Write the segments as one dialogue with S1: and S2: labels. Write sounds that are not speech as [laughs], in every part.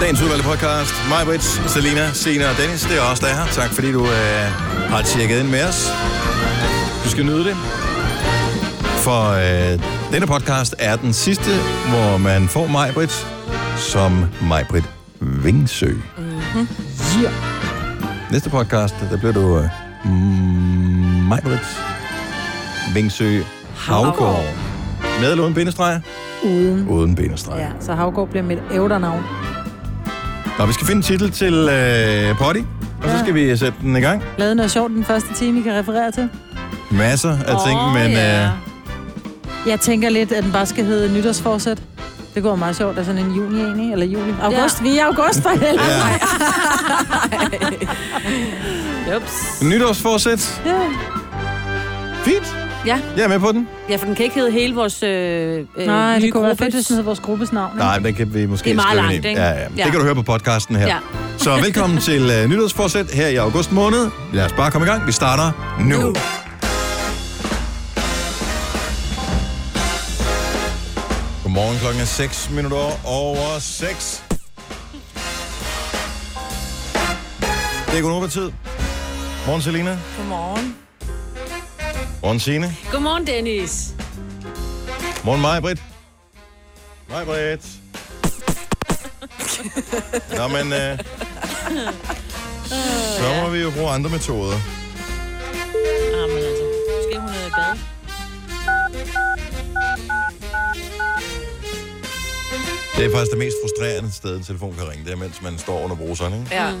S1: Dagens udvalgte podcast. Mig, Brits, Selina, Sina og Dennis. Det er os, der er her. Tak fordi du øh, har tjekket ind med os. Du skal nyde det. For øh, denne podcast er den sidste, hvor man får mig, Brits, som mig, Brit Vingsø. Mm-hmm. Yeah. Næste podcast, der bliver du øh, mig, Brits Vingsø Havgård. Med eller uden bindestreg?
S2: Uden.
S1: Uden bindestreg. Ja.
S2: Ja, så Havgård bliver mit ævdernavn.
S1: Nå, vi skal finde en titel til øh, potty, og så
S2: Ja.
S1: skal vi sætte den i gang.
S2: Lavede noget sjovt den første time, I kan referere til.
S1: Masser af oh, ting, men yeah. øh,
S2: Jeg tænker lidt, at den bare skal hedde nytårsforsæt. Det går meget sjovt, der er sådan en juni egentlig, eller juli. August, ja. vi er i august for helvede.
S1: Ja.
S3: Ups.
S1: nytårsforsæt.
S2: Ja.
S1: Fint.
S3: Ja.
S1: Jeg er med på den.
S3: Ja, for den kan ikke hedde hele vores øh, øh,
S2: Nej,
S3: nye
S2: det kunne være
S3: gruppe.
S2: fedt, hvis den hedder vores gruppes navn. ikke?
S1: Nej, men den kan vi måske
S3: Det er meget
S1: skrive
S3: langt,
S1: ind i.
S3: ikke?
S1: Ja, ja. Det
S3: Ja.
S1: kan du høre på podcasten her.
S3: Ja.
S1: Så
S3: [laughs]
S1: velkommen til uh, nytårsforsæt her i august måned. Lad os bare komme i gang. Vi starter nu. nu.
S3: Nu.
S1: Godmorgen klokken er 6 minutter over 6. Det er god tid. Morgen, Selina.
S3: Godmorgen.
S1: Morgen, Signe.
S3: Godmorgen, Dennis.
S1: Morgen, mig, Britt. Mig, Britt. Nå, men... Øh, så må vi jo bruge andre metoder.
S3: Øh, Ah, men altså, skal hun øh, bade?
S1: Det er faktisk det mest frustrerende sted, en telefon kan ringe. Det er, mens man står under bruseren, ikke?
S3: Ja.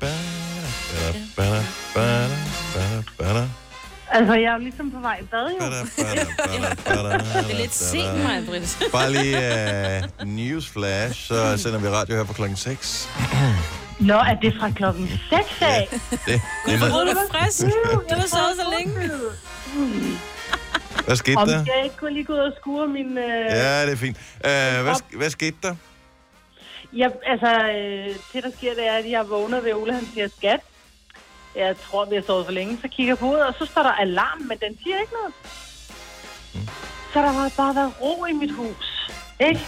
S1: Bada, bada, bada, bada, bada, bada,
S4: Altså, jeg er jo ligesom på vej i bad, jo.
S1: bada, bada,
S3: [laughs]
S1: bada, bada,
S3: Det er lidt sent, mig, Britt.
S1: Bare lige uh, newsflash, så sender vi radio her på klokken [clears throat] 6.
S4: Nå, er det fra klokken 6
S3: [laughs]
S4: af?
S1: Det, det er
S3: Hvor
S1: noget.
S3: er du frisk? Du har sovet så længe.
S1: Hvad skete
S4: Om
S1: der?
S4: jeg ikke kunne lige gå ud og skure min... Øh... Ja.
S1: Ja, det er fint. Uh, hvad, sk- hvad skete der?
S4: Jeg, altså, øh, det der sker, det er, at jeg vågner ved Ole, han siger skat. Jeg tror, vi har sovet for længe, så kigger jeg på hovedet, og så står der alarm, men den siger ikke noget. Så der har bare været ro i mit hus, ikke?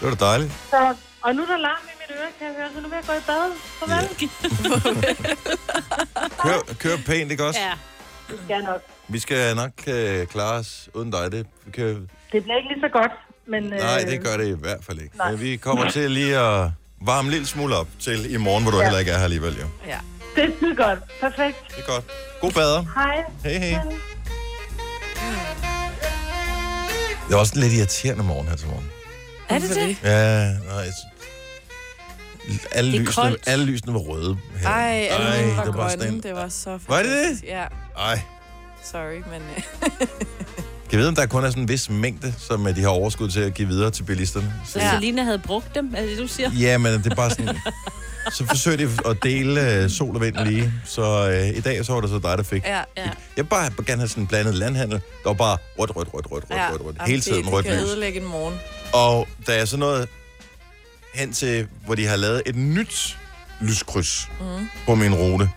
S1: Det var da dejligt.
S4: Så, og nu er der larm i mit øre, kan jeg høre, så nu vil jeg gå i bad. Farvel.
S1: Ja. [laughs] Kør, kør pænt, ikke også?
S3: Ja.
S4: Det skal jeg nok.
S1: Vi skal nok øh, klare os uden dig. Det kan...
S4: Det bliver ikke lige så godt, men... Øh,
S1: Nej, det gør det i hvert fald ikke. Nej. Vi
S5: [laughs]
S1: kommer til lige at varme en lille smule op til i morgen, hvor du ja. heller ikke er her alligevel. Jo.
S3: ja.
S4: Det er skide godt. Perfekt.
S1: Det er godt. God bader.
S4: Hej.
S1: Hej, hej. Det er også en lidt irriterende morgen her til morgen.
S3: Er det det?
S1: Ja, nej. Jeg... synes- Alle,
S3: Det er
S1: lysene,
S3: koldt.
S1: alle lysene var røde. Her.
S5: Ej, alle
S1: Ej,
S5: mine
S1: det
S5: var
S1: var bare
S5: grønne.
S1: sådan en-
S5: Det var så fantastisk.
S1: Var det det?
S5: Ja,
S1: Ej.
S5: sorry, men... øh,
S1: Kan jeg vide, om der kun er sådan en vis mængde, som øh, de har overskud til at give videre til bilisterne? Så...
S3: Så
S5: Ja.
S3: Selina havde brugt dem, er det det, du siger?
S1: Ja, men det er bare
S5: [laughs]
S1: sådan... Så forsøg de at dele øh, sol og vind lige. Så øh, i dag så var det så dig, der fik.
S5: [laughs] Ja,
S3: Ja.
S1: Jeg vil bare gerne have sådan en blandet landhandel. Der var bare rødt, rødt, rødt, rødt, rødt,
S5: ja.
S1: rødt, rødt.
S5: Jamen,
S1: Hele
S5: det-
S1: tiden rødt
S5: Det kan
S1: lys.
S5: ødelægge en morgen.
S1: Og der er sådan noget hen til, hvor de har lavet et nyt lyskryds
S5: Mhm.
S1: mm. på min rute.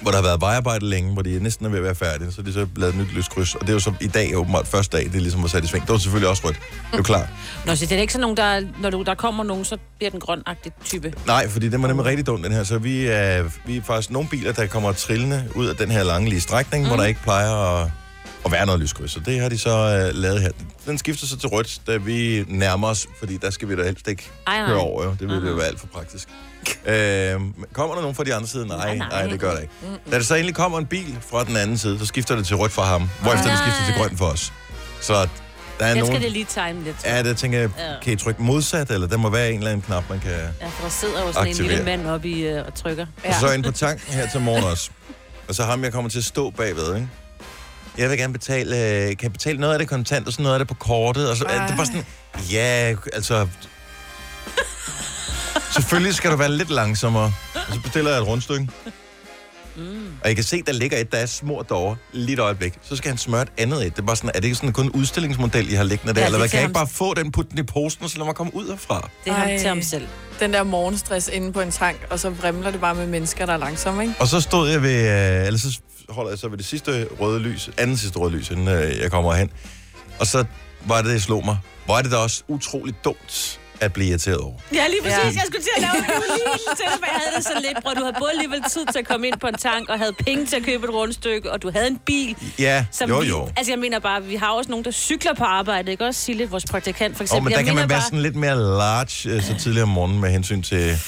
S1: Hvor der har været vejarbejde længe, hvor de næsten er ved at være færdige. Så har de så lavet et nyt lyskryds. Og det er jo så i dag åbenbart første dag, det ligesom var sat i sving. Det var selvfølgelig også rødt. Det er jo klart.
S3: Nå, så det er ikke sådan nogen, der, når du, der kommer nogen, så bliver den grønagtig type.
S1: Nej, fordi den var nemlig rigtig dum, den her. Så vi er, vi er faktisk nogle biler, der kommer trillende ud af den her lange lige strækning, mm. hvor der ikke plejer at, at være noget lyskryds. Så det har de så øh, lavet her. Den skifter så til rødt, da vi nærmer os, fordi der skal vi da helst ikke
S3: Ej, nej.
S1: køre over. Jo. Det ville jo være alt for praktisk. Øh, kommer der nogen fra de andre side? Nej, nej,
S3: nej.
S1: nej, det gør der ikke. Da der så endelig kommer en bil fra den anden side, så skifter det til rødt for ham, hvorefter det skifter til grønt for os. Så der er
S3: Den
S1: nogen...
S3: skal det lige time lidt.
S1: Ja, der tænker jeg,
S3: Ja.
S1: kan I trykke modsat, eller der må være en eller anden knap, man kan...
S3: Ja, for der sidder jo sådan
S1: Aktiver.
S3: en lille mand oppe i, øh, og trykker.
S1: Ja. Og så ind på tanken her til morgen også. Og så ham, jeg kommer til at stå bagved, ikke? Jeg vil gerne betale, øh, kan jeg betale noget af det kontant, og så noget af det på kortet, og så, øh, det var sådan, ja, altså, selvfølgelig skal du være lidt langsommere. Og så bestiller jeg et rundstykke. Mm. Og I kan se, der ligger et, der er smurt derovre, lige et øjeblik. Så skal han smøre et andet et. Det er bare sådan, er det ikke sådan kun en udstillingsmodel, I har liggende der?
S3: Ja,
S1: Ja, eller
S3: det
S1: hvad?
S3: er
S1: Kan jeg
S3: til
S1: ikke bare få den, putte den i posten, og så lad mig komme ud herfra?
S3: Det er ham
S5: Ej.
S3: til ham selv.
S5: Den der morgenstress inde på en tank, og så vrimler det bare med mennesker, der er langsomme, ikke?
S1: Og så stod jeg ved, øh, eller så holder jeg så ved det sidste røde lys, anden sidste røde lys, inden øh, jeg kommer hen. Og så var det, det slog mig. Hvor er det da også utroligt dumt at blive irriteret over.
S3: Ja, lige præcis. Ja. Jeg skulle til at lave en udligning til dig, for jeg havde det så lidt. Bror, du havde både alligevel tid til at komme ind på en tank, og havde penge til at købe et rundstykke, og du havde en bil.
S1: Ja, jo, jo.
S3: Vi, altså, jeg mener bare, vi har også nogen, der cykler på arbejde, ikke også? Sille, vores praktikant, for
S1: Åh,
S3: eksempel.
S1: oh, men
S3: jeg
S1: der kan
S3: mener
S1: man være
S3: bare-
S1: sådan lidt mere
S3: [clears throat]
S1: large øh, så tidligere om morgenen med hensyn til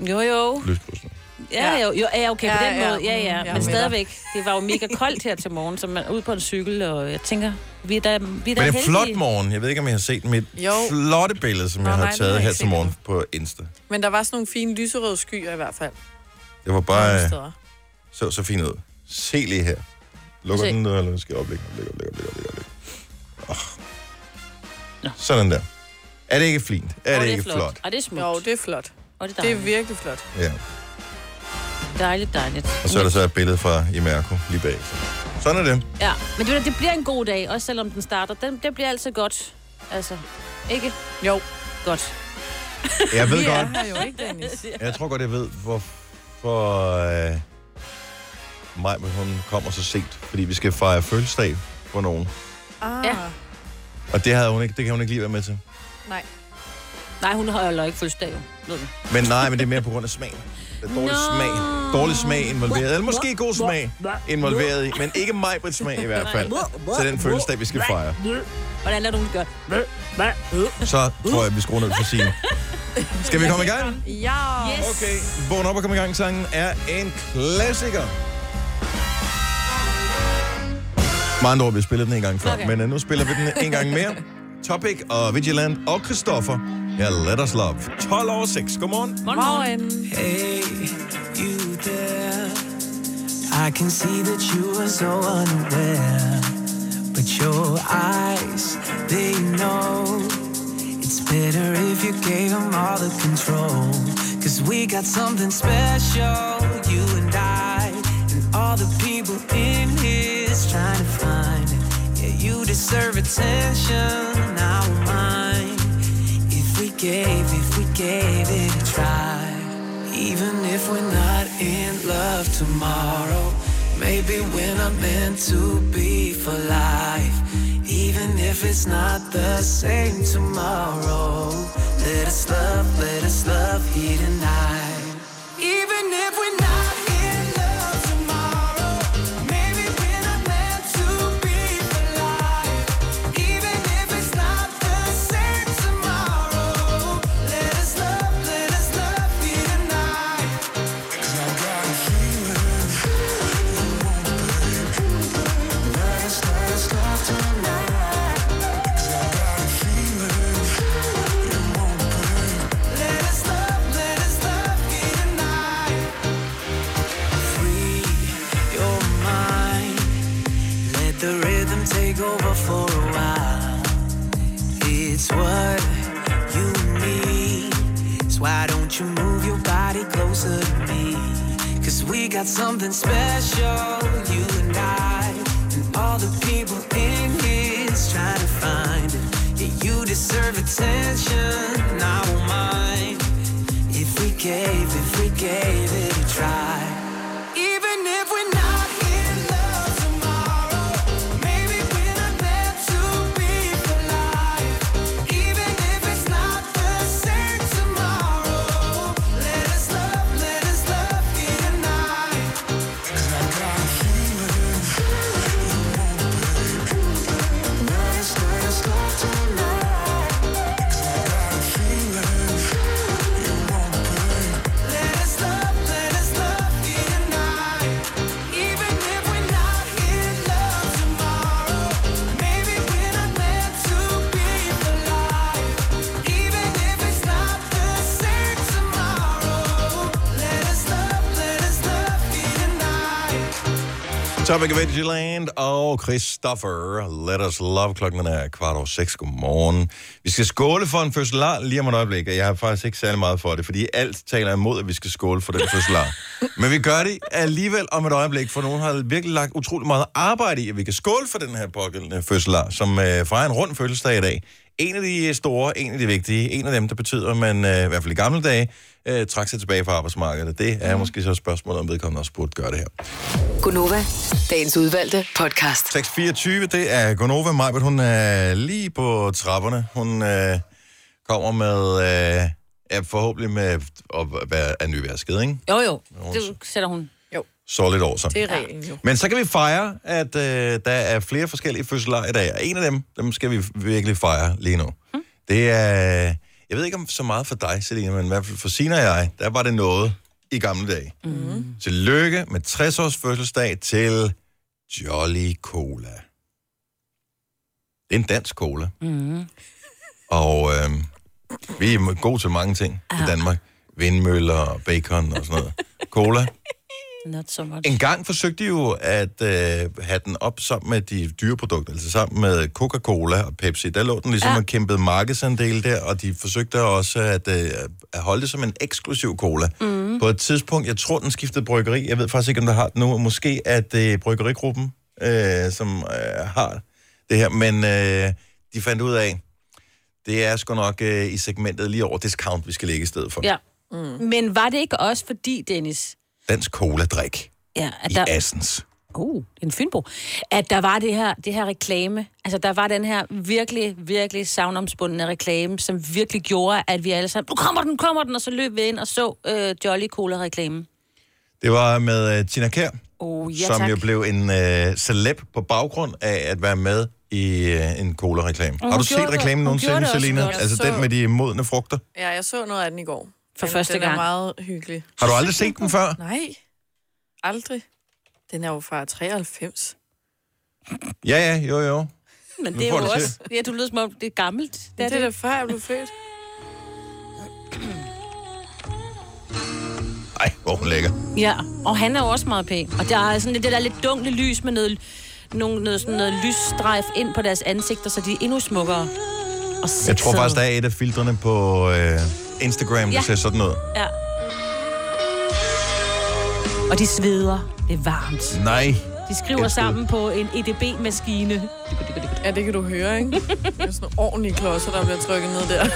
S3: Jo, jo.
S1: lyskrydsen.
S3: Ja, jo, jo, ja, okay, på
S5: Ja,
S3: den
S5: ja,
S3: måde. Ja,
S5: mm, jeg
S3: ja,
S5: er
S3: men
S5: med dig.
S3: stadigvæk. Det var jo mega koldt her til morgen, så man er ude på en cykel, og jeg tænker, vi er da, vi er da
S1: Men en
S3: heldige.
S1: flot morgen. Jeg ved ikke, om I har set mit
S5: Jo.
S1: flotte billede, som
S5: Nå,
S1: jeg har
S5: nej, det har
S1: taget
S5: jeg
S1: her
S5: ikke
S1: til
S5: set
S1: morgen
S5: endnu.
S1: på Insta.
S5: Men der var sådan nogle fine lyserøde skyer i hvert fald.
S1: Det var
S5: Nogle
S1: bare... Øh,
S5: steder.
S1: så så fint ud. Se lige her. Lukker
S3: Se.
S1: den ned, eller nu skal jeg oplægge, oplægge, oplægge, oplægge, oplægge. Oh. Sådan der. Er det ikke flint? Er
S3: Og
S1: det ikke flot? flot?
S3: Og det er smukt.
S5: Jo, det er flot.
S3: og det er
S5: Det er
S3: dejligt.
S5: virkelig flot.
S1: Ja.
S3: dejligt, dejligt.
S1: Og så er der så et billede fra Imerco lige bag. Sådan er det.
S3: Ja, men det, det bliver en god dag, også selvom den starter. Den, det bliver altid godt. Altså, ikke
S5: Jo,
S3: godt.
S1: Jeg ved
S5: vi er
S1: godt,
S5: her jo ikke, Dennis.
S1: [laughs] Jeg tror godt, jeg ved, hvorfor øh, Maj, hun kommer så sent. Fordi vi skal fejre fødselsdag for nogen.
S5: Ah,
S3: Ja.
S1: Og det, havde hun ikke, det kan hun ikke lige være med til.
S5: nej.
S3: Nej, hun holder ikke fødselsdag, jo. Ved du.
S1: Men nej, men det er mere på grund af smagen. Det er dårlig
S3: Nå.
S1: smag. Dårlig smag involveret. Eller måske god smag involveret i. Men ikke mig på smag i hvert fald. Så den fødselsdag, vi skal fejre.
S3: Hvordan lader du hun gøre?
S1: Så tror jeg, vi skruer ned for sine. Skal vi komme i gang?
S5: Ja.
S3: Yes.
S1: Okay, vågn op og kom i gang. Sangen er en klassiker. Med andre ord, vi spillede den en gang før, okay.
S3: Okay.
S1: men uh, nu spiller vi den en gang mere. Topic og Vigilant og Christoffer. Ja, let us love. 12 over 6. Godmorgen.
S3: Morgen.
S5: Morgen.
S6: Hey, you there? I can see that you are so unaware. But your eyes, they know. It's better if you gave them all the control. Cause we got something special, you and I. And all the people in here's trying to find. it. Yeah, you deserve attention, I will mine. If we gave, if we gave it a try, even if we're not in love tomorrow, maybe we're not meant to be for life. Even if it's not the same tomorrow, let us love, let us love here tonight. Even if we're not in love tomorrow, maybe we're not meant to be for life. Even if it's not the same tomorrow, let us love, let us love here tonight. 'Cause I got a feeling you won't break. Let us, let us love tonight. 'Cause I got a feeling you won't break. Let us love, let us love here tonight. Free your mind. Let the rhythm take over for a while. It's what you need. So why don't you move your body closer to me? Cause we got something special, you and I. And all the people in here's trying to find it. Yeah, you deserve attention, I won't mind. If we gave, if we gave it a try. Even if we're not in love tomorrow, maybe we're not meant to be for life. Even if it's not the same tomorrow, let us love, let us love here tonight. 'Cause I got a feeling you won't break. Let us, let us love tonight. 'Cause I got a feeling you won't break. Let us love, let us love here tonight. Even if we're not in love tomorrow, maybe we're not meant to be for life. Even if it's not the same tomorrow, let us love, let us love here tonight.
S1: Topic of Vigilant og Christoffer. Let us love. Klokken er kvart over seks. Godmorgen. Vi skal skåle for en fødselar lige om et øjeblik, og jeg har faktisk ikke særlig meget for det, fordi alt taler imod, at vi skal skåle for den fødselar. Men vi gør det alligevel om et øjeblik, for nogen har virkelig lagt utrolig meget arbejde i, at vi kan skåle for den her pågældende fødselar, som øh, fejrer en rund fødselsdag i dag. En af de store, en af de vigtige, en af dem, der betyder, at man øh, i hvert fald i gamle dage øh, trak sig tilbage fra arbejdsmarkedet. Det er måske så et spørgsmål, om vedkommende også burde gøre det her.
S7: Gunova, dagens udvalgte podcast.
S1: 6.24, det er Gonova Majbert. Hun er lige på trapperne. Hun øh, kommer med, øh, ja, forhåbentlig med at være af nyværsket, ikke?
S3: Jo, jo. Det sætter hun.
S1: Så lidt over sig.
S5: Det er reglen jo.
S1: Men så kan vi fejre, at øh, der er flere forskellige fødselar i dag. Og en af dem, dem skal vi virkelig fejre lige nu. Mm. Det er, jeg ved ikke om så meget for dig, Selina, men i hvert fald for Sina og jeg, der var det noget i gamle dage. Mm. Tillykke med 60 års fødselsdag til Jolly Cola. Det er en dansk cola. Mm. Og øh, vi er gode til mange ting i Danmark. Vindmøller og bacon og sådan noget. Cola.
S3: Not so much.
S1: En gang forsøgte de jo at øh, have den op sammen med de dyre produkter, altså sammen med Coca-Cola og Pepsi. Der lå den ligesom ja. og kæmpede markedsandel der, og de forsøgte også at, øh, at holde det som en eksklusiv cola. Mm. På et tidspunkt, jeg tror, den skiftede bryggeri. Jeg ved faktisk ikke, om der har den nu. Måske at øh, bryggerigruppen, øh, som øh, har det her. Men øh, de fandt ud af, det er sgu nok øh, i segmentet lige over discount, vi skal ligge i stedet for.
S3: Ja. Mm. Men var det ikke også fordi, Dennis,
S1: Dansk cola-drik
S3: ja, at
S1: i
S3: der,
S1: Assens.
S3: uh, en fynbo, at der var det her, det her reklame, altså der var den her virkelig, virkelig savnomspundende reklame, som virkelig gjorde, at vi alle sammen, nu kommer den, nu kommer den, og så løb vi ind og så øh, Jolly Cola-reklamen.
S1: Det var med øh, Tina Kær.
S3: Oh, ja,
S1: som
S3: tak.
S1: jo blev en øh, celeb på baggrund af at være med i øh, en cola-reklame. Har du set
S3: gjorde det-
S1: reklamen
S3: hun gjorde
S1: nogensinde,
S3: det også
S1: Selina?
S3: godt.
S1: Altså
S5: Så-
S1: den med de modne frugter.
S5: Ja, jeg så noget af den i går.
S3: For
S5: Men
S3: første
S5: den
S3: gang.
S5: er meget hyggelig.
S1: Har du aldrig set den før?
S5: Nej, aldrig. Den er jo fra 93.
S1: Ja, ja, jo, jo.
S3: [laughs] Men
S1: Nu
S3: det er
S1: får
S3: jo
S1: du det
S3: også, ja, du lyder som om, det er gammelt.
S5: Det er det,
S3: det.
S5: der før jeg blev født.
S1: Ej, hvor er hun lækker.
S3: Ja, og han er jo også meget pæn. Og der er sådan lidt- det der lidt dunkle lys med noget, nogle, noget, sådan noget lysstrejf ind på deres ansigter, så de er endnu smukkere. Og
S1: Jeg tror faktisk, der er et af filtrene på øh, Instagram, der
S3: Ja.
S1: ser sådan ud.
S3: Ja. Og de sveder. Det er varmt.
S1: Nej.
S3: De skriver
S1: Elsker
S3: sammen på en E EDB-maskine.
S5: Ja, det kan du høre, ikke? Det er sådan nogle ordentlige klodser, der bliver trykket ned
S1: [laughs]
S5: der.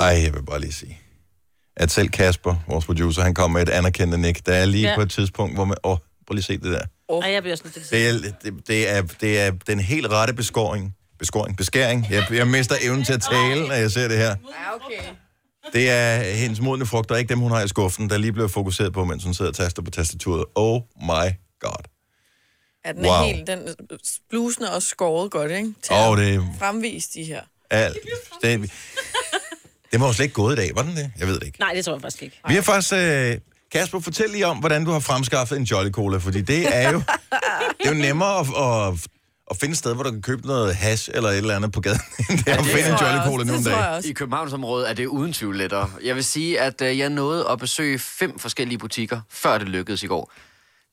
S1: Ej, jeg vil bare lige sige, at selv Kasper, vores producer, han kom med et anerkendende nik. Der er lige ja.
S3: Ja.
S1: på et tidspunkt, hvor man... Åh, prøv lige at se det der.
S3: Ej, jeg bliver også nødt til
S1: Det er, det, det, er, det er den helt rette beskåring. Beskåring? Beskæring? Jeg, jeg mister evnen til at tale, når jeg ser det her.
S5: okay.
S1: Det er hendes modne frugter, ikke dem, hun har i skuffen, der lige blev fokuseret på, mens hun sidder og taster på tastaturet. Oh my god.
S5: Ja, den er
S1: Wow.
S5: wow. helt, den blusen er også skåret godt, ikke? Til
S1: Åh,
S5: oh.
S1: oh, det er
S5: fremvise de her.
S1: alt. Det, det var jo slet ikke gået i dag, var den det? Jeg ved det ikke.
S3: Nej, det tror jeg faktisk ikke.
S1: Vi har faktisk... Øh, Kasper, fortæl lige om, hvordan du har fremskaffet en Jolly Cola, fordi det er jo, det er jo nemmere at, at, at finde et sted, hvor du kan købe noget hash eller et eller andet på gaden, [laughs] end det er at finde en
S5: tror jeg
S1: Jolly
S5: også.
S1: Cola
S5: Det
S1: nogle
S5: tror jeg
S1: dage.
S5: også.
S8: I Københavnsområdet er det uden tvivl lettere. Jeg vil sige, at øh, jeg nåede at besøge fem forskellige butikker, før det lykkedes i går.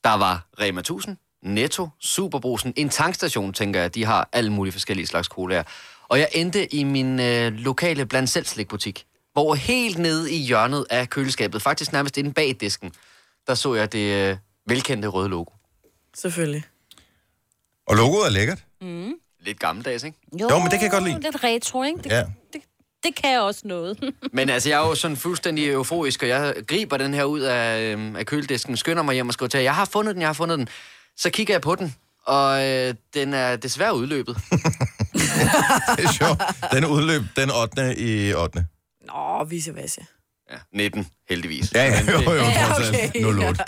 S8: Der var Rema 1000, Netto, Superbrusen, en tankstation, tænker jeg. De har alle mulige forskellige slags colaer. Og jeg endte i min øh, lokale blandt selv slikbutik, hvor helt nede i hjørnet af køleskabet, faktisk nærmest inde bag disken, der så jeg det øh, velkendte røde logo.
S1: [laughs]
S5: Selvfølgelig.
S1: Og logoet er lækkert.
S8: Lidt gammeldags, ikke?
S1: Mm. Jo, men det kan jeg godt lide.
S3: Lidt retro, ikke? Det,
S1: Ja.
S3: det, det kan jeg også noget. [laughs]
S8: Men altså, jeg er jo sådan fuldstændig euforisk, og jeg griber den her ud af, øhm, af køledisken, skynder mig hjem og skriver til, jer, jeg har fundet den, jeg har fundet den. Så kigger jeg på den, og øh, den er desværre udløbet.
S1: Det er sjovt. Den udløb den 8. i 8.
S5: Nå, vice versa.
S8: Ja, 19, heldigvis.
S1: Ja, ja, jo, jo,
S5: [laughs] Ja,
S1: trods alt.
S5: okay.
S1: 08.
S5: [laughs]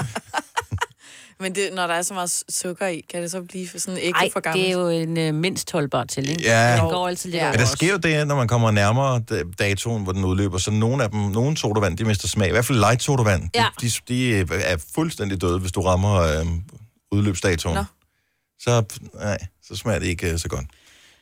S5: Men det, når der er så meget su- sukker i, kan det så blive for sådan ægte
S3: Nej,
S5: for gammelt?
S3: det er jo en øh, mindst holdbar til, ikke?
S1: Ja.
S3: Den går altid lidt
S5: Ja.
S3: over
S1: Men der
S3: os.
S1: sker jo det, når man kommer nærmere d- datoen, hvor den udløber, så nogle af dem, nogle sodavand, de mister smag. I hvert fald light sodavand.
S3: Ja.
S1: De, de, de øh, er fuldstændig døde, hvis du rammer øh, udløbsdatoen.
S5: Nå.
S1: Så, nej, så smager det ikke øh, så godt.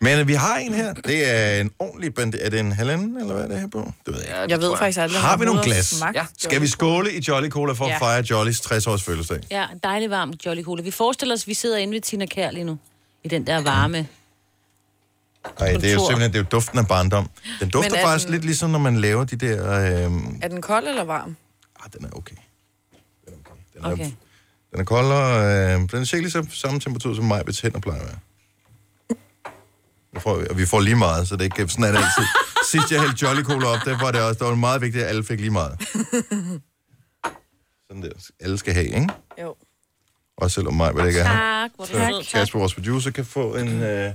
S1: Men øh, vi har en her. Det er en ordentlig bandit. Er det en halvanden, eller hvad er det her på? Det ved jeg ikke.
S8: Ja, det
S5: Jeg ved
S8: tror
S5: faktisk aldrig, om
S1: Har
S5: jeg
S1: vi nogle
S5: overhovedet
S1: glas?
S5: smagt
S8: Ja.
S1: Skal vi skåle i Jolly Cola for ja. at
S5: Ja.
S1: fejre Jollys 60-års fødselsdag?
S3: Ja, en dejlig varm Jolly Cola. Vi forestiller os, at vi sidder inde ved Tina Kær lige nu. I den der varme.
S1: Nej, det er jo
S3: Kontor.
S1: simpelthen det er jo duften af barndom. Den dufter
S5: Men er
S1: faktisk
S5: den-
S1: lidt ligesom, når man laver de der... Øh,
S5: Er den kold eller varm?
S1: Ah, den er okay. Den er okay. Den er,
S3: Okay.
S1: den er koldere. Øh, den er cirka så samme temperatur som mig, hvis hænder plejer at være. Nu får vi, og vi får lige meget, så det er ikke sådan er det altid. Sidst jeg hældte Jolly Cola op, der var det også der var det meget vigtigt, at alle fik lige meget. Sådan der. Alle skal have, ikke?
S5: Jo.
S1: Også selvom mig, hvad det ikke er her.
S3: Tak, hvor er du sød.
S1: Kasper, vores producer, kan få en, øh,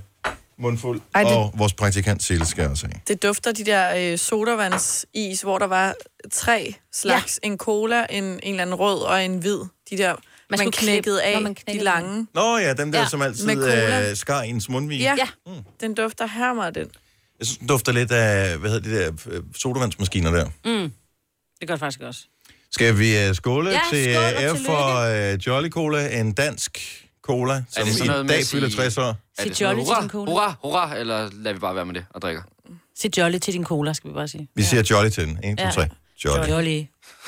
S1: mundfuld.
S5: Ej, det-
S1: Og vores praktikant Sille skal også af.
S5: Det dufter de der øh, sodavandsis, hvor der var tre slags. Ja. En cola, en, en eller anden rød og en hvid. De der, man, man
S3: skulle
S5: knækkede
S3: klippe,
S5: af,
S3: når
S5: man
S3: man
S5: knækkede de
S3: knækkede
S5: lange.
S1: Nå ja, dem der, ja,
S3: Ja,
S1: som altid
S5: med cola.
S1: øh, skar ens mundvin.
S5: Ja,
S3: Ja.
S5: Mm. den dufter her meget, den.
S1: Jeg synes, den dufter lidt af, hvad hedder de der, øh, sodavandsmaskiner der.
S3: Mm. Det gør det faktisk også.
S1: Skal vi uh, skåle
S3: Ja,
S1: til
S3: skål og
S1: uh, F for uh, Jolly Cola, en dansk cola, som
S8: det sådan
S1: i
S8: noget med
S1: dag
S8: at sige-
S1: fylder 60 år?
S8: Er det
S3: Sig
S8: sådan
S3: jolly
S8: noget,
S3: til din
S8: hurra,
S3: kone.
S8: hurra, hurra, eller lader vi bare være med det og drikker?
S3: Sig jolly til din cola, skal vi bare sige.
S1: Vi siger Jolly til den. 1, 2,
S3: Ja.
S1: 3. Jolly. Jolly.
S3: Jolly.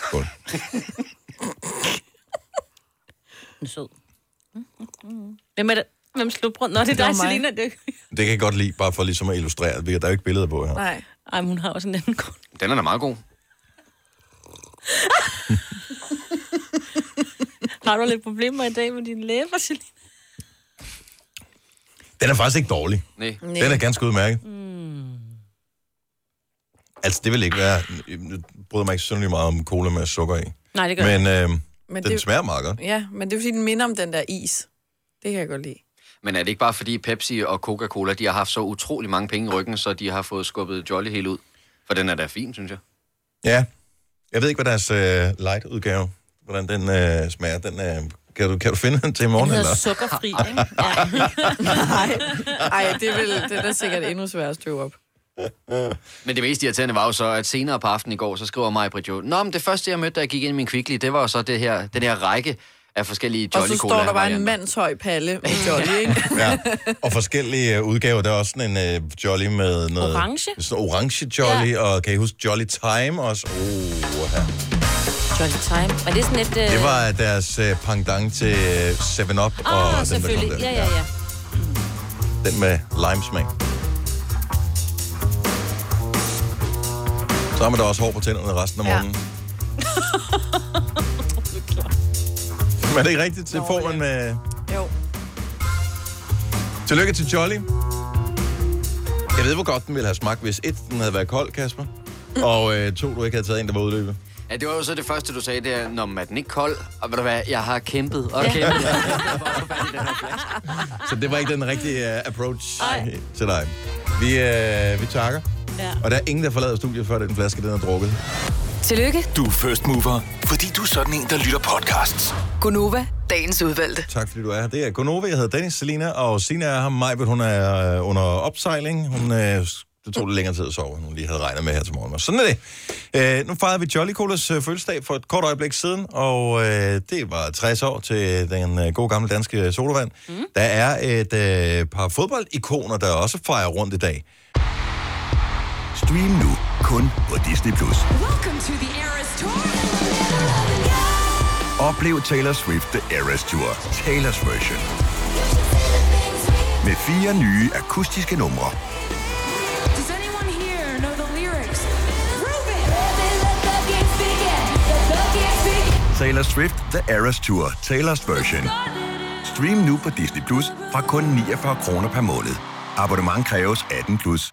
S1: Skål.
S3: Den er sød. Mm, mm, mm. Hvem er det? Hvem slutbrød? Nå, det er
S5: var
S3: dig,
S5: mig.
S3: Selina. Det er ikke-
S1: Det kan jeg godt lide, bare for ligesom at illustrere. det. Der er jo ikke billeder på her.
S5: Nej.
S3: Ej, men hun har også en anden grund.
S8: Den er da meget god.
S3: Har du lidt problemer i dag med dine læber, Selina?
S1: Den er faktisk ikke dårlig.
S8: Nej.
S5: Nej.
S1: Den er ganske udmærket. Mm. Altså, det vil ikke være... Jeg bryder mig ikke synderligt meget om cola med sukker i.
S3: Nej, det gør
S1: Men, øh,
S5: Men
S1: den
S5: det,
S1: smager meget godt.
S5: ja, men det er fordi, den minder om den der is. Det kan jeg godt
S3: [laughs]
S5: lide.
S8: Men er det ikke bare fordi Pepsi og Coca-Cola, de har haft så utrolig mange penge i ryggen, så de har fået skubbet Jolly helt ud? For den er da fin, synes jeg.
S1: Ja. Jeg ved ikke, hvad deres øh, light-udgave, hvordan den øh, smager. Den, øh, kan, du, kan du finde den til i morgen?
S3: Den hedder
S1: Eller?
S3: sukkerfri, ikke?
S1: [laughs]
S3: Ja.
S5: Nej, Ej, det vil, det er da sikkert endnu sværere at støve op.
S8: Men det mest irriterende var jo så, at senere på aftenen i går, så skriver mig Britt jo, Nå, men det første, jeg mødte, da jeg gik ind i min Kvickly, det var jo så det her, den her række af forskellige
S5: Og
S8: Jolly
S5: så
S8: Cola
S5: står der bare en mandshøj palle
S3: [laughs]
S5: med Jolly, ikke?
S1: Ja, og forskellige øh, udgaver. Der er også sådan en øh, Jolly med noget...
S3: Orange.
S1: Sådan orange Jolly, ja. og kan I huske Jolly Time også? Oh, ja.
S3: Øh. Jolly Time. Var det sådan lidt... Øh...
S1: Det var deres øh, pendant til øh, 7-Up
S3: Ah,
S1: og den, der kom
S3: selvfølgelig.
S1: der.
S3: Ja, ja, ja.
S1: Den med limesmag. Så har man da også hår på tænderne resten af
S5: Ja.
S1: morgenen. Men er det ikke rigtigt? Det får man med...
S5: Jo.
S1: Tillykke til Jolly. Jeg ved, hvor godt den ville have smagt, hvis et, den havde været kold, Kasper. Og øh, to, du ikke havde taget en, der var udløbet.
S8: Ja, det var jo så det første, du sagde, det er, Nå, men er den ikke kold? Og ved du hvad, jeg har kæmpet og kæmpet.
S1: [laughs] Så det var ikke den rigtige uh, approach Ej. til dig. Vi, uh, vi takker.
S3: Ja.
S1: Og der er ingen, der forlader studiet, før den flaske, den er drukket.
S7: Tillykke,
S9: Du er first mover, fordi du er sådan en, der lytter podcasts.
S7: Gunova, dagens udvalgte.
S1: Tak fordi du er her. Det er Gunova, jeg hedder Dennis, Selina, og Sina er her. Majbet, hun er øh, under opsejling. Hun, øh, det tog lidt længere tid at sove, end hun lige havde regnet med her til morgen. Men Sådan er det. Øh, nu fejrede vi Jolly Colas øh, fødselsdag for et kort øjeblik siden, og øh, det var 60 år til den øh, gode gamle danske sodavand. Mm. Der er et øh, par fodboldikoner, der også fejrer rundt i dag.
S9: Stream nu kun på Disney+. Plus. Oplev Taylor Swift The Eras Tour, Taylor's version. Med fire nye akustiske numre. Taylor Swift The Eras Tour, Taylor's version. Stream nu på Disney Plus fra kun 49 kroner per måned. Abonnement kræves 18 plus.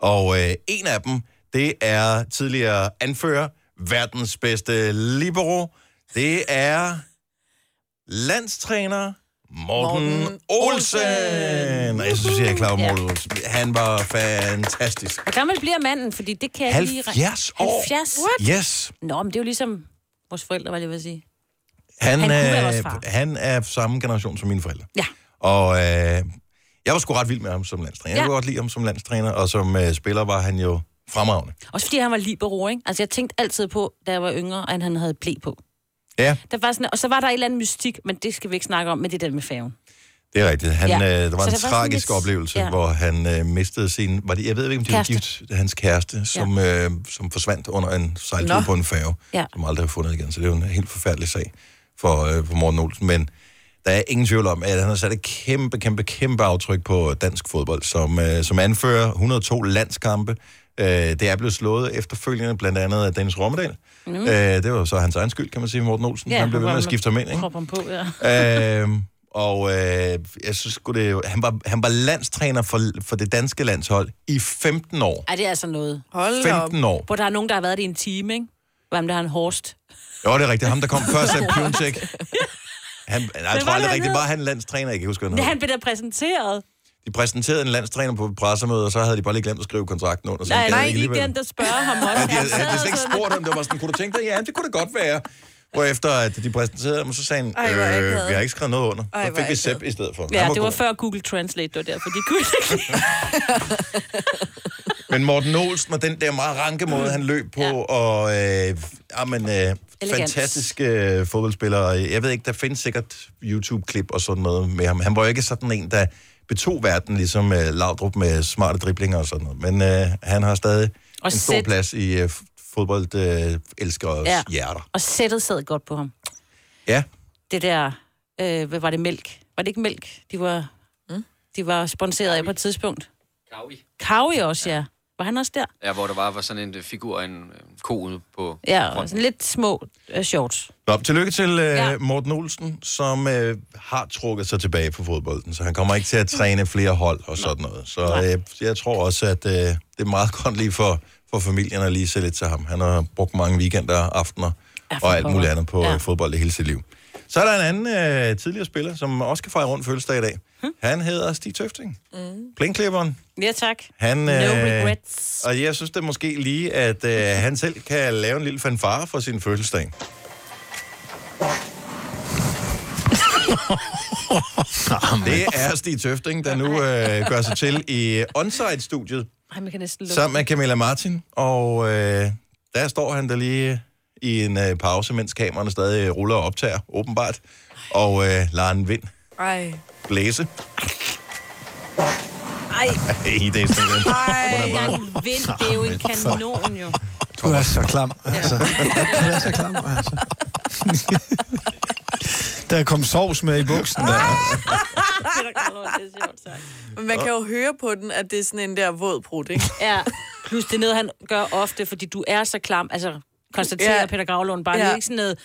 S1: Og øh, en af dem, det er tidligere anfører, verdens bedste libero. Det er landstræner Morten, Morten
S5: Morten
S1: Olsen. Olsen. Og jeg synes, jeg er klar over Morten Olsen. Han var fantastisk.
S3: Hvor gammel bliver manden? Fordi det kan jeg lige...
S1: 70 år.
S3: 70?
S1: Yes.
S3: Nå, men det er jo ligesom vores forældre, var jeg ved at sige.
S1: Han,
S3: Han kunne være vores
S1: øh,
S3: far.
S1: han er samme generation som mine forældre.
S3: Ja.
S1: Og øh, Jeg var sgu ret vild med ham som landstræner. Ja. Jeg
S3: Ja.
S1: kunne godt lide ham som landstræner, og som øh, spiller var han jo fremragende.
S3: Også fordi han var libero, ikke? Altså, jeg tænkte altid på, da jeg var yngre, at han havde blæ på.
S1: Ja,
S3: Der var sådan, og så var der et eller andet mystik, men det skal vi ikke snakke om, men det er den med færgen.
S1: det er rigtigt. Han,
S3: Ja.
S1: ja. øh,
S3: Så
S1: der var en
S3: det var sådan
S1: tragisk
S3: lidt-
S1: oplevelse,
S3: ja.
S1: ja. hvor han øh, mistede sin... Var det, jeg ved ikke, om det var
S3: Kæreste.
S1: gift, hans kæreste, som, ja. øh, som forsvandt under en sejltur
S3: Nå.
S1: på en færge. [laughs]
S3: Ja.
S1: som aldrig er fundet igen. Så det er jo en helt forfærdelig sag for, øh, for Morten Olsen. Men der er ingen tvivl om, at han har sat et kæmpe, kæmpe, kæmpe aftryk på dansk fodbold, som, øh, som anfører 102 landskampe. Øh, det er blevet slået efterfølgende, blandt andet af Dennis Rommedal. Mm.
S3: Mm.
S1: Øh, det var jo så hans egen skyld, kan man sige, Morten Olsen. Ja, han blev ved med at skifte ham ind, ikke?
S3: Prop ham på, ja.
S1: øh, og øh, jeg synes sgu, det, han, var, han var landstræner for, for det danske landshold i 15 år.
S3: Ej, det er altså noget.
S1: Hold da op. 15 år.
S3: Hvor der er nogen, der har været det i en time, ikke? Hvem der har en horst.
S1: Jo, det er rigtigt. Ham, der kom først, af Pjontek. Han, nej,
S3: Hvad
S1: jeg tror
S3: var det,
S1: aldrig
S3: han
S1: rigtigt,
S3: hed?
S1: var han landstræner? Jeg kan ikke huske, hvad han
S3: Ja,
S1: hed.
S3: [laughs] han blev da præsenteret.
S1: De præsenterede en landstræner på et pressemøde, og så havde de bare lige glemt at skrive kontrakten under. Så
S3: Nej,
S1: han gad
S3: nej,
S1: ikke
S3: ikke
S1: alligevel.
S3: den, der spørger
S1: [laughs]
S3: ham altså.
S1: Ja,
S3: også.
S1: de havde, de havde slet ikke spurgt ham. Det var sådan, kunne du tænke dig? Ja, det kunne det godt være. Hvorefter at de præsenterede ham, så sagde han,
S3: Ej, hvor
S1: øh,
S3: akavet.
S1: vi har ikke skrevet noget under.
S3: Ej,
S1: så
S3: hvor
S1: fik vi
S3: akavet.
S1: Sepp i stedet for. Han
S3: Ja,
S1: var
S3: det var
S1: god.
S3: før Google Translate, det var derfor, de kunne ikke
S1: [laughs]
S3: lide.
S1: Men Morten Olsen og den der meget ranke måde, han løb på, ja. og øh, jamen, øh, fantastiske øh, fodboldspillere. Jeg ved ikke, der findes sikkert YouTube-klip og sådan noget med ham. Han var jo ikke sådan en, der betog verden, ligesom øh, Laudrup med smarte driblinger og sådan noget. Men øh, han har stadig og
S3: Og
S1: en stor
S3: sæt.
S1: plads i øh, fodboldelskers øh, ja.
S3: Ja.
S1: hjerter.
S3: Og sættet sad godt på ham.
S1: Ja.
S3: Det der, øh, hvad var det, mælk? Var det ikke mælk? De var, mm? de var sponsoreret af på et tidspunkt.
S8: Kaui.
S3: Kaui også, ja. Var han også der?
S8: Ja, hvor der var, var sådan en øh, figur af en øh, ko ude på...
S3: Ja, og sådan lidt små øh, shorts.
S1: Nå, tillykke til øh, ja. Morten Olsen, som øh, har trukket sig tilbage på fodbolden, så han kommer ikke til at træne flere hold og sådan noget. Så øh, jeg tror også, at øh, det er meget [laughs] godt lige for, for familien at lige se lidt til ham. Han har brugt mange weekender, aftener og alt muligt andet på ja. fodbold i hele sit liv. Så er der en anden øh, tidligere spiller, som også kan fejre rundt fødselsdag i dag. Han hedder Stig Tøfting,
S3: Hm? Mm.
S1: plænklipperen.
S3: Ja, tak.
S1: Han, øh,
S3: no regrets.
S1: Og jeg synes da måske lige, at øh, han selv kan lave en lille fanfare for sin fødselsdag. det er Stig Tøfting, der nu øh, gør sig til i Onsite-studiet
S3: Ej, man kan næsten lukke.
S1: sammen med Camilla Martin. Og øh, der står han der lige i en øh, pause, mens kameraerne stadig ruller og optager, åbenbart. Og øh, lader en vind
S5: Ej.
S1: blæse.
S3: Ej.
S1: I det er sådan
S3: Ej, der er en vind. Det er jo en kanon, jo.
S10: Du er så klam, altså. [laughs] Du er så klam, altså. Der kom sovs med i buksen der.
S5: Men man kan jo høre på den, at det er sådan en der våd brud, ikke?
S3: Ja. Plus det er noget, han gør ofte, fordi du er så klam. Altså, konstaterer
S5: Ja.
S3: ja. Peter Gravlund bare. Ja. Det er ikke sådan noget...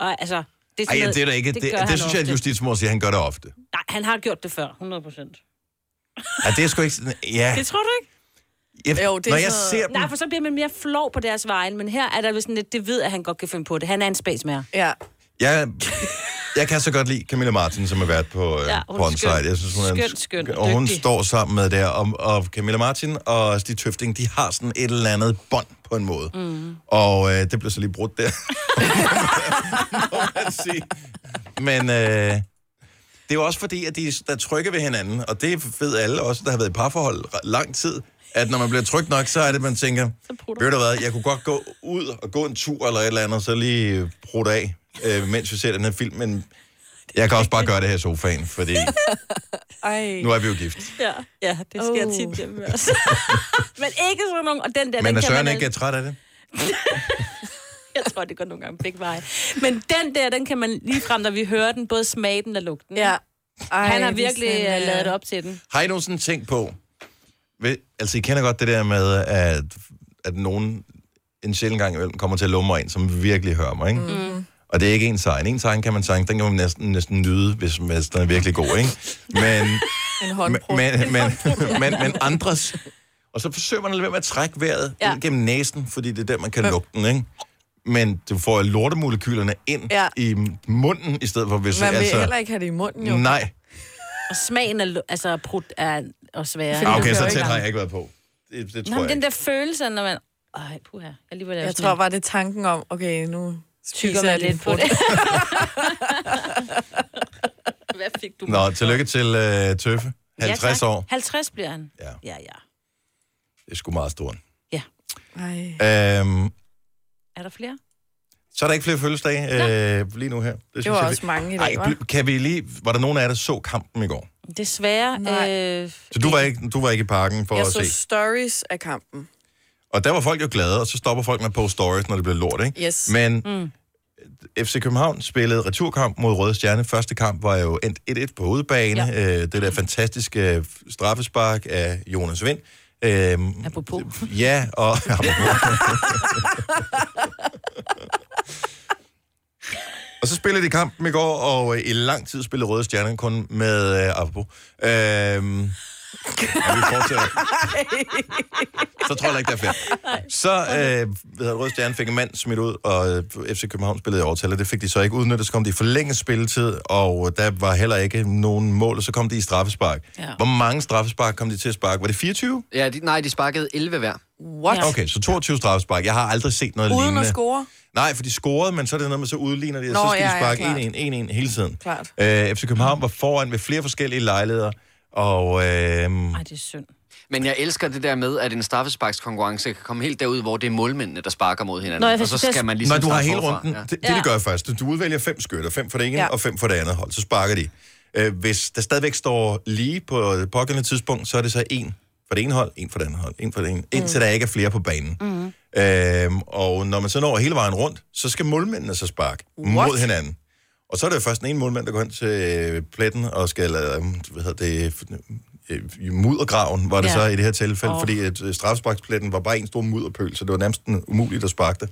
S3: Og, altså, det er sådan
S1: Ej, ja,
S3: noget-
S1: det er der ikke. Det, det,
S3: gør
S1: det
S3: han
S1: synes jeg, at
S3: ofte.
S1: justitsmor siger, at han gør det ofte.
S3: Nej, han har gjort det før, 100 procent.
S1: Ja, det er sgu ikke sådan... Ja,
S3: Det tror du ikke?
S1: jeg, når jeg ser dem...
S3: Nej, for så bliver man mere flov på deres vejen, men her er der sådan lidt, det ved, at han godt kan finde på det. Han er en spasmager.
S5: Ja.
S1: Jeg, jeg kan så godt lide Camilla Martin, som er vært på, øh,
S3: Ja,
S1: ja,
S3: hun
S1: på
S3: er
S1: Onsite.
S3: skøn.
S1: Jeg synes, hun er en
S3: Skøn, skøn og
S1: Og hun
S3: dygtig.
S1: står sammen med der. Og, og Camilla Martin og Stig Tøfting, de har sådan et eller andet bånd på en måde. Mm. Og øh, det blev så lige brudt der. [laughs] Må man sige. Men øh, det er jo også fordi, at de er- der er trygge ved hinanden. Og det ved alle også, der har været i parforhold re- lang tid. At når man bliver tryg nok, så er det, man tænker, ved du hvad, jeg kunne godt gå ud og gå en tur eller et eller andet, så lige brudt af, øh, mens vi ser den her film. Men jeg kan også bare gøre det her i sofaen,
S3: [laughs]
S1: fordi
S5: Ej.
S1: nu er vi jo gift.
S3: Ja, ja det sker oh. tit hjemme også. [laughs] men ikke sådan nogen, og den der,
S1: Men
S3: den
S1: er
S3: kan
S1: Søren
S3: man
S1: ikke
S3: altså-
S1: træt af det?
S3: Jeg tror, det går nogle gange begge veje. Men den der, den kan man lige frem, når vi hører den, både smage den og lugte den.
S5: Ja.
S3: Ej, han har
S5: det er
S3: virkelig
S5: sådan,
S3: sådan,
S5: øh,
S3: lavet det op til den.
S1: Har I nogensinde tænkt på, ved, altså I kender godt det der med, at, at nogen en sjældent gang imellem kommer til at lumme mig ind, som virkelig hører mig, ikke? Mm. Og det er ikke ens egen. Ens egen kan man sange, den kan man næsten, næsten nyde, hvis man hvis den er virkelig god, ikke? Men,
S5: En
S1: men, men, men, men, men andres. Og så forsøger man at lade være med at trække vejret
S5: Ja.
S1: ja. ind gennem næsen, fordi det er der, man kan lugte den, ikke? Men du får lortemolekylerne ind
S5: Ja.
S1: ja. i munden, i stedet for hvis...
S5: Man
S1: altså-
S5: vil heller ikke have det i munden, jo.
S1: Nej.
S3: Og smagen er, lu- altså, brudt er og sværere.
S1: Ah, okay, så tæt har jeg ikke været på. Det, det tror
S3: Nå, men
S1: jeg
S3: den
S1: ikke.
S3: der følelse, når man... Ej, puha. Jeg, alligevel er
S5: Jeg
S3: sådan
S5: tror
S3: en-
S5: bare, det er tanken om, okay, nu
S3: Tykker
S5: spiser
S3: man
S5: jeg lidt på [laughs] det.
S3: Hvad fik du?
S1: Nå, tillykke til øh, Tøffe. 50
S3: ja, tak.
S1: år.
S3: 50 bliver han.
S1: Ja.
S3: Ja, ja.
S1: Det er sgu meget stort.
S5: Ej.
S1: Øhm,
S3: Er der flere?
S1: så er der ikke flere fødselsdage øh, lige nu her. Det, synes
S3: var
S1: jeg,
S3: også
S1: vi-
S3: mange i dag,
S1: Ej, bl- kan vi lige... Var der nogen af jer, der så kampen i går?
S3: Desværre. Øh,
S1: Så du var ikke, du var ikke i parken for
S5: jeg
S1: at
S5: så
S1: se?
S5: stories af kampen.
S1: Og der var folk jo glade, og så stopper folk med at poste stories, når det bliver lort, ikke?
S5: Yes.
S1: Men
S5: Mm.
S1: FC København spillede returkamp mod Røde Stjerne. Første kamp var jo endt 1-1 på hovedbane. Ja. Øh, det der fantastiske øh, straffespark af Jonas Vind. Øhm,
S3: Apropos.
S1: ja, og... og så spillede de kampen i går, og øh, i lang tid spillede Røde Stjerne kun med... Øh, apropos. Øhm, og vi fortsætter. Så tror jeg ikke, der er flere. Så øh, hvad hedder det, Røde Stjerne fik en mand smidt ud, og øh, FC København spillede i overtal, og det fik de så ikke udnyttet. Så kom de i forlænget spilletid, og øh, der var heller ikke nogen mål, og så kom de i straffespark. Ja. Hvor mange straffespark kom de til at sparke? Var det 24?
S8: Ja, de, nej, de sparkede 11 hver.
S5: What?
S1: Okay, så 22 straffespark. Jeg har aldrig set noget
S5: Uden
S1: lignende.
S5: at score?
S1: Nej, for de scorede, men så er det noget med, så udligner de, og
S5: Nå,
S1: så skal
S5: ja,
S1: de
S5: ja, klart.
S1: sparke 1-1 ja, hele tiden.
S5: Klart.
S1: Øh, FC København var foran ved flere forskellige lejligheder, og... Øh,
S3: Ej, det er synd.
S8: Men jeg elsker det der med, at en straffesparkskonkurrence kan komme helt derud, hvor det er målmændene, der sparker mod hinanden.
S1: Nå,
S8: og så skal man ligesom
S1: Når du har
S8: starte
S1: hele
S8: forfra.
S1: runden, ja. det, det
S8: Ja.
S1: de gør først, du udvælger fem skytter, fem for det ene
S8: Ja.
S1: ja. og fem for det andet hold, så sparker de. Øh, hvis der stadigvæk står lige på det pågældende tidspunkt, så er det så en for det ene hold, en for det andet hold, en for det ene, mm. indtil der ikke er flere på banen.
S11: Mm.
S1: Øhm, og når man så når hele vejen rundt, så skal målmændene så sparke What? mod hinanden. Og så er det jo først den ene målmand, der går hen til øh, pletten og skal, øh, hvad hedder det, øh, i muddergraven var det
S11: Ja.
S1: så i det her tilfælde,
S11: Åh.
S1: oh. fordi at øh, strafsparkspletten var bare en stor mudderpøl, så det var nærmest en- umuligt at sparke det.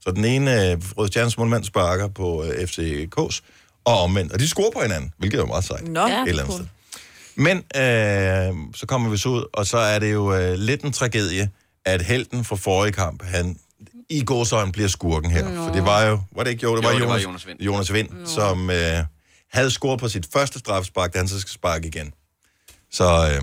S1: Så den ene øh, Røde Stjernes målmand sparker på øh, FCK's, og omvendt. Og de scorer på hinanden, hvilket er jo meget sejt.
S5: Nå.
S1: et
S5: Ja,
S1: eller andet
S5: cool.
S1: sted. Men øh, så kommer vi så ud, og så er det jo øh, lidt en tragedie, at helten fra forrige kamp, han i gåsøjne bliver skurken her.
S11: Nå.
S1: Nå. For det var jo, var det ikke jo, det
S8: Jo,
S1: var,
S8: det var
S1: Jonas,
S8: Jonas Vind.
S1: Jonas Vind som øh, havde scoret på sit første strafspark, da han så skal sparke igen. Så øh,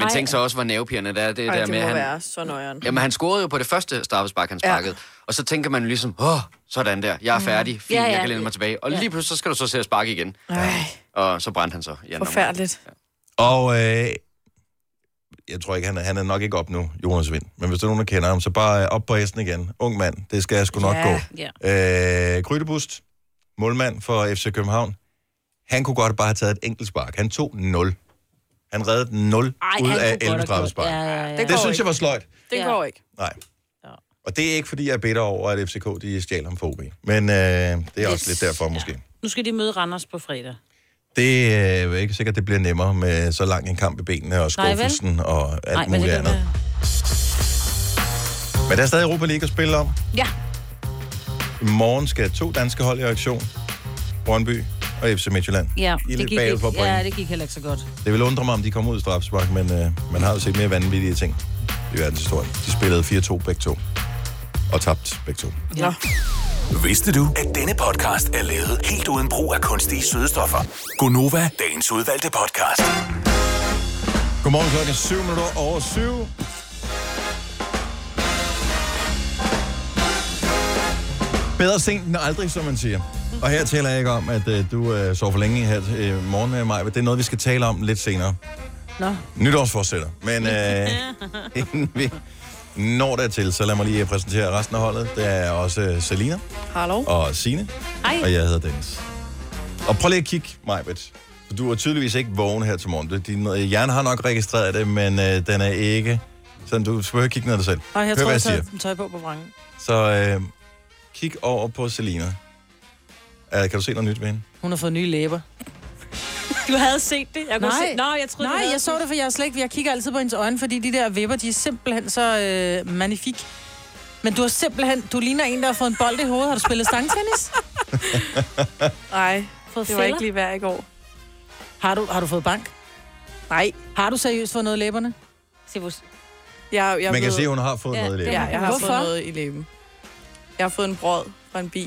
S8: Men tænk så også, hvor nervepirrende det er. Det,
S5: Ej,
S8: der
S5: det
S8: med,
S5: må
S8: han,
S5: være så nøjeren.
S8: Jamen, han scorede jo på det første straffespark, han
S5: Ja.
S8: sparkede. Ja. Og så tænker man jo ligesom, åh, sådan der, jeg er
S5: Mm.
S8: færdig, fint,
S5: Ja,
S8: ja,
S5: ja.
S8: ja. jeg kan læne mig tilbage. Og
S5: Ja.
S8: lige pludselig, så skal du så se at sparke igen.
S5: Ej,
S8: Og så brændte han så. i anden omgang.
S5: forfærdeligt.
S1: Og øh, jeg tror ikke, han er, han er nok ikke op nu, Jonas Vind. Men hvis der er nogen, der kender ham, så bare øh, op på hesten igen. Ung mand, det skal jeg sgu nok
S11: Ja,
S1: gå. [laughs] Øh, Grydebust, målmand for FC København. Han kunne godt bare have taget et enkelt spark. Han tog 0. Han reddede 0
S5: Ej,
S1: ud
S5: han kunne
S1: af
S5: godt
S1: 11
S5: have
S1: straffespark.
S5: gjort- ja, ja, ja. Det
S1: Det,
S5: går
S1: det synes
S5: ikke.
S1: jeg var sløjt.
S5: Det
S3: Ja.
S5: går ikke.
S1: Nej. Og det er ikke, fordi jeg er bitter over, at FCK de stjal ham for OB. Men øh, det er også lidt derfor måske.
S3: Nu skal de møde Randers på fredag.
S1: Det er jo ikke sikkert, det bliver nemmere med så lang en kamp i benene og
S3: Nej, vel?
S1: skovfisten og alt
S3: Nej,
S1: Nej,
S3: men det
S1: muligt
S3: kan
S1: andet. Men der er stadig Europa League at spille om.
S3: Ja.
S1: I morgen skal to danske hold i aktion. Brøndby og FC Midtjylland.
S3: Ja,
S1: I er lidt bagud på point.
S3: ja,
S1: det...
S3: det gik heller ikke så godt.
S1: det vil undre mig, om de kommer ud i strafspark, men øh, man har jo set mere vanvittige ting i verdenshistorien. De spillede 4-2 begge to. Og tabt begge to.
S5: Ja.
S12: Vidste du, at denne podcast er lavet helt uden brug af kunstige sødestoffer?
S1: Gonova.
S12: Dagens udvalgte podcast.
S1: Godmorgen klokken er 7 minutter over 7. Bedre sent end aldrig, som man siger. Og her taler jeg ikke om, at øh, du øh, sover for længe her øh, morgen, øh, Maja. Det er noget, vi skal tale om lidt senere.
S2: Nå.
S1: Nytårsforsætter. Men øh, inden vi når dertil, så lad mig lige præsentere resten af holdet. Der er også øh, Selina
S5: Hallo.
S1: og Sine.
S5: Hej.
S1: Og jeg hedder Dennis. Og prøv lige at kigge, Majbet. Du er tydeligvis ikke vågen her til morgen. Det- Din øh, hjerne har nok registreret det, men øh, den er ikke... Sådan, du skal ikke kigge ned af dig selv.
S2: Og jeg
S1: Hør,
S2: tror, jeg
S1: hvad jeg siger.
S2: tager tøj på på vrangen.
S1: Så øh, kig over på Selina. Uh, kan du se noget nyt ved hende?
S2: Hun har fået nye læber.
S3: [laughs] Du havde set det? Jeg kunne Se... Nå, jeg troede, du
S2: Nej,
S3: havde
S2: jeg så det, for jeg er slet ikke... Jeg kigger altid på hendes øjne, fordi de der vipper, de er simpelthen så øh, magnifik. Men du har simpelthen... Du ligner en, der har fået en bold i hovedet. Har du spillet stangtennis?
S5: [laughs] Nej,
S2: Fået
S5: det
S2: fælder?
S5: var ikke lige værd i går.
S2: Har du, har du fået bank?
S5: Nej.
S2: Har du seriøst fået noget i læberne?
S3: Se, hvor...
S5: Jeg, jeg
S1: Man kan
S5: ved-
S1: se, at hun har fået noget i læben.
S5: Ja, jeg har
S2: Hvorfor?
S5: fået noget i læben. Jeg har fået en brød fra en bi.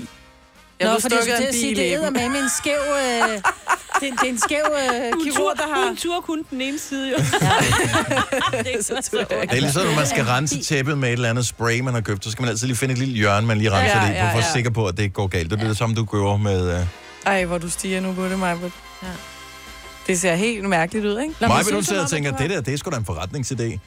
S2: Jeg
S5: Jeg
S2: Nå,
S5: blev
S2: for det er
S5: stukket af
S2: til
S5: en
S2: at
S5: bi
S2: sige,
S5: i
S2: det
S5: læben.
S2: æder med en skæv...
S5: [laughs]
S2: Øh, det, det, er en skæv øh, kirurg, der har...
S3: Hun tur kun den ene side, [laughs] jo. det er ikke så, så
S1: Det er ligesom, når man skal rense tæppet med et eller andet spray, man har købt, så skal man altid lige finde et lille hjørne, man lige renser
S5: Ja,
S1: det i, for at
S5: ja,
S1: være
S5: ja.
S1: sikker på, at det ikke går galt. Det er det samme, du gør med... Øh,
S5: Ej, hvor du stiger nu på det, Maja. Ja. Det ser helt mærkeligt ud, ikke?
S1: Mig vil du sidde og tænker, det der, det er sgu da en forretningsidé.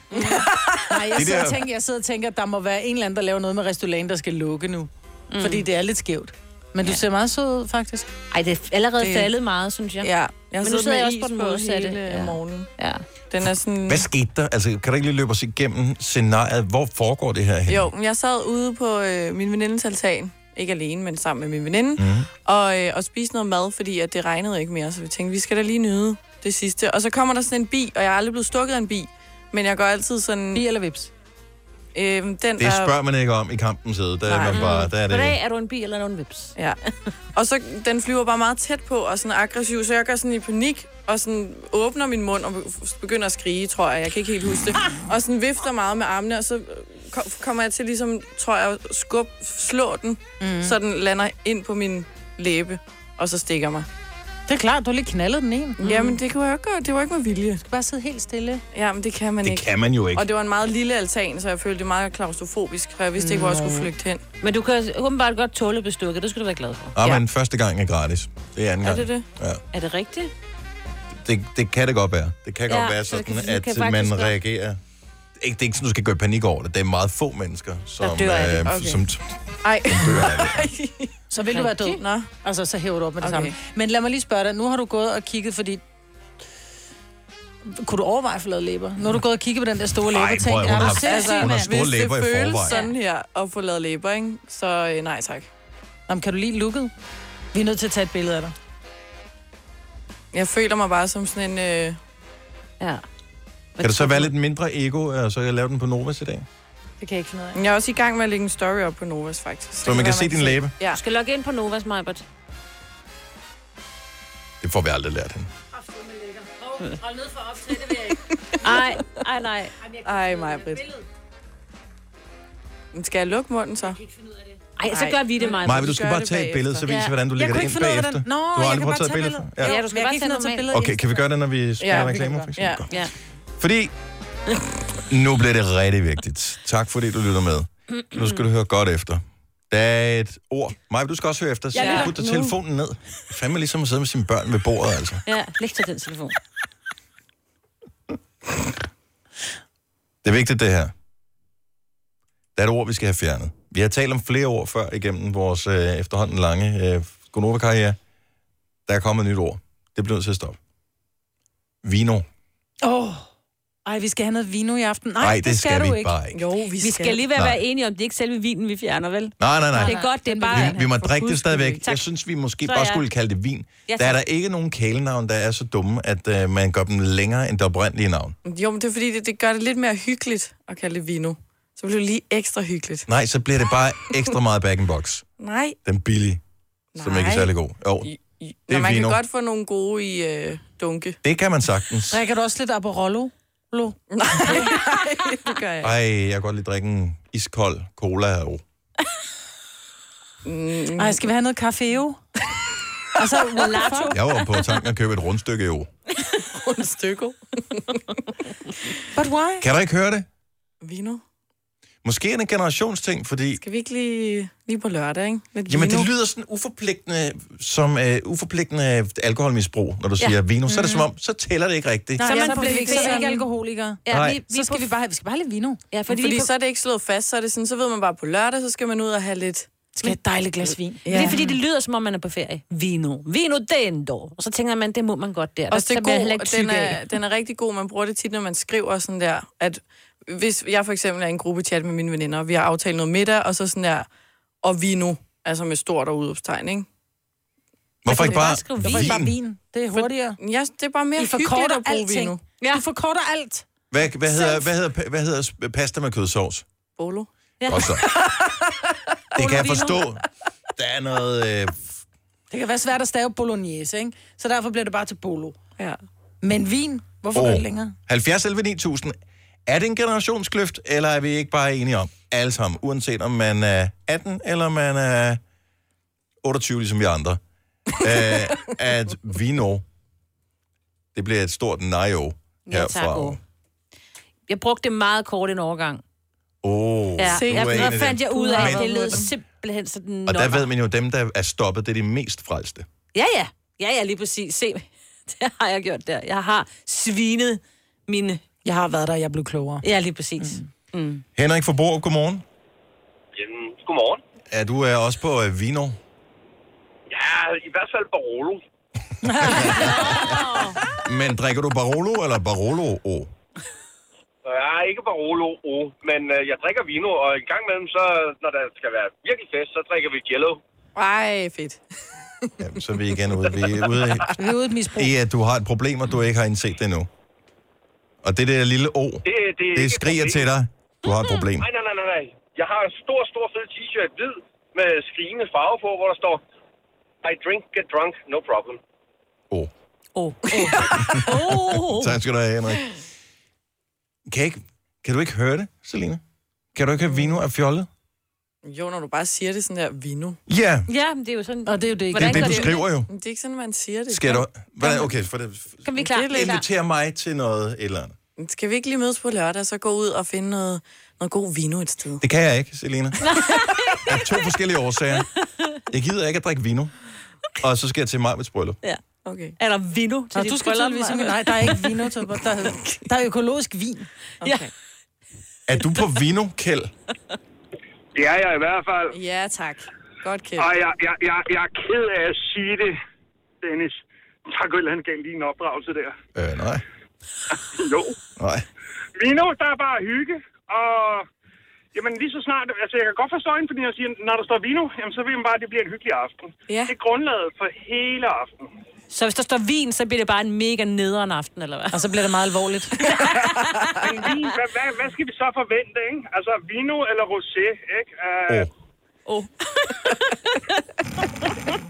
S2: Nej, jeg,
S1: Det
S2: sidder
S1: der-
S2: og tænker, jeg sidder og tænker, at der må være en eller anden, der laver noget med restauranten, der skal lukke nu. Mm. Fordi det er lidt skævt. Men du ja. ser meget sød ud, faktisk.
S3: Ej, det er allerede det... faldet meget, synes jeg.
S5: Ja, jeg har
S3: Men nu
S5: siddet
S3: sidder
S5: med
S3: jeg også
S5: is
S3: på den
S5: på
S3: modsatte.
S5: hele øh, morgenen.
S3: Ja.
S5: Den er sådan...
S1: Hvad skete der? Altså, kan du ikke lige løbe os igennem scenariet? Hvor foregår det her hen?
S5: Jo, men jeg sad ude på øh, min venindes altan. Ikke alene, men sammen med min veninde.
S1: Mhm.
S5: Og, øh, og spiste noget mad, fordi at det regnede ikke mere. Så vi tænkte, vi skal da lige nyde det sidste. Og så kommer der sådan en bi, og jeg er aldrig blevet stukket af en bi. Men jeg går altid sådan... Bi
S2: eller vips?
S5: Øh, den,
S1: Det
S5: der...
S1: spørger man ikke om i kampens side. Der er man
S5: Mm.
S3: Mm.
S1: bare, der er det.
S5: Goddag,
S3: er du en bi eller en vips?
S5: Ja. [laughs] Og så den flyver bare meget tæt på og sådan aggressiv, så jeg gør sådan i panik og sådan åbner min mund og begynder at skrige, tror jeg. Jeg kan ikke helt huske det. Og sådan vifter meget med armene, og så øh, kom- kommer jeg til ligesom, tror jeg, at skub, slå den,
S2: Mhm.
S5: mm. så den lander ind på min læbe, og så stikker mig.
S2: Det er klart, du har lige knaldet den ene.
S5: Mm. Jamen, det kunne jeg jo ikke gøre. Det var ikke med vilje. Du skal
S2: bare sidde helt stille.
S5: Jamen, det kan man
S1: Det
S5: ikke.
S1: kan man jo ikke.
S5: Og det var en meget lille altan, så jeg følte det meget klaustrofobisk, for jeg vidste ikke, hvor jeg skulle flygte hen.
S3: Mm. Men du kan åbenbart godt tåle at blive stukket. Det skal du være glad for.
S1: Ah, men første gang er gratis. Det er anden
S3: Er det
S1: gang.
S3: det?
S1: Ja.
S3: Er det rigtigt?
S1: Det, det kan det godt være. Det kan
S3: Ja,
S1: godt være
S3: så det
S1: sådan,
S3: kan- det
S1: at
S3: kan
S1: man
S3: faktisk godt-
S1: reagerer. Ikke, det er ikke sådan, du skal gå i panik over det. Det er meget få mennesker, som... øh,
S2: dør af det. Okay.
S1: som
S5: Ej. [laughs]
S2: så vil du være død.
S5: Rigtigt? Nå.
S2: Altså, så hæver du op med det
S5: Okay.
S2: okay. samme. Men lad mig lige spørge dig. Nu har du gået og kigget, fordi... Kunne du overveje at få lavet læber? Nu har du gået og kigget på den der store læber
S5: Ej,
S2: og
S5: prøv
S2: tænkt,
S5: at- hun
S2: er du
S5: har-
S2: sindssyg,
S5: altså,
S1: hun har
S2: mand?
S1: store
S2: Hvis det
S1: læber i
S2: føles
S1: forvejen.
S2: sådan-
S5: Sådan her, og få lavet læber, ikke? Så øh, nej tak.
S2: Jamen, kan du lige lukket? Vi er nødt til at tage et billede af dig.
S5: Jeg føler mig bare som sådan en... Øh...
S3: Ja.
S1: Kan det så være lidt mindre ego, og så jeg lave den på Novas i dag?
S2: Det kan jeg ikke finde ud
S5: af. Jeg er også i gang med at lægge en story op på Novas, faktisk.
S1: Så man kan se din læbe?
S5: Ja.
S3: Du skal logge ind på Novas, Majbert.
S1: Det får vi aldrig lært hende.
S3: Hold ned for optag, det vil jeg ikke. Ej, ej, nej.
S5: Ej, mig, Britt. Skal jeg lukke munden så?
S3: Ej, så gør vi det, Maja.
S1: Maja, du skal bare tage et billede, så viser vi, hvordan du lægger det ind bagefter.
S2: Nå,
S1: du har
S2: jeg
S1: aldrig
S2: kan
S1: prøvet
S2: bare
S1: at tage et
S2: tage
S1: billede for?
S2: billeder. Jo,
S3: du skal bare tage
S2: tage
S3: normalt.
S2: billeder.
S1: Okay, kan vi gøre det, når vi skal have reklamer? for eksempel?
S2: Ja.
S1: Godt.
S2: ja.
S1: Fordi nu bliver det rigtig vigtigt. Tak fordi du lytter med. Nu skal du høre godt efter. Der er et ord. Maja, du skal også høre efter. Så
S3: Jeg lytter
S1: put dig
S3: nu.
S1: telefonen ned. Fandme ligesom at sidde med sine børn ved bordet, altså.
S3: Ja, læg til den telefon.
S1: Det er vigtigt, det her. Der er et ord, vi skal have fjernet. Vi har talt om flere ord før igennem vores øh, efterhånden lange øh, Gonova-karriere. Der er kommet et nyt ord. Det bliver nødt til at stoppe. Vino.
S2: Åh, oh. ej, vi skal have noget vino i aften. Nej,
S1: Ej,
S2: det,
S1: det
S2: skal,
S1: skal
S2: du
S1: vi
S2: ikke.
S1: bare ikke.
S2: Jo, vi,
S3: Vi skal lige være,
S1: Nej.
S3: være enige om, det er ikke selve vinen, vi fjerner,
S5: [laughs]
S3: vel?
S1: Nej, nej, nej.
S3: Det er godt, det er bare...
S1: Vi, vi må drikke det stadigvæk.
S3: Tak.
S1: Jeg synes, vi måske
S3: Så
S1: bare
S3: ja.
S1: skulle kalde det vin.
S3: Ja,
S1: Der er
S3: tak.
S1: der ikke nogen kælenavn, der er så dumme, at øh, man gør dem længere end det oprindelige navn.
S5: Jo, men det er fordi, det, det gør det lidt mere hyggeligt at kalde det vino. Så bliver det lige ekstra hyggeligt.
S1: Nej, så bliver det bare ekstra meget back in box.
S5: Nej.
S1: Den billige, som ikke er
S5: Nej.
S1: særlig god. Jo,
S5: Det
S1: det
S5: Nå,
S1: er
S5: man
S1: vino.
S5: kan godt få nogle gode i øh, dunke.
S1: Det kan man sagtens.
S2: Drikker du også lidt Aperolo? Lo?
S5: [laughs] Nej, det gør jeg ikke.
S1: Ej, jeg kan godt lide at drikke en iskold cola. Jo.
S5: Mm.
S2: Ej, skal vi have noget kaffe jo? Og så Walato.
S1: Jeg var
S2: [laughs]
S1: på tanken at købe et rundstykke. Jo.
S5: Rundt stykke.
S2: But why?
S1: Kan du ikke høre det?
S5: Vino.
S1: Måske er det en generationsting, fordi
S5: Skal vi ikke lige, lige på lørdag, ikke? Lidt
S1: Jamen,
S5: vino.
S1: det lyder sådan uforpligtende, som øh, uforpligtende alkoholmisbrug, når du
S2: Ja.
S1: siger vino. Så er det som om, så tæller det ikke rigtigt.
S2: Nej, så,
S5: man
S2: man
S5: på
S2: bliver vi ikke, så er vi
S5: ferie.
S2: ikke alkoholikere.
S1: Ja, vi- Nej.
S2: så skal vi bare have, vi skal bare have lidt vino.
S3: Ja,
S5: Fordi, fordi så er det ikke slået fast, så er det sådan, så ved man bare på lørdag, så skal man ud og have lidt...
S2: Skal have et dejligt glas vin.
S3: Ja. Det er fordi, det lyder som om, man er på ferie. Vino. Vino dendo. Og så tænker man, det må man godt der.
S5: Også det er
S3: Der bliver jeg heller
S5: god,
S3: ikke
S5: og
S3: tyk
S5: den er,
S3: af.
S5: den er rigtig god. Man bruger det tit, når man skriver sådan der, at hvis jeg for eksempel er i en gruppechat med mine veninder, og vi har aftalt noget middag, og så sådan der, og vino, altså med stort og udopstegn, ikke? Altså,
S1: Hvorfor ikke bare,
S2: Hvorfor ikke bare
S1: vin?
S2: vin? Det er hurtigere.
S5: Ja, det er bare mere
S2: I
S5: hyggeligt
S2: forkorter
S5: at bruge
S2: alting.
S5: vino.
S2: Ja. I forkorter alt.
S1: Hvad, hvad, hedder, hvad, hedder, hvad hedder s- pasta med kødsovs?
S5: Bolo.
S2: Ja.
S1: Godt
S2: [laughs]
S1: så. Det kan jeg
S2: Bolovino.
S1: forstå. Der er noget... Øh,
S2: Det kan være svært at stave bolognese, ikke? Så derfor bliver det bare til bolo.
S5: Ja.
S2: Men vin, hvorfor oh.
S1: åh,
S2: ikke længere?
S1: 70 11 9000. Er det en generationskløft, eller er vi ikke bare enige om? Alle sammen, uanset om man er 18 eller man er 28, ligesom vi andre. øh, at vino, det bliver et stort nejo
S3: Ja, tak,
S1: herfra.
S3: åh. Jeg brugte det meget kort en overgang.
S1: Åh,
S3: Ja,
S1: du er en
S3: jeg,
S1: af
S3: der
S1: dem.
S3: fandt jeg ud af, at det
S1: Men-
S3: lød simpelthen sådan...
S1: Og der ved man jo, dem, der er stoppet, det er de mest frelste.
S3: Ja, ja. Ja, ja, lige præcis. Se, [laughs] det har jeg gjort der. Jeg har svinet mine...
S2: Jeg har været der, jeg blev klogere.
S3: Ja, lige præcis. Mm. Mm.
S1: Henrik fra Borup, godmorgen.
S11: Jamen, godmorgen.
S1: Er du øh, også på øh, Vino?
S11: Ja, i hvert fald Barolo.
S1: Men drikker du Barolo eller Barolo O?
S11: Jeg er ikke Barolo, oh, men øh, jeg drikker vino, og en gang imellem, så, når der skal være virkelig fest, så drikker vi Jello.
S5: Ej, fedt.
S1: Jamen, så er vi igen ude. Vi er
S2: [laughs]
S1: ude
S2: Vi er ude i et misbrug.
S1: i, at du har et problem, og du ikke har indset det endnu. Og det der lille O, det,
S11: det er ikke
S1: det
S11: et
S1: skriger til
S11: problem.
S1: dig. Du har et problem.
S11: Nej, nej, nej, nej, nej. Jeg har en stor, stor fed t-shirt, hvid, med skrigende farve på, hvor der står, I drink, get drunk, no problem.
S3: Oh.
S1: [laughs]
S3: Oh. oh.
S1: Tak skal du have, Henrik. Kan, jeg ikke, kan du ikke høre det, Selina? Kan du ikke høre, Vino er fjollet?
S5: Jo, når du bare siger det sådan der, vino.
S1: Ja,
S3: Ja, men det er jo sådan...
S2: Og det er jo det,
S1: Det er det, du skriver jo.
S5: Men Det er ikke sådan, man siger det.
S1: Skal du... Hvordan, okay, for det,
S5: Kan vi klare
S1: inviter mig til noget et eller andet.
S5: Skal vi ikke lige mødes på lørdag, og så gå ud og finde noget, noget god vino et sted?
S1: Det kan jeg ikke, Selina. Af to forskellige årsager. Jeg gider ikke at drikke vino. Og så skal jeg til mig med bryllup.
S3: Ja.
S5: Okay.
S3: Er der vino til
S2: Nå,
S3: dit
S2: du skal
S3: bryllup,
S2: tydeligvis ikke...
S3: Maja?
S2: Nej, der er ikke vino til... Der, der er økologisk vin. Okay. Ja.
S1: Er du
S2: [laughs]
S1: på vino, Kjeld?
S11: Det er jeg i hvert fald.
S5: Ja, tak. Godt, Kjeld.
S11: Og jeg, jeg, jeg, jeg er ked af at sige det, Dennis. Tak, vel, han gav lige en opdragelse der.
S1: Øh, nej.
S11: [laughs] jo.
S1: Nej.
S11: Vino, der er bare hygge, og... Jamen lige så snart, altså jeg kan godt forstå hende, fordi jeg siger, når der står vino, jamen så ved man bare, at det bliver en hyggelig aften.
S5: Ja.
S11: Det er grundlaget for hele aften.
S3: Så hvis der står vin, så bliver det bare en mega nederen aften, eller hvad?
S2: Og så bliver det meget alvorligt.
S11: Men vin, hvad, hvad, hvad skal vi så forvente, ikke? Altså vino eller rosé, ikke? Uh, oh.
S3: Oh.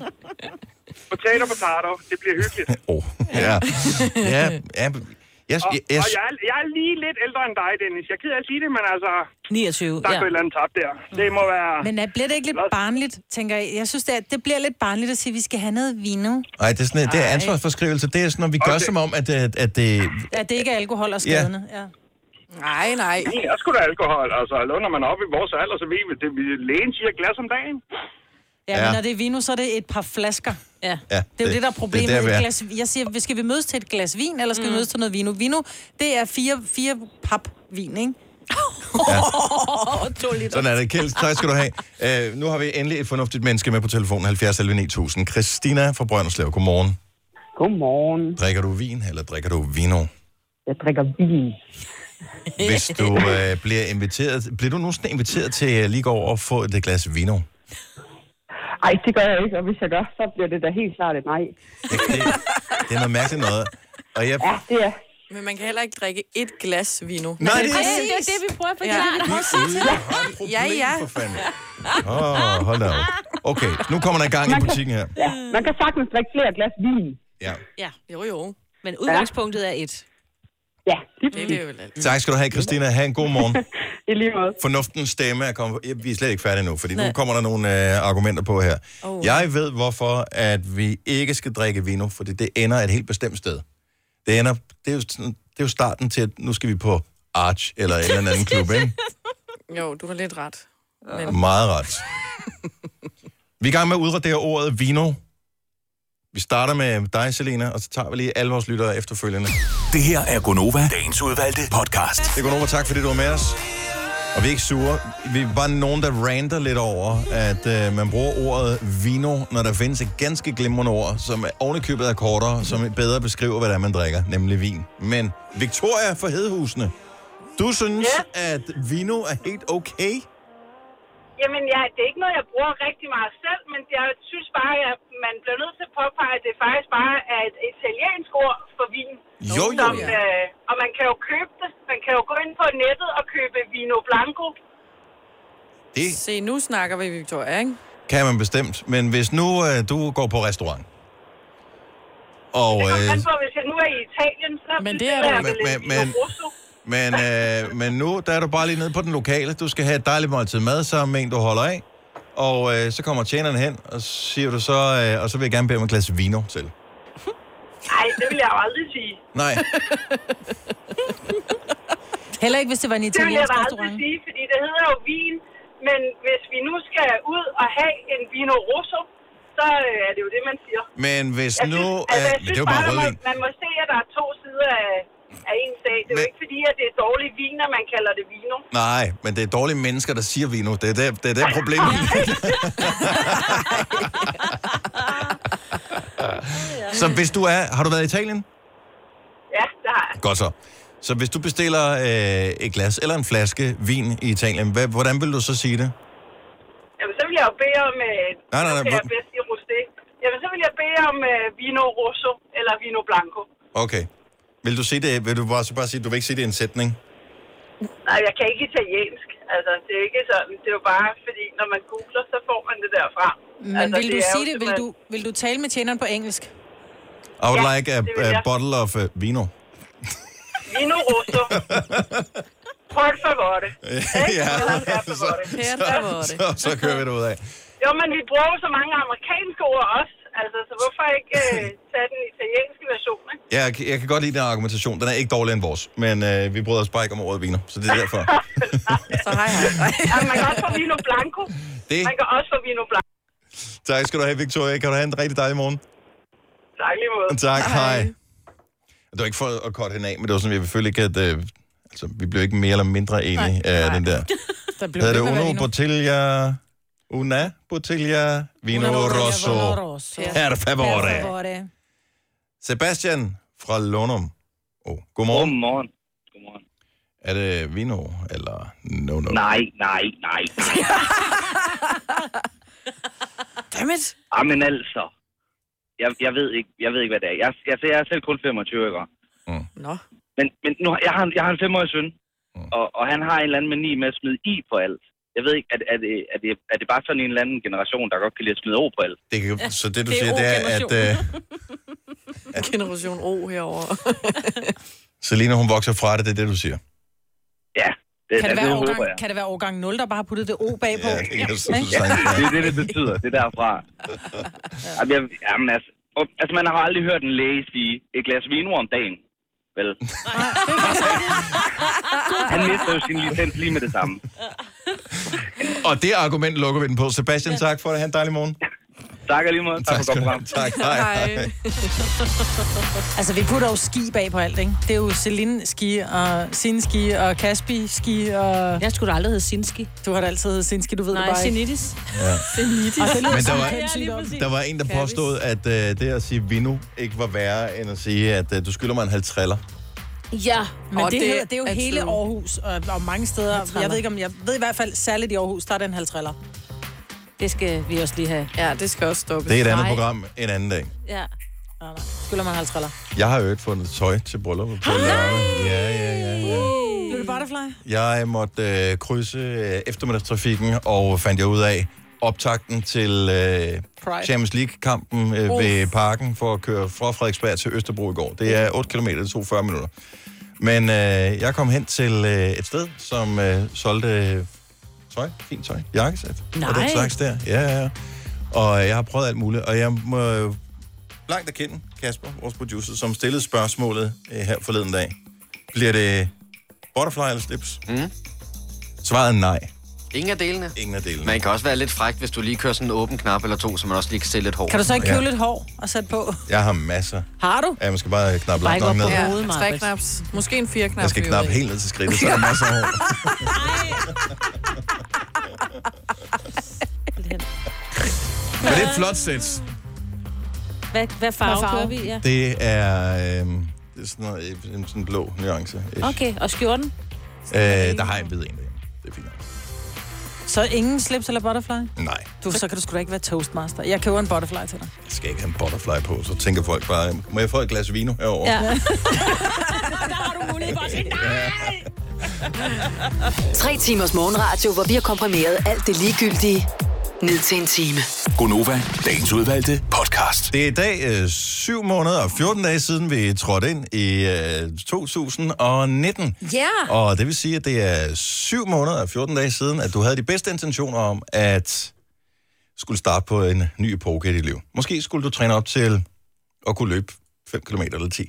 S11: [laughs] potato, potato, det bliver hyggeligt.
S1: Ja. Ja, ja. Jeg,
S11: Og,
S1: jeg,
S11: og
S1: jeg,
S11: jeg, er, jeg er lige lidt ældre end dig, Dennis. Jeg er ked af at sige det, men altså...
S3: 29,
S11: Der er
S2: ja.
S11: ja. et eller andet tab der. Det må være...
S2: Men er, bliver det ikke lidt barnligt, tænker jeg? Jeg synes, det, er, det bliver lidt barnligt at sige, at vi skal have noget vino.
S1: ej, det er, sådan, det er ansvarsforskrivelse. Det er sådan, når vi gør som om, at, at, at det...
S2: At det ikke er alkohol og skadende. Ja.
S5: Nej, nej.
S11: Det er sgu da alkohol. Altså, når man er oppe i vores alder, så ved vi, det, vi lægen siger glas om dagen.
S2: Ja,
S1: Ja.
S2: men når det er vino, så er det et par flasker.
S3: Ja.
S1: Ja,
S2: Det er jo det, der er problemet.
S1: Det er der, vi
S2: et
S1: er.
S2: glas, jeg siger, skal vi mødes til et glas vin, eller skal mm. vi mødes til noget vino? Vino, det er fire, fire pap vin, ikke? [laughs]
S3: Ja.
S1: Sådan er det. Kjeld, tak skal du have. Øh, nu har vi endelig et fornuftigt menneske med på telefonen. 70 11 9000. Christina fra Brønderslev. Godmorgen.
S13: Godmorgen.
S1: Drikker du vin, eller drikker du vino?
S13: Jeg drikker vin.
S1: Hvis
S13: [laughs]
S1: du øh, bliver inviteret... Bliver du nogensinde inviteret til øh, lige gå over og få et glas vino?
S13: Ej, det gør jeg ikke, og hvis jeg gør, så bliver det da helt klart et nej.
S1: Det er noget mærkeligt noget. Og jeg,
S13: Det er
S5: Men man kan heller ikke drikke et glas vino.
S1: Nej, det er-
S5: Præcis.
S1: det
S3: er det, vi prøver at
S5: Ja.
S3: forklare.
S1: Vi er ude og har et problem,
S5: Ja, ja.
S1: for fanden. Åh, oh, hold da op. Okay, nu kommer der gang i butikken her.
S13: Ja, man kan sagtens drikke flere glas vin.
S1: Ja.
S3: Ja. Jo, jo. Men udgangspunktet er et.
S13: Ja.
S5: Det er det vel altid.
S1: Tak skal du have, Christina. Ha' en god morgen.
S13: [laughs] I lige måde.
S1: Fornuftens stemme er kommet... Ja, Vi er slet ikke færdige nu, fordi Nej.
S12: Nej.
S1: nu kommer der nogle øh, argumenter på her.
S12: Oh.
S1: Oh. Jeg ved, hvorfor at vi ikke skal drikke vino, fordi det ender et helt bestemt sted. Det, ender, det, er, jo, sådan- det er jo starten til, at nu skal vi på Arch eller en eller anden klub,
S13: [laughs]
S1: ikke?
S5: Jo, du har lidt ret. Men...
S1: Meget ret. Vi er i gang med at udradere ordet vino. Vi starter med dig, Selena, og så tager vi lige alle vores lyttere efterfølgende.
S12: Det her er Gonova, dagens udvalgte podcast.
S1: Det er Gunova, tak fordi du var med os. Og vi er ikke sure. Vi er bare nogen, der rander lidt over, at øh, man bruger ordet vino, når der findes et ganske glimrende ord, som er ovenikøbet er kortere, som bedre beskriver, hvad det er, man drikker, nemlig vin. Men Victoria fra Hedehusene, du synes, yeah. at vino er helt okay?
S14: Jamen, ja, det er ikke noget, jeg bruger rigtig meget selv, men jeg synes bare, at man bliver nødt til at påpege, at det faktisk bare er et italiensk ord for vin.
S1: Jo, jo,
S14: som,
S1: ja.
S14: øh, og man kan jo købe det. Man kan jo gå ind på nettet og købe Vino Blanco.
S1: Det-
S5: Se, nu snakker vi Victoria, ikke?
S1: Kan man bestemt. Men hvis nu øh, du går på restaurant, og...
S14: Øh.
S1: Øh,
S14: på, hvis jeg nu er i Italien, så men det
S1: er du. Men- men- men- men, øh, men nu der er du bare lige nede på den lokale. Du skal have et dejligt måltid mad sammen med en, du holder af. Og øh, så kommer tjeneren hen, og så siger du så... Øh, og så vil jeg gerne bede om et glas vino til.
S14: Nej, det vil jeg jo aldrig sige.
S1: Nej.
S2: Heller ikke, hvis det var en
S14: Det vil jeg
S2: italiensk
S14: da aldrig
S2: restaurant.
S14: sige, fordi det hedder jo vin. Men hvis vi nu skal ud og have en Vino Rosso, så så øh, er det jo det, man siger.
S1: Men hvis
S14: Jeg
S1: nu...
S14: synes-
S1: øh,
S14: altså, jeg
S1: men
S14: synes
S1: det er jo
S14: bare,
S1: bare
S14: der må,
S1: rødvin.
S14: man må se, at der er to sider af, af en sag. Det er jo
S1: Men-
S14: ikke fordi, at det er dårlige viner, man kalder det vino.
S1: Nej, men det er dårlige mennesker, der siger vi nu. Det er der, det er der problemet. så hvis du er... Har du været i Italien?
S14: Ja, det har jeg.
S1: Godt så. Så hvis du bestiller øh, et glas eller en flaske vin i Italien, hvad, hvordan vil du så sige det?
S14: Jamen, så vil jeg jo bede om... Øh,
S1: Nej, nej, nej,
S14: nu kan
S1: hvor-
S14: jeg bedst i rosé. Jamen, så vil jeg bede om øh, vino rosso eller vino blanco.
S1: Okay. Vil du sige det? Vil du bare, så bare sige, du vil ikke sige det i en sætning?
S14: Nej, jeg kan ikke italiensk. Altså, det er ikke sådan. Det er jo bare, fordi når man googler, så får man det derfra.
S2: Men
S14: altså,
S2: altså, vil du
S14: er jo
S2: sige det? Vil
S14: simpelthen-
S2: du, vil du tale med tjeneren på engelsk?
S1: I would
S2: Ja,
S1: ja, like a,
S2: det vil jeg.
S1: a bottle of uh, vino.
S14: Vino rosso. Por favor.
S1: [laughs] ja, så, [laughs] så,
S14: favore.
S1: så, så kører vi det ud af.
S14: Jo, men vi bruger jo så mange amerikanske ord også. Altså, så hvorfor ikke øh, tage den italienske version, ikke?
S1: Jeg, jeg kan godt lide den argumentation. Den er ikke dårligere end vores, men øh, vi bryder os bare ikke om ordet viner, så det er
S14: [laughs]
S1: derfor.
S14: Så hej, hej. ja, man kan også få vino blanco.
S1: Det-
S14: Man kan også få vino blanco.
S1: tak skal du have, Victoria. Kan du have en rigtig dejlig morgen?
S14: Tak lige måde.
S1: Tak, hej. Det var ikke for at korte hende af, men det var sådan, at vi følte ikke, at øh, altså, vi blev ikke mere eller mindre enige øh, af den der.
S2: Der blev
S1: Hedder
S2: ved
S1: det
S2: med at være
S1: Uno
S2: vino.
S1: Bottiglia... Una Bottiglia Vino
S2: Una bottiglia
S1: Rosso.
S2: vino rosso.
S1: Per
S2: Per
S1: favore.
S2: favore.
S1: Sebastian fra Lundum. Oh, godmorgen. Godmorgen. Godmorgen. Er det vino, eller no, no?
S15: Nej, nej,
S2: [laughs]
S15: nej.
S2: Dammit.
S15: Jamen altså. Jeg, jeg, ved ikke, jeg ved ikke, hvad det er. Jeg, jeg, jeg er selv kun 25 år.
S1: Mm.
S5: Nå.
S15: Men, men nu, jeg, har, en- jeg har en femårig søn,
S1: Mm.
S15: og, og han har en eller anden mani med at smide i på alt. Jeg ved ikke, er, er, det, er, det, er det bare sådan en eller anden generation, der godt kan lide at smide O på alt?
S1: Det kan, så det, du Det er siger, det er, at, øh, O-generationen.
S5: Generation O herover.
S1: Selina, hun vokser fra det, det er det, du siger.
S15: Ja,
S2: Kan det, være årgang, kan det være årgang 0, der bare har puttet det O bagpå?
S1: Ja, det kan jeg så-
S2: Ikke?
S1: så-
S15: [laughs]
S1: så-
S15: det er det, det betyder. Det er
S1: [laughs]
S15: derfra. Jamen, jeg, jamen altså, og, altså, man har aldrig hørt en læge sige et glas vino om dagen. Vel?
S1: [laughs]
S15: Han mister jo sin licens lige med det samme.
S1: Og det argument lukker vi den på. Sebastian, [laughs] tak for det. Ha' en dejlig morgen.
S15: Tak og lige måde.
S1: Tak, tak for godt program. Tak. Hej. hej.
S2: [laughs] Altså, vi putter jo ski bag på alt, ikke? Det er jo Celine ski og Sinski og Kaspi ski og...
S3: Jeg skulle da aldrig hedde Sinski.
S2: Du har da altid heddet Sinski, du ved
S3: Nej,
S2: det bare ikke.
S3: Sinitis.
S1: Ja.
S2: Sinitis. Og [laughs] det lyder
S1: Men der
S2: som
S1: var,
S2: en kønssygdom.
S1: der var en, der påstod, at øh, det at sige vino ikke var værre, end at sige, at øh, du skylder mig en halv triller.
S2: Ja, men
S3: og
S2: det,
S3: det
S2: det, hedder, det er jo
S3: er
S2: hele
S3: true.
S2: Aarhus og, og mange steder.
S3: Halvtreller.
S2: Jeg ved ikke om jeg ved i hvert fald særligt i Aarhus, der er den halvtreller.
S3: Det skal vi også lige have.
S5: Ja, det skal også stoppe.
S1: Det er et andet program en anden dag.
S3: Ja.
S2: Nej, nej. Skylder man halvtreller.
S1: Jeg har i øvrigt fundet tøj til brylluppet på lørdag. Ja, ja, ja, ja.
S2: Blev det butterfly?
S1: Jeg måtte øh, krydse øh, eftermiddagstrafikken, og fandt jeg ud af optakten til øh,
S2: Pride.
S1: Champions League-kampen øh,
S2: Uf.
S1: ved parken for at køre fra Frederiksberg til Østerbro i går. Det er 8 km, det tog 40 minutter. Men øh, jeg kom hen til øh, et sted, som øh, solgte øh, tøj, fint tøj, jakkesæt. Og
S16: Nej.
S1: den slags der. Ja, ja, ja. Og øh, jeg har prøvet alt muligt, og jeg må øh, langt erkende Kasper, vores producer, som stillede spørgsmålet øh, her forleden dag. Bliver det butterfly eller slips? Mm. Svaret er nej.
S8: Ingen af delene.
S1: Ingen af delene.
S8: Man kan også være lidt fræk, hvis du lige kører sådan en åben knap eller to, så man også lige kan se lidt hår.
S2: Kan du så ikke købe
S1: Ja.
S2: lidt hår og sætte på?
S1: Jeg har masser.
S2: Har du?
S1: Ja, man skal bare knappe langt nok ned.
S5: tre knaps. Måske en fire knap.
S1: Jeg skal knappe helt ned til skridtet, så er der masser af hår. Men det er et flot sæt.
S3: Hvad, hvad farve,
S2: Hvad
S3: hvad
S2: farve?
S3: farve? kører vi? Ja.
S1: Det er, øh, det er sådan, noget, øh, en sådan blå nuance.
S3: Okay, og skjorten?
S1: Øh, der har jeg en hvid en derhjemme. Det er fint.
S2: Så ingen slips eller butterfly?
S1: Nej,
S2: Du, så kan du sgu da ikke være toastmaster. Jeg køber en butterfly til dig.
S1: jeg skal ikke have en butterfly på, så tænker folk bare, må jeg få et glas vino herovre?
S2: Ja.
S7: Tre timers morgenradio, hvor vi har komprimeret alt det ligegyldige ned til en time.
S12: Gonova, dagens udvalgte podcast.
S1: Det er i dag øh, 7 måneder og 14 dage siden, vi trådte ind i øh, 2019.
S3: Ja.
S1: Og det vil sige, at det er 7 måneder og 14 dage siden, at du havde de bedste intentioner om, at skulle starte på en ny epoke i dit liv. Måske skulle du træne op til at kunne løbe 5 km eller 10.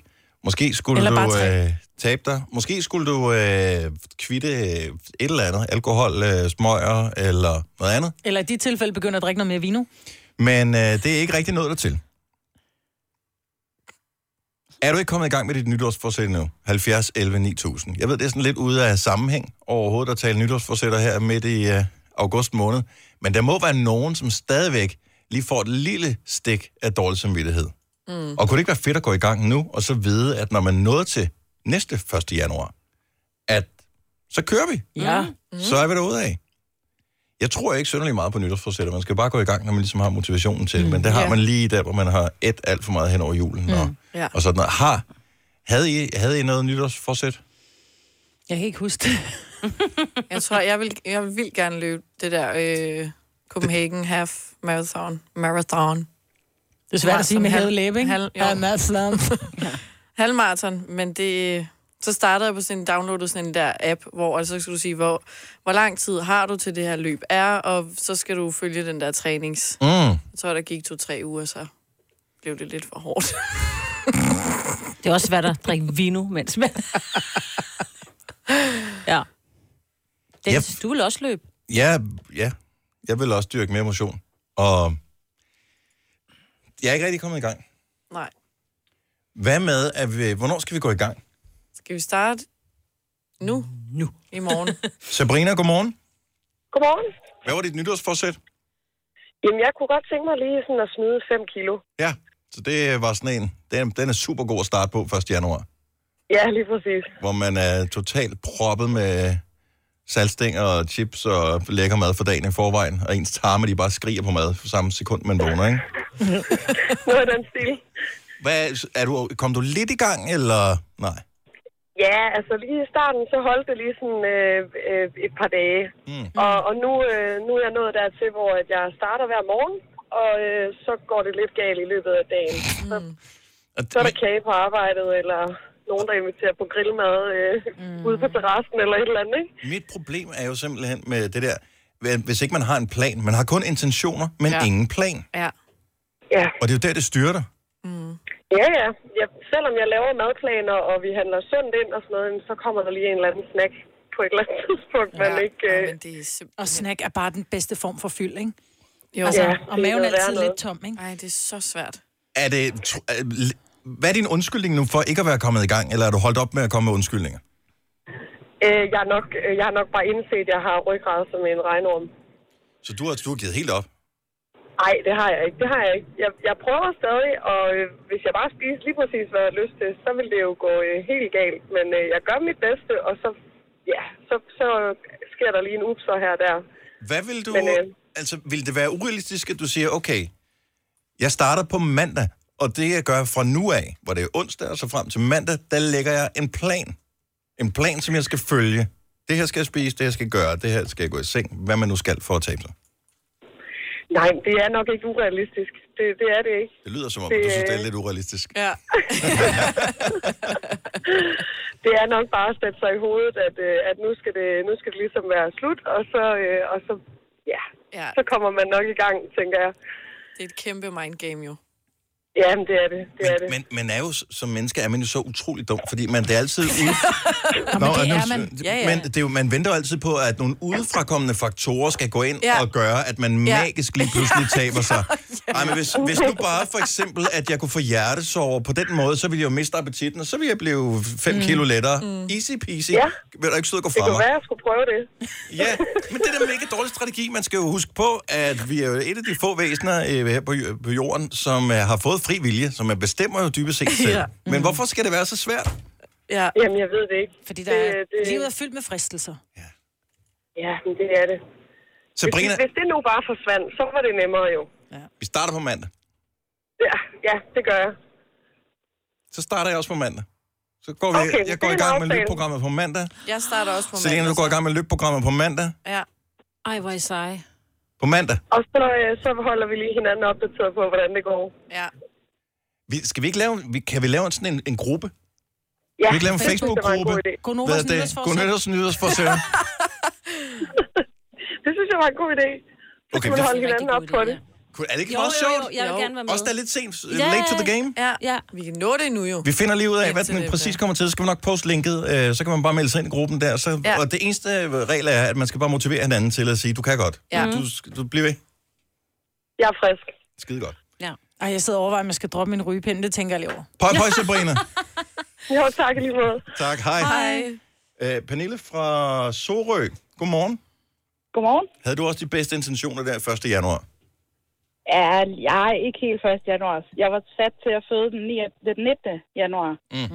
S1: Måske skulle
S16: Eller bare
S1: du
S16: tre.
S1: øh, tabe dig. Måske skulle du øh, kvitte øh, et eller andet. Alkohol, øh, smøger eller noget andet.
S2: Eller i dit tilfælde begynder at drikke noget mere vino.
S1: Men øh, det er ikke rigtig noget der til. Er du ikke kommet i gang med dit nytårsforsæt nu? 70, 11, 9000. Jeg ved, det er sådan lidt ude af sammenhæng overhovedet at tale nytårsforsætter her midt i øh, august måned. Men der må være nogen, som stadigvæk lige får et lille stik af dårlig samvittighed.
S7: Mm.
S1: Og kunne det ikke være fedt at gå i gang nu, og så vide, at når man nåede til næste 1. januar, at så kører vi.
S2: Ja.
S1: Mm. Så er vi derude af. Jeg tror ikke synderligt meget på nytårsforsætter. Man skal bare gå i gang, når man ligesom har motivationen til. Mm. Men det har
S7: Ja.
S1: yeah. man lige der, hvor man har et alt for meget hen over julen. Mm. Og,
S2: Ja.
S1: og sådan noget. Har, havde, I, havde I noget nytårsforsæt?
S2: Jeg kan ikke huske det.
S5: [laughs] jeg tror, jeg vil, jeg vil vildt gerne løbe det der øh, Copenhagen Half Marathon. Marathon.
S2: Det er svært at sige med hævet
S5: halv
S2: læbe, ikke?
S5: Halv,
S2: Ja, altså. marathon.
S5: Halvmarathon, men det... Så startede jeg på sådan en downloadet sådan en der app, hvor altså, så skal du sige, hvor, hvor lang tid har du til det her løb er, og så skal du følge den der trænings.
S1: Mm.
S5: Jeg tror, der gik to-tre uger, så blev det lidt for hårdt. [laughs]
S3: Det er også svært at drikke vino, mens man... ja. Dennis, du vil også løbe.
S1: Ja, ja. Jeg vil også dyrke mere motion. Og jeg er ikke rigtig kommet i gang.
S5: Nej.
S1: Hvad med, at vi, hvornår skal vi gå i gang?
S5: Skal vi starte nu?
S3: Nu.
S5: I
S17: [laughs]
S5: morgen.
S1: Sabrina, godmorgen.
S17: Godmorgen.
S1: Hvad var dit nytårsforsæt?
S17: Jamen, jeg kunne godt tænke mig lige sådan at smide 5 kilo.
S1: Ja, så det var sådan en. Den, den er super god at starte på 1. januar,
S17: Ja, lige præcis.
S1: hvor man er totalt proppet med saltstænger og chips og lækker mad for dagen i forvejen, og ens tarme, de bare skriger på mad for samme sekund, man vågner, ikke?
S17: Noget af den stil.
S1: Hvad, er du, kom du lidt i gang, eller nej?
S17: Ja, altså lige i starten, så holdt det lige sådan øh, øh, et par dage. Mm. Og, og nu, øh, nu er jeg nået dertil, hvor at jeg starter hver morgen, og øh, så går det lidt galt i løbet af dagen. Så,
S1: så er
S17: der kage på arbejdet, eller nogen, der inviterer på grillmad øh, mm. ude på terrassen, eller et eller andet, ikke?
S1: Mit problem er jo simpelthen med det der, hvis ikke man har en plan. Man har kun intentioner, men ja. ingen plan.
S5: Ja.
S17: Ja.
S1: Og det er jo der, det styrter.
S17: Ja, ja. Jeg, selvom jeg laver madplaner, og vi handler sundt ind og sådan noget, jamen, så kommer der lige en eller anden snack på et eller andet [laughs] tidspunkt, man ikke... Øh...
S5: men det er
S2: Og snack er bare den bedste form for fyld, ikke?
S17: Jo.
S2: Altså,
S17: Ja,
S2: og
S17: det er
S2: maven er
S17: noget værre
S2: altid
S17: noget.
S2: lidt tom, ikke?
S5: Nej, det er så svært.
S1: Er det, tr- er- l- hvad er din undskyldning nu for ikke at være kommet i gang, eller er du holdt op med at komme med undskyldninger?
S17: Øh, jeg, har nok, øh, jeg har nok bare indset, at jeg har ryggrad som en regnorm.
S1: Så du har, du har givet helt op?
S17: Nej, det har jeg ikke. Det har jeg ikke. Jeg, jeg prøver stadig, og øh, hvis jeg bare spiser lige præcis, hvad jeg har lyst til, så vil det jo gå øh, helt galt. Men øh, jeg gør mit bedste, og så, ja, så, så sker der lige en upser her og der.
S1: Hvad vil du...
S17: Men,
S1: Men,
S17: øh,
S1: øh... Altså, vil det være urealistisk, at du siger, okay, jeg starter på mandag, og det jeg gør fra nu af, hvor det er onsdag og så frem til mandag, der lægger jeg en plan. En plan, som jeg skal følge. Det her skal jeg spise, det her skal jeg gøre, det her skal jeg gå i seng, hvad man nu skal for at tabe sig.
S17: Nej, det er nok ikke urealistisk. Det, det er det ikke.
S1: Det lyder som om,
S17: Det,
S1: det... du synes, det er
S17: øh,
S1: lidt urealistisk.
S5: Ja.
S17: [laughs] det er nok bare at sætte sig i hovedet, at, øh, at nu, skal det, nu skal det ligesom være slut, og så, øh, og så, ja,
S5: ja,
S17: så kommer man nok i gang, tænker jeg.
S5: Det er et kæmpe mindgame jo.
S17: Jamen, det er det. det, er det.
S1: Men man er jo s- som menneske er man jo så utrolig dum, fordi man det er
S5: [laughs]
S1: altid ude... Nå,
S5: det
S1: og nu-
S5: er man. Ja, ja.
S1: Men det er jo, man venter jo altid på, at nogle udefrakommende faktorer skal gå ind
S5: Ja.
S1: ja. og gøre, at man
S5: Ja.
S1: magisk lige pludselig
S5: [laughs] Ja,
S1: taber sig. Ej, men hvis, hvis nu bare for eksempel, at jeg kunne få hjertesover på den måde, så ville jeg jo miste appetitten, og så ville jeg blive 5 mm. kilo lettere. Mm. Easy peasy. Ja. Vil der ikke sidde og gå
S17: Det
S1: fra
S17: kunne
S1: mig?
S17: være, at jeg skulle prøve det.
S1: Ja, men det er da en mega dårlig strategi. Man skal jo huske på, at vi er jo et af de få væsener øh, her på, jø- på jorden, som øh, har fået fri vilje, som man bestemmer jo dybest set selv.
S2: Ja.
S1: ja. Men hvorfor skal det være så svært?
S5: Ja.
S17: Jamen, jeg ved det ikke.
S2: Fordi der er,
S17: Det- det-
S2: livet er fyldt med fristelser.
S17: Ja, men det er det.
S1: Sabrina,
S17: Hvis, hvis det nu bare forsvandt, så var det nemmere jo.
S1: vi starter på mandag.
S17: Ja, ja det gør jeg.
S1: Så starter jeg også på mandag. Så går vi,
S17: Okay,
S1: okay, jeg går
S17: det
S1: i
S17: er en
S1: gang med
S17: aftale.
S1: løbprogrammet på mandag.
S5: Jeg starter også på
S1: Selena, du går i gang med løbprogrammet på mandag.
S5: Ja.
S3: Ej, hvor er I seje.
S1: På mandag.
S17: Og så, øh, så holder vi lige hinanden opdateret på, hvordan det går.
S5: Ja.
S1: Vi, skal vi ikke lave, vi, kan vi lave sådan en, en gruppe?
S17: Ja,
S1: kan vi ikke lave en
S17: Facebook, det var en
S1: Facebook-gruppe?
S17: god idé. Gonovas
S1: Hvad er det?
S17: nytårsforsæt.
S1: Gonovas [laughs] nytårsforsæt.
S17: Det synes jeg var en god idé. Så
S1: Okay,
S17: okay, kan man
S1: det-
S17: holde hinanden op på det.
S1: Kunne- Er det ikke
S17: Jo,
S1: meget
S17: jo,
S1: sjovt?
S17: jo, jeg vil gerne være med.
S1: Også der er lidt sent. øh, Late to the game.
S5: Ja. ja. Vi kan nå det endnu jo.
S1: Vi finder lige ud af, hvad
S5: Indtil
S1: den
S5: det
S1: præcis kommer til. Så skal vi nok poste linket. Øh, så kan man bare melde sig ind i gruppen der. Så,
S5: Ja.
S1: ja. Og det eneste øh, regel er, at man skal bare motivere hinanden til at sige, du kan godt.
S5: Ja.
S1: Du, sk- du bliver ved.
S17: Jeg er frisk.
S1: Skide godt.
S3: Ja.
S2: Ej, jeg sidder og overvejer, om jeg skal droppe min rygepind. Det tænker jeg lige over.
S1: Pøj, pøj, [laughs] Sabrina.
S2: Jo, tak lige måde.
S1: Tak, hej.
S2: Hej.
S1: Æ, Pernille fra Sorø, godmorgen.
S16: Godmorgen.
S1: Havde du også de bedste intentioner der 1. januar?
S16: Ja, jeg er ikke helt 1. januar. Jeg var sat til at føde den, 9, den 19. januar.
S1: Mm.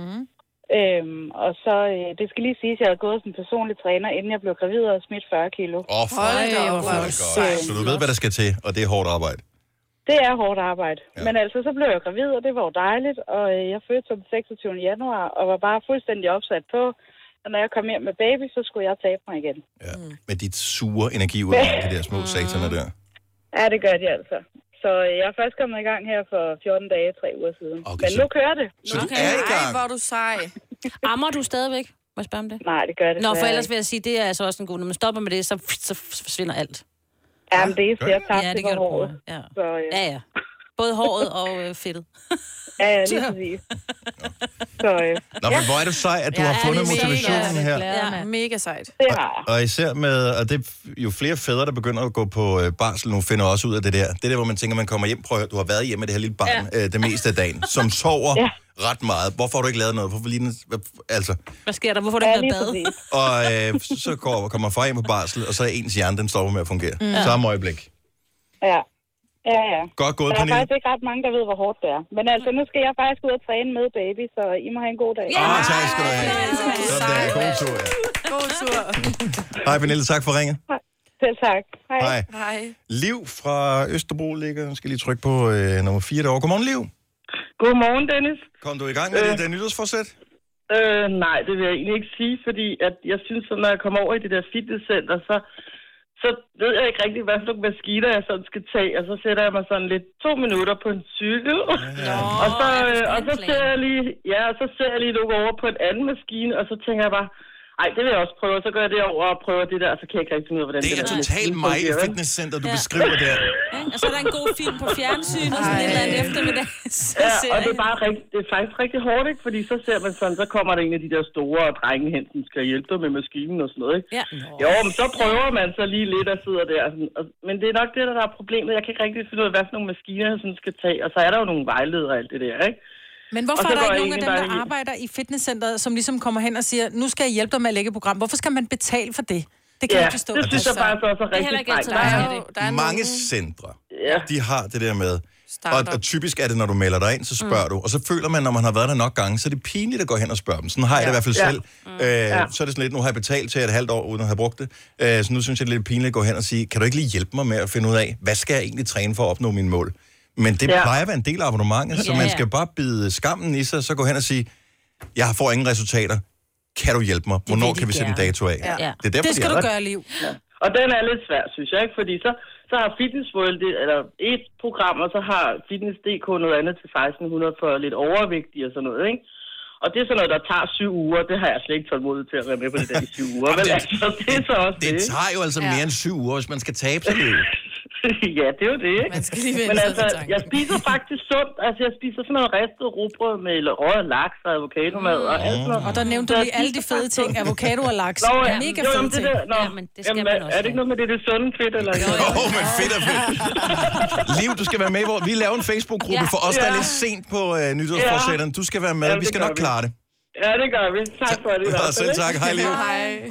S16: Øhm, og så, øh, det skal lige siges, at jeg havde gået som personlig træner, inden jeg blev gravid og smidt 40 kilo.
S1: Åh, oh,
S16: Hold da op,
S1: Så du ved, hvad der skal til, og det er hårdt arbejde.
S16: Det er hårdt arbejde. Ja. Men altså, så blev jeg gravid, og det var jo dejligt. Og øh, jeg fødte som 26. januar, og var bare fuldstændig opsat på. Og når jeg kom hjem med baby, så skulle jeg tabe mig igen.
S1: Med dit sure energi ud af de der små sataner der.
S16: Ja, det gør de altså. Så øh, jeg er først kommet i gang her for 14 dage, tre uger siden. Okay, Men
S1: så-
S16: nu kører det.
S1: Så du er i gang.
S3: hvor er du sej.
S16: [laughs]
S3: Ammer du stadigvæk? Må jeg spørge om det?
S16: Nej, det gør det
S3: Nå, for
S16: desværre
S3: ellers
S16: ikke.
S3: vil jeg sige, det er altså også en god... Når man stopper med det, så, så forsvinder alt.
S16: Ja, men det er
S3: Ja,
S16: jeg tak
S3: det
S16: til
S3: gør
S16: for
S3: du
S16: håret.
S3: Ja.
S16: Så, ja.
S3: ja, ja. Både håret og øh, fedtet.
S16: Ja,
S2: [laughs]
S16: ja, lige præcis. Så, øh,
S1: Nå, men hvor er du sej, at du har fundet motivationen her.
S5: Ja, mega sejt.
S16: Det har jeg.
S1: Og især med, og det er jo flere fædre, der begynder at gå på øh, barsel nu, finder også ud af det der. Det der, hvor man tænker, man kommer hjem, prøv at høre, du har været hjemme med det her lille barn ja. øh, det meste af dagen, som sover ja. ret meget. Hvorfor har du ikke lavet noget? Hvorfor lige, den- hvad- altså,
S3: Hvad sker der? Hvorfor har du ikke været bad?
S1: og øh, så går, kommer far hjem på barsel, og så er ens hjerne, den stopper med at fungere.
S16: Mm.
S1: Mm. Samme øjeblik.
S16: Ja. Ja, ja.
S1: Godt gået,
S16: Der er
S1: Pernille.
S16: faktisk ikke ret mange, der ved, hvor hårdt det er. Men altså, nu skal jeg faktisk ud og træne med baby, så I må have en god dag.
S1: Ja! Ah, tak skal du have. Sådan der. God tur, ja.
S5: God tur.
S1: Hej, Pernille. Tak for ringet.
S16: Selv tak. Hej.
S1: Hej.
S5: Hej.
S1: Liv fra Østerbro ligger. Nu skal jeg lige trykke på øh, nummer 4 derovre. Godmorgen, Liv.
S18: Godmorgen, Dennis.
S1: Kom du i gang med
S18: Øh.
S1: øh. det der nytårsforsæt?
S18: Øh, nej, det vil jeg egentlig ikke sige, fordi at jeg synes, at når jeg kommer over i det der fitnesscenter, så, så ved jeg ikke rigtig, hvad for nogle maskiner jeg sådan skal tage, og så sætter jeg mig sådan lidt to minutter på en cykel, [laughs] og, så, øh, og så ser jeg lige, ja, og så ser jeg lige nogle over på en anden maskine, og så tænker jeg bare, ej, det vil jeg også prøve, og så går jeg derover og prøver det der, og så kan jeg ikke rigtig finde ud af, hvordan det,
S1: Det er
S18: der
S1: totalt
S18: maskine
S1: mig i
S18: fungerer, vel?
S1: fitnesscenter, du beskriver der.
S18: [laughs]
S3: Ikke? Og så er der en god film på fjernsynet, og sådan et eller andet eftermiddag.
S2: [laughs]
S3: Så
S18: Ja,
S3: ser
S18: og det
S3: jeg-
S18: er, bare rigt, det er faktisk rigtig hårdt, ikke? Fordi så ser man sådan, så kommer der en af de der store drenge hen, som skal hjælpe dig med maskinen og sådan noget, ikke?
S3: Ja.
S18: Jo, men så prøver man så lige lidt og sidder der. og Sådan, og, men det er nok det, der er problemet. Jeg kan ikke rigtig finde ud af, hvad for nogle maskiner, jeg sådan skal tage. Og så er der jo nogle vejledere og alt det der, ikke?
S2: Men
S18: Og
S2: hvorfor
S18: så
S2: er der
S18: går
S2: ikke
S18: jeg
S2: nogen af dem,
S18: egentlig
S2: der
S18: bare i-
S2: arbejder i fitnesscenteret, som ligesom kommer hen og siger, nu skal jeg hjælpe dig med at lægge et program. Hvorfor skal man betale for det? Det kan
S18: Ja,
S2: jeg ikke forstå.
S18: det synes jeg faktisk også er Det er heller rigtig ikke altid, frækt. der er det. Der er
S1: Altså, Mange
S18: nogen-
S1: centre,
S18: Ja.
S1: de har det der med. Og,
S18: Startup.
S1: og typisk er det, når du melder dig ind, så spørger mm. du. Og så føler man, når man har været der nok gange, så er det pinligt at gå hen og spørge dem. Sådan har jeg det i hvert fald
S18: Ja.
S1: selv.
S18: Mm.
S1: Mm. Øh,
S18: Ja.
S1: Så er det sådan lidt, nu har jeg betalt til et halvt år, uden at have brugt det. Øh, så nu synes jeg, det er lidt pinligt at gå hen og sige, kan du ikke lige hjælpe mig med at finde ud af, hvad skal jeg egentlig træne for at opnå mine mål? Men det
S18: Ja.
S1: ja. plejer at være en del af abonnementet, så
S18: Ja,
S1: man
S18: ja.
S1: skal bare bide skammen i sig, så gå hen og sige, jeg får ingen resultater. Kan du hjælpe mig? Hvornår kan vi sætte en dato af? Det, er derfor, de er der.
S2: Liv.
S18: Ja. Og den er lidt svær, synes jeg, ikke? Fordi så, så har Fitness World det, eller et program, og så har Fitness.dk noget andet til 1600 for lidt overvægtige og sådan noget, ikke? Og det er sådan noget, der tager syv uger. Det har jeg slet ikke tålmodighed til at være med på det der i syv uger.
S1: Jamen,
S18: Vel,
S1: det-
S18: altså, det er så også det.
S1: Det tager jo altså
S18: ikke?
S1: mere end syv uger, hvis man skal tabe sig. Det er jo-
S18: altså, [laughs] ja, det er jo det, ikke?
S1: Man skal lige vende
S18: Men
S1: sig
S18: altså,
S1: til tanken.
S18: jeg spiser faktisk sundt. Altså, jeg spiser sådan noget ristet rugbrød med eller røget laks og avocadomad og alt sådan noget.
S2: Og der nævnte
S18: Så
S2: du
S18: jeg
S2: lige alle de
S18: spiser
S2: fede
S18: faktisk
S2: ting.
S18: sundt.
S2: Avocado og laks.
S18: Nå, ja.
S2: Mega
S18: Jo,
S2: fede
S18: jamen, det
S2: ting.
S18: der, nå.
S2: Ja, men det skal
S18: Jamen,
S2: man
S18: er-
S2: også.
S18: Er det ikke noget med det, er det sunde fedt, eller? Jo,
S1: men fedt er fedt. Liv, du skal være med. i Hvor vi laver en Facebook-gruppe
S18: Ja.
S1: for os, der er
S18: Ja.
S1: lidt sent på øh, nytårsforsætterne. Du skal være med.
S18: Ja,
S1: vi
S18: det
S1: skal
S18: gør
S1: nok
S18: vi.
S1: klare det.
S18: Ja, det gør vi. Tak for det. i hvert
S1: Og
S18: fald,
S1: selv
S18: ikke?
S1: tak. Hej, Liv.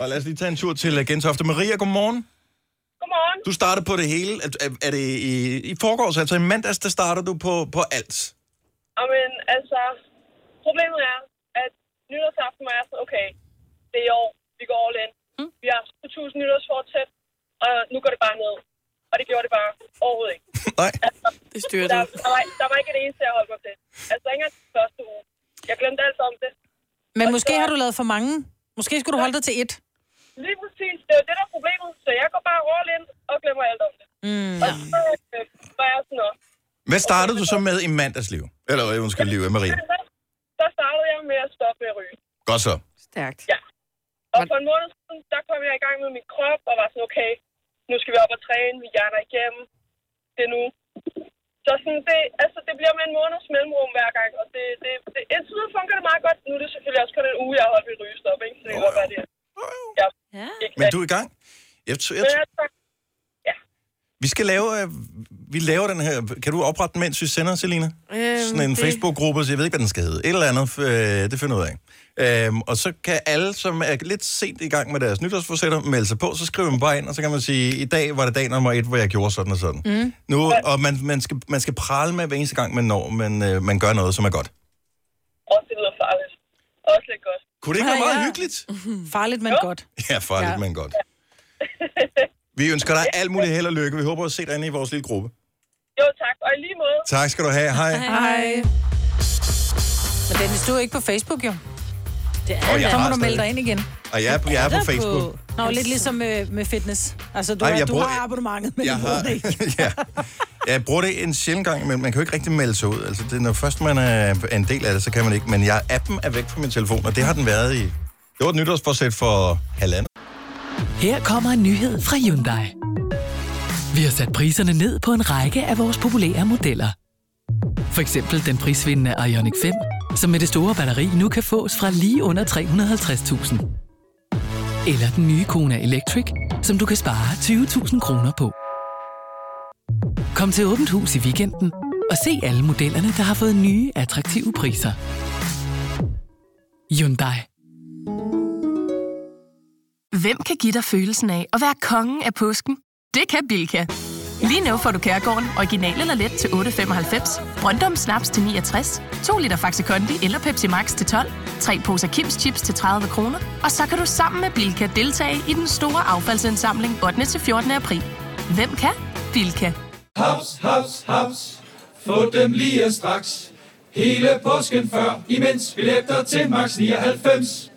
S1: Og lad os lige tage en tur til øh, Gentofte. Maria, godmorgen.
S17: Godmorgen.
S1: Du starter på det hele. Er, er- er det i, i forgårs, altså i mandags, der starter du på, på alt?
S17: Og men altså, problemet er, at nytårsaften var jeg sådan, okay, det er i år, vi går all in. Mm. Vi har 1000 nytårsfortsæt, og nu går det bare ned. Og det gjorde det bare overhovedet ikke.
S1: Nej.
S17: Altså,
S5: det styrtede.
S17: Der, der, var, der var ikke det eneste, jeg holdt mig til. Altså, ikke engang den første uge. Jeg glemte alt om det.
S2: Men måske har du lavet for mange. Måske skulle du holde dig til et.
S17: Lige præcis, det er jo det, der er problemet. Så jeg går bare all in og glemmer alt om det.
S2: Mm.
S17: Og så øh, var jeg sådan, "Nå,
S1: Hvad startede du så med i mandags, Liv? Eller øh, undskyld, Liv, øh, Maria.
S17: Så startede jeg med at stoppe med at ryge.
S1: Godt så.
S17: Stærkt. Ja. Og for en måned siden, der kom jeg i gang med min krop og var sådan, okay, nu skal vi op og træne, vi hjerner igennem. Det er nu. Så sådan, det, altså, det bliver med en måneds mellemrum hver gang, og det, det, det, indtil videre fungerer det meget godt. Nu er det selvfølgelig også kun en uge, jeg har holdt mit rygestop, ikke? Så det kan godt være det. Ja. ja.
S1: Men du er i gang? Øh, Jeg, tror- jeg,
S17: Men
S1: tror-
S17: altså,
S1: vi skal lave... Øh, vi laver den her... Kan du oprette den, mens vi sender, Selina?
S5: Øhm,
S1: Sådan en
S5: det-
S1: Facebook-gruppe, så jeg ved ikke, hvad den skal hedde. Et eller andet, øh, det finder jeg ud af. Øhm, og så kan alle, som er lidt sent i gang med deres nytårsforsætter, melde sig på, så skriver man bare ind, og så kan man sige, i dag var det dag nummer et, hvor jeg gjorde sådan og sådan.
S4: Mm.
S1: Nu, og man, man, skal, man skal prale med hver eneste gang, man når, men øh, man gør noget, som er godt. [laughs]
S17: Også det lyder farligt. Også lidt godt.
S1: Kunne det ikke være meget hyggeligt?
S2: Farligt, men godt.
S1: Ja, farligt,
S2: Ja.
S1: ja. men godt. Vi ønsker [laughs] dig alt muligt held og lykke. Vi håber at se dig inde i vores lille gruppe.
S17: Jo, tak. Og i lige måde.
S1: Tak skal du have. Hej.
S2: Hej. Men Dennis, du er ikke på Facebook, jo. Det
S1: Åh, jeg
S2: Så må
S1: har
S2: du melde dig
S1: stadig.
S2: ind igen.
S1: Og jeg er på, jeg er på Facebook.
S2: Nå, lidt ligesom med, med fitness. Altså, du,
S1: Ej,
S2: Ej,
S1: jeg
S2: du
S1: bruger-
S2: har abonnementet, men
S1: Jeg
S2: jeg har...
S1: har-
S2: det ikke.
S1: [laughs] Jeg bruger det en sjældent gang, men man kan jo ikke rigtig melde sig ud. Altså, det, når først man er en del af det, så kan man ikke. Men jeg, appen er væk fra min telefon, og det har den været i... Det var et nytårsforsæt for halvandet.
S9: Her kommer en nyhed fra Hyundai. Vi har sat priserne ned på en række af vores populære modeller. For eksempel den prisvindende Ioniq 5, som med det store batteri nu kan fås fra lige under 350.000. Eller den nye Kona Electric, som du kan spare 20.000 kroner på. Kom til Åbent Hus i weekenden og se alle modellerne, der har fået nye, attraktive priser. Hyundai.
S19: Hvem kan give dig følelsen af at være kongen af påsken? Det kan Bilka! Lige nu får du Kærgården original eller let til 8.95, Brøndum Snaps til 69, 2 liter Faxi Kondi eller Pepsi Max til 12, 3 poser Kims Chips til 30 kroner, og så kan du sammen med Bilka deltage i den store affaldsindsamling 8. til 14. april. Hvem kan? Bilka.
S20: Haps, haps, haps. Få dem lige straks. Hele påsken før, imens billetter til max 99.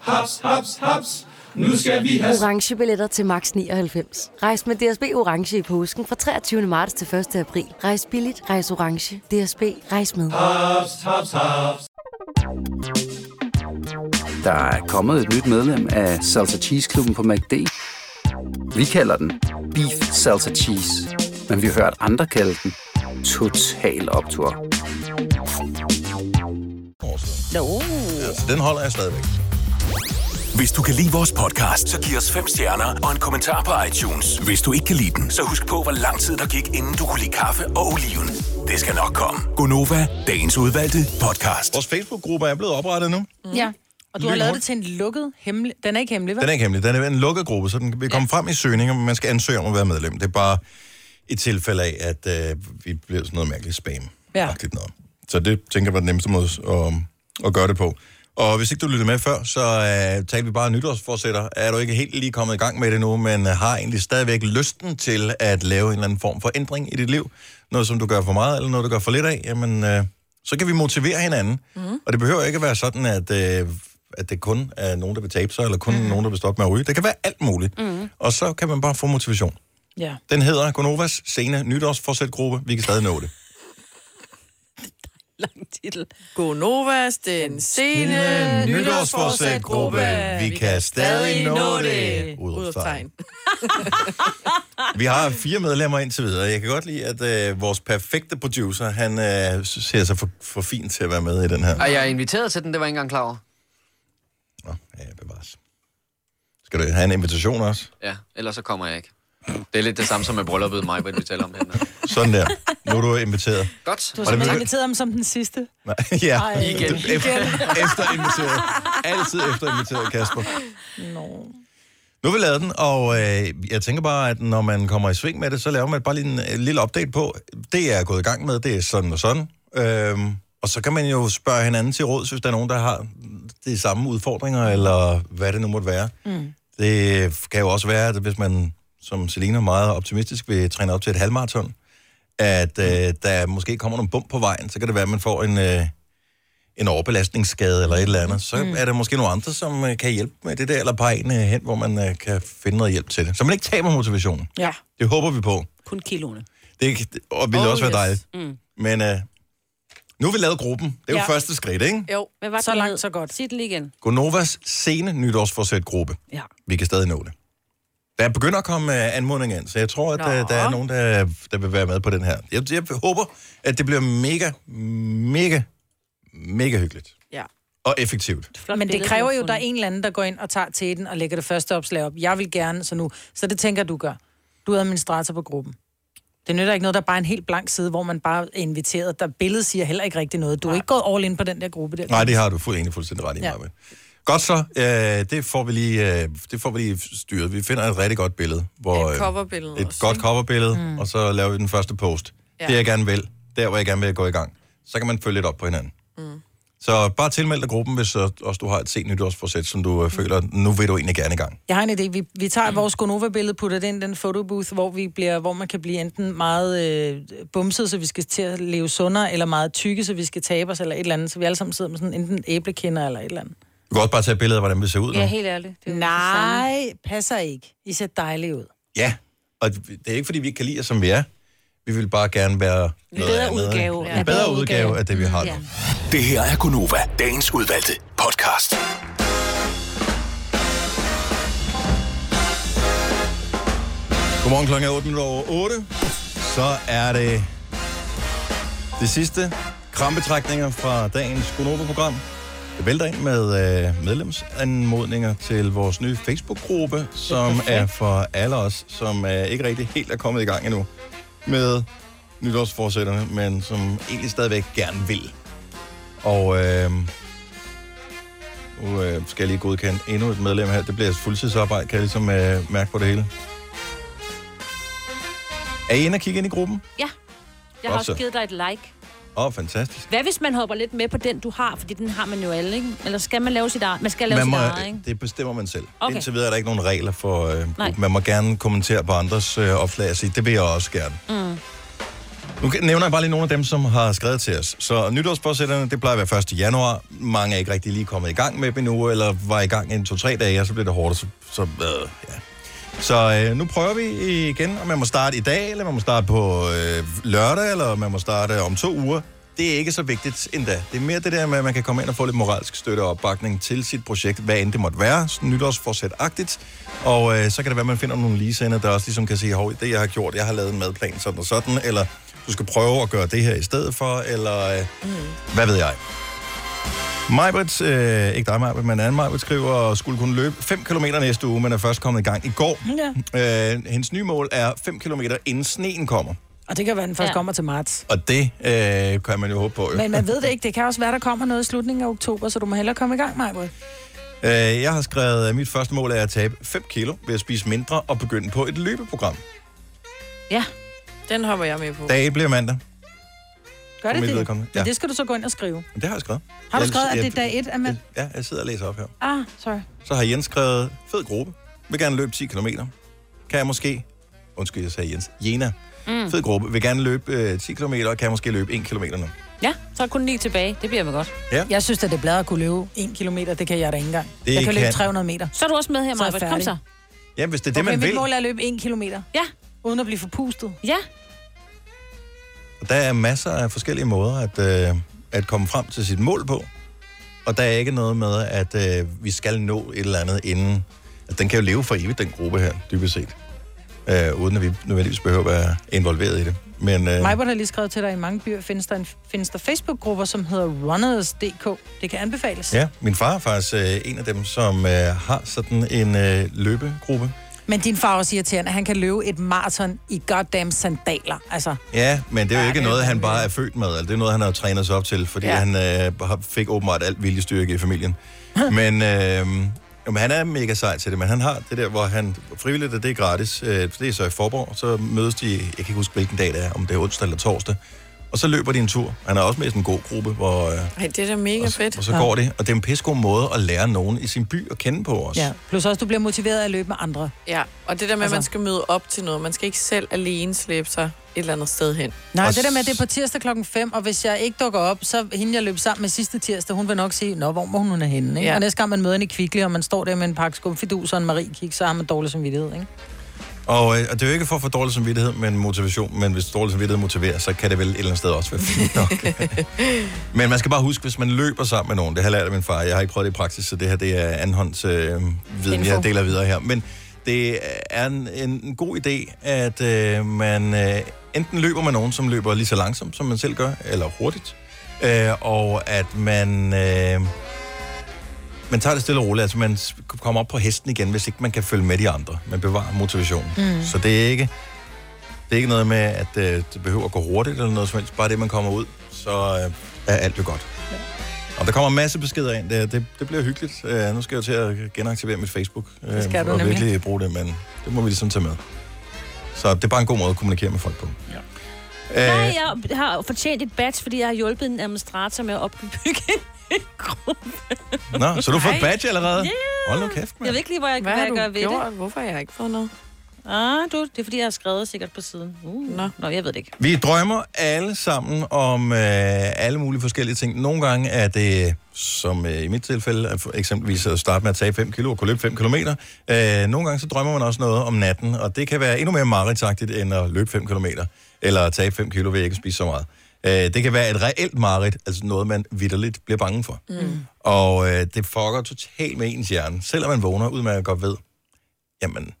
S20: Haps, haps, haps. Nu skal vi have
S21: orange billetter til max 99. Rejs med DSB orange i påsken fra 23. marts til 1. april. Rejs billigt, rejs orange. DSB rejs med.
S20: haps, haps, haps.
S22: Der er kommet et nyt medlem af Salsa Cheese Klubben på MACD. Vi kalder den Beef Salsa Cheese, men vi har hørt andre kalde den Total Optor.
S2: Jo.
S1: Altså, den holder jeg stadigvæk.
S12: Hvis du kan lide vores podcast, så giv os fem stjerner og en kommentar på iTunes. Hvis du ikke kan lide den, så husk på, hvor lang tid der gik, inden du kunne lide kaffe og oliven. Det skal nok komme.
S1: Gonova, dagens udvalgte podcast. Vores Facebook-gruppe er blevet oprettet nu.
S2: Ja. Og du har
S1: Lynhurtigt.
S2: lavet det til en lukket hemmelig... Den er ikke hemmelig, hva'?
S1: Den er ikke hemmelig. Den er en lukket gruppe, så den vil komme frem i søgninger, men man skal ansøge om at være medlem. Det er bare i tilfælde af, at øh, vi bliver sådan noget mærkeligt spam.
S2: Ja.
S1: Så det tænker jeg var den nemmeste måde at, at gøre det på. Og hvis ikke du lyttede med før, så øh, talte vi bare om nytårsforsætter. Er du ikke helt lige kommet i gang med det nu, men øh, har egentlig stadigvæk lysten til at lave en eller anden form for ændring i dit liv? Noget, som du gør for meget, eller noget, du gør for lidt af? Jamen, øh, så kan vi motivere hinanden. Mm. Og det behøver ikke at være sådan, at, øh, at det kun er nogen, der vil tabe sig, eller kun mm. nogen, der vil stoppe med at ryge. Det kan være alt muligt. Mm. Og så kan man bare få motivation.
S2: Ja.
S1: Den hedder Gonovas Sene Nytårsforsætgruppe. Vi kan stadig nå det.
S5: Titel. Gonovas, den sene
S1: nytårsforsætgruppe.
S5: nytårsforsætgruppe.
S1: Vi kan stadig nå det. Udråbstegn.
S5: Udropstegn.
S1: [laughs] Vi har fire medlemmer indtil videre. Jeg kan godt lide, at øh, vores perfekte producer, han øh, ser sig for, for fint til at være med i den her.
S8: Og jeg er inviteret til den, det var jeg ikke engang klar over.
S1: Skal du have en invitation også?
S8: Ja, ellers så kommer jeg ikke. Det er lidt det samme som med brylluppet mig, hvad vi taler om her.
S1: Sådan der. Nu er du inviteret.
S8: Godt.
S2: Du
S1: Og
S2: har
S1: det
S2: simpelthen
S1: begy-
S2: inviteret ham som den sidste.
S1: Nej, [laughs] ja.
S2: Ej. Igen.
S1: Efter, efter inviteret. Altid efter inviteret, Kasper.
S2: Nå.
S1: Nu vil lavet den, og øh, jeg tænker bare, at når man kommer i sving med det, så laver man bare lige en, en lille update på, det jeg er gået i gang med, det er sådan og sådan. Øhm, og så kan man jo spørge hinanden til råd, hvis der er nogen, der har mm, de samme udfordringer, eller hvad det nu måtte være.
S4: Mm.
S1: Det kan jo også være, at hvis man, som Selina, er meget optimistisk vil træne op til et halvmarathon, at øh, der måske kommer nogle bump på vejen, så kan det være, at man får en, øh, en overbelastningsskade eller et eller andet. Så
S4: Mm.
S1: mm. er der måske nogle andre, som øh, kan hjælpe med det der, eller pege en øh, hen, hvor man øh, kan finde noget hjælp til det. Så man ikke taber motivationen.
S3: [laughs]
S2: Ja.
S1: Det håber vi på.
S3: Kun kiloene.
S1: Det, kan- og ville oh, også være yes. dejligt.
S3: Mm.
S1: Men øh, nu har vi lavet gruppen. Det er jo
S3: Ja.
S1: ja. første skridt, ikke?
S3: Jo, Hvad var
S2: så
S3: den
S2: langt,
S3: hed?
S2: så godt.
S3: Sig den lige igen.
S1: Gonovas sene nytårsforsæt-gruppe.
S3: Ja.
S1: Vi kan stadig nå det. Der begynder at komme uh, anmodninger ind, så jeg tror, at uh, der er nogen, der, der vil være med på den her. Jeg, jeg håber, at det bliver mega, mega, mega hyggeligt
S5: Ja.
S1: og effektivt.
S2: Men det
S5: billede,
S2: kræver
S5: du har
S2: jo, at der er
S5: fundet.
S2: en eller anden, der går ind og tager teten og lægger det første opslag op. Jeg vil gerne, så nu. Så det tænker jeg, du gør. Du er administrator på gruppen. Det nytter ikke noget, der er bare en helt blank side, hvor man bare er inviteret. Der billedet siger heller ikke rigtig noget. Du er ikke gået all in på den der gruppe der.
S1: Nej, det har du fuld, egentlig fuldstændig ret i, ja.
S2: Ja.
S1: Godt så. Øh, det, får vi lige, øh, det får vi lige styret. Vi finder et rigtig godt billede. Hvor,
S5: Et
S1: øh,
S5: coverbillede
S1: Et
S5: også,
S1: godt
S5: ikke?
S1: coverbillede, mm.
S5: Mm.
S1: og så laver vi den første post. Ja.
S5: Ja.
S1: Det jeg gerne vil, der hvor jeg gerne vil gå i gang. Så kan man følge lidt op på hinanden.
S5: Mm.
S1: Så bare tilmeld dig gruppen, hvis øh, også du har et sent nytårsforsæt, som du øh, føler, nu vil du egentlig gerne i gang.
S2: Jeg har en idé. Vi, vi tager vores Gonova-billede, putter det ind i den fotobooth, hvor, vi bliver, hvor man kan blive enten meget øh, bumset, så vi skal til at leve sundere, eller meget tykke, så vi skal tabe os, eller et eller andet. Så vi alle sammen sidder med sådan enten æblekinder eller et eller andet.
S1: Du kan også bare tage et billede af, hvordan vi ser ud nu.
S2: helt ærligt. Nej, passer ikke. I ser dejlige ud.
S1: Ja, og det er ikke, fordi vi ikke kan lide os, som vi er. Vi vil bare gerne være noget
S2: bedre
S1: andet, ikke?
S2: udgave
S1: En
S2: af-
S1: bedre
S2: bedre
S1: udgave
S2: udgave.
S1: af det, vi har
S2: Ja.
S1: nu. Det her er Gunova, dagens udvalgte podcast. Godmorgen klokken er 8 minutter over 8. Så er det det sidste krampetrækninger fra dagens Gunova-program. Det vælter ind med øh, medlemsanmodninger til vores nye Facebook-gruppe, som er for alle os, som øh, ikke rigtig helt er kommet i gang endnu med nytårsforsætterne, men som egentlig stadigvæk gerne vil. Og øh, nu øh, skal jeg lige godkende endnu et medlem her. Det bliver et fuldtidsarbejde, kan jeg ligesom øh, mærke på det hele. Er I inde og kigge ind i gruppen?
S3: Ja. Jeg
S1: Godt
S3: har
S1: så.
S3: også givet dig et like.
S1: Åh, oh, fantastisk.
S3: Hvad hvis man hopper lidt med på den, du har? Fordi den har man jo alle, ikke? Eller skal man lave sit eget? Man skal lave
S1: Man
S3: sit
S1: må,
S3: eget, ikke?
S1: det bestemmer man selv. Okay.
S3: Okay.
S1: Indtil videre er der ikke nogen regler for... Øh,
S3: Nej.
S1: gruppen. man må gerne kommentere på andres øh, opslag og sige, det vil jeg også gerne.
S3: Mm.
S1: Nu kan- nævner jeg bare lige nogle af dem, som har skrevet til os. Så nytårsforsætterne, det plejer at være 1. januar. Mange er ikke rigtig lige kommet i gang med dem endnu, eller var i gang en to-tre dage, og så bliver det hårdt. og Så, så, øh, ja. så øh, nu prøver vi igen, om man må starte i dag, eller man må starte på øh, lørdag, eller man må starte om to uger. Det er ikke så vigtigt endda. Det er mere det der med, at man kan komme ind og få lidt moralsk støtte og opbakning til sit projekt, hvad end det måtte være, sådan nytårsforsæt-agtigt. Og øh, så kan det være, at man finder nogle ligesender, der også ligesom kan sige, hov, det jeg har gjort, jeg har lavet en madplan sådan og sådan, eller du skal prøve at gøre det her i stedet for, eller øh, mm. hvad ved jeg. Majbert, øh, ikke dig Majbert, men anden Majbert skriver, skulle kunne løbe 5 km næste uge, men er først kommet i gang i går.
S2: Ja.
S1: Øh, hendes nye mål er 5 km inden sneen kommer.
S2: Og det kan være, den først
S1: Ja.
S2: ja. kommer til marts.
S1: Og det øh, kan man jo håbe på. Jo.
S2: Men man ved det ikke. Det kan også være, der kommer noget i slutningen af oktober, så du må hellere komme i gang, Majbrit.
S1: [laughs] Øh, jeg har skrevet, at mit første mål er at tabe 5 kilo ved at spise mindre og begynde på et løbeprogram.
S3: Ja.
S5: Den hopper jeg med på.
S1: Dage bliver mandag.
S2: Gør
S1: For
S2: det
S1: mit
S2: det?
S1: vedkommende,
S2: Men
S1: ja.
S2: det skal du så gå ind og skrive.
S1: Men det har jeg skrevet.
S2: Har du
S1: jeg,
S2: skrevet, at det
S1: jeg,
S2: er dag 1, at man...
S1: Ja, jeg sidder og læser op her.
S2: Ah, sorry.
S1: Så har Jens skrevet, fed gruppe, vil gerne løbe 10 km. Kan jeg måske, undskyld, jeg sagde Jens, Jena, mm. fed gruppe, vil gerne løbe øh, 10 km, og kan jeg måske løbe 1 km nu.
S3: Ja, så er der kun ni tilbage. Det bliver vel godt.
S1: Ja.
S2: Jeg synes, at det er bladere at kunne løbe 1 km. Det kan jeg da ikke engang. jeg kan, løbe
S1: kan-
S2: 300 meter.
S3: Så er du også med her,
S2: Så er jeg
S3: Maja. Kom
S2: færdig.
S3: så.
S1: Jamen, hvis det er det, man
S2: mit
S1: vil,
S2: mål er at løbe 1 km.
S3: Ja.
S2: Uden at blive forpustet.
S3: Ja.
S1: og der er masser af forskellige måder at, øh, at komme frem til sit mål på. Og der er ikke noget med, at øh, vi skal nå et eller andet inden. Altså, den kan jo leve for evigt, den gruppe her, dybest set. Øh, uden at vi nødvendigvis behøver at være involveret i det. Men, øh,
S2: Majbert har lige skrevet til dig, at i mange byer findes der, en, findes der Facebook-grupper, som hedder Runners.dk. Det kan anbefales.
S1: Ja, min far er faktisk øh, en af dem, som øh, har sådan en øh, løbegruppe.
S2: Men din far er også irriterende. Han kan løbe et maraton i goddamn sandaler. Altså,
S1: Ja, men det er jo ikke noget, han bare er født med. eller Det er noget, han har trænet sig op til, fordi ja.
S2: Ja.
S1: han øh, har- fik åbenbart alt viljestyrke i [laughs] familien. men, øh, jamen, han er mega sej til det, men han har det der, hvor han frivilligt, og det er gratis, øh, det er så i Forborg, så mødes de, jeg kan ikke huske, hvilken dag det er, om det er onsdag eller torsdag, og så løber de en tur. Han er også med i sådan en god gruppe, hvor... Øh,
S5: Ej, det er da mega fedt.
S1: og så går det, og det er en pissegod måde at lære nogen i sin by at kende på os.
S2: ja. Plus også, du bliver motiveret af at løbe med andre.
S5: Ja, og det der med, altså.
S2: Altså.
S5: at man skal møde op til noget. Man skal ikke selv alene slæbe sig et eller andet sted hen.
S2: Nej, det der med, at det er på tirsdag klokken 5, og hvis jeg ikke dukker op, så hende, jeg løb sammen med sidste tirsdag, hun vil nok sige, nå, hvor må hun er henne, ikke?
S5: Ja.
S2: Ja. Og næste gang man møder hende i Kvickly, og man står der med en pakke skumfidus og en mariekik, så har man dårlig samvittighed, ikke?
S1: Og, øh, og det er jo ikke for at få dårlig samvittighed, men motivation. Men hvis dårlig samvittighed motiverer, så kan det vel et eller andet sted også være fint nok. men man skal bare huske, hvis man løber sammen med nogen, det har jeg lært af min far, jeg har ikke prøvet det i praksis, så det her det er anhånds øh, viden, jeg
S4: Info.
S1: deler videre her. Men det er en, en en god idé, at øh, man øh, enten løber med nogen, som løber lige så langsomt, som man selv gør, eller hurtigt, øh, og at man... Øh, man tager det stille og roligt, altså man s- kommer op på hesten igen, hvis ikke man kan følge med de andre. Man bevarer motivationen. Mm.
S4: Mm.
S1: Så det er ikke... Det Det er ikke noget med, at øh, det behøver at gå hurtigt eller noget som helst. Bare det, man kommer ud, så øh, er alt jo godt. Og der kommer en masse beskeder ind. Det, det, det bliver hyggeligt. Øh, nu skal jeg jo til at genaktivere mit Facebook. Øh,
S2: Det skal du
S1: og
S2: nemlig.
S1: virkelig bruge det, men det må vi ligesom tage med. Så det er bare en god måde at kommunikere med folk på. Øh, Ja.
S3: Nej, jeg har fortjent et badge, fordi jeg har hjulpet en administrator med at opbygge [laughs] en gruppe.
S1: Nå, så du har fået et
S3: Nej.
S1: badge allerede?
S3: Ja.
S1: Hold nu kæft,
S3: Jeg ved
S1: mand.
S3: ikke lige, hvor jeg,
S5: Hvad
S3: hvad
S5: har
S3: jeg
S5: du
S3: gør ved
S5: gjort?
S3: det. Hvorfor har jeg ikke fået noget? Ah, du, det er fordi, jeg har skrevet sikkert på siden. Uh, nå. nå, jeg ved det ikke.
S1: Vi drømmer alle sammen om øh, alle mulige forskellige ting. Nogle gange er det, som øh, i mit tilfælde, at for eksempelvis at starte med at tage 5 kilo og kunne løbe 5 km. Øh, nogle gange så drømmer man også noget om natten, og det kan være endnu mere mareridtsagtigt end at løbe 5 km, eller at tage 5 kilo ved ikke at spise så meget. Øh, det kan være et reelt mareridt, altså noget, man vidderligt bliver bange for.
S4: Mm.
S1: Og øh, det fucker totalt med ens hjerne, selvom man vågner, uden man godt ved, jamen,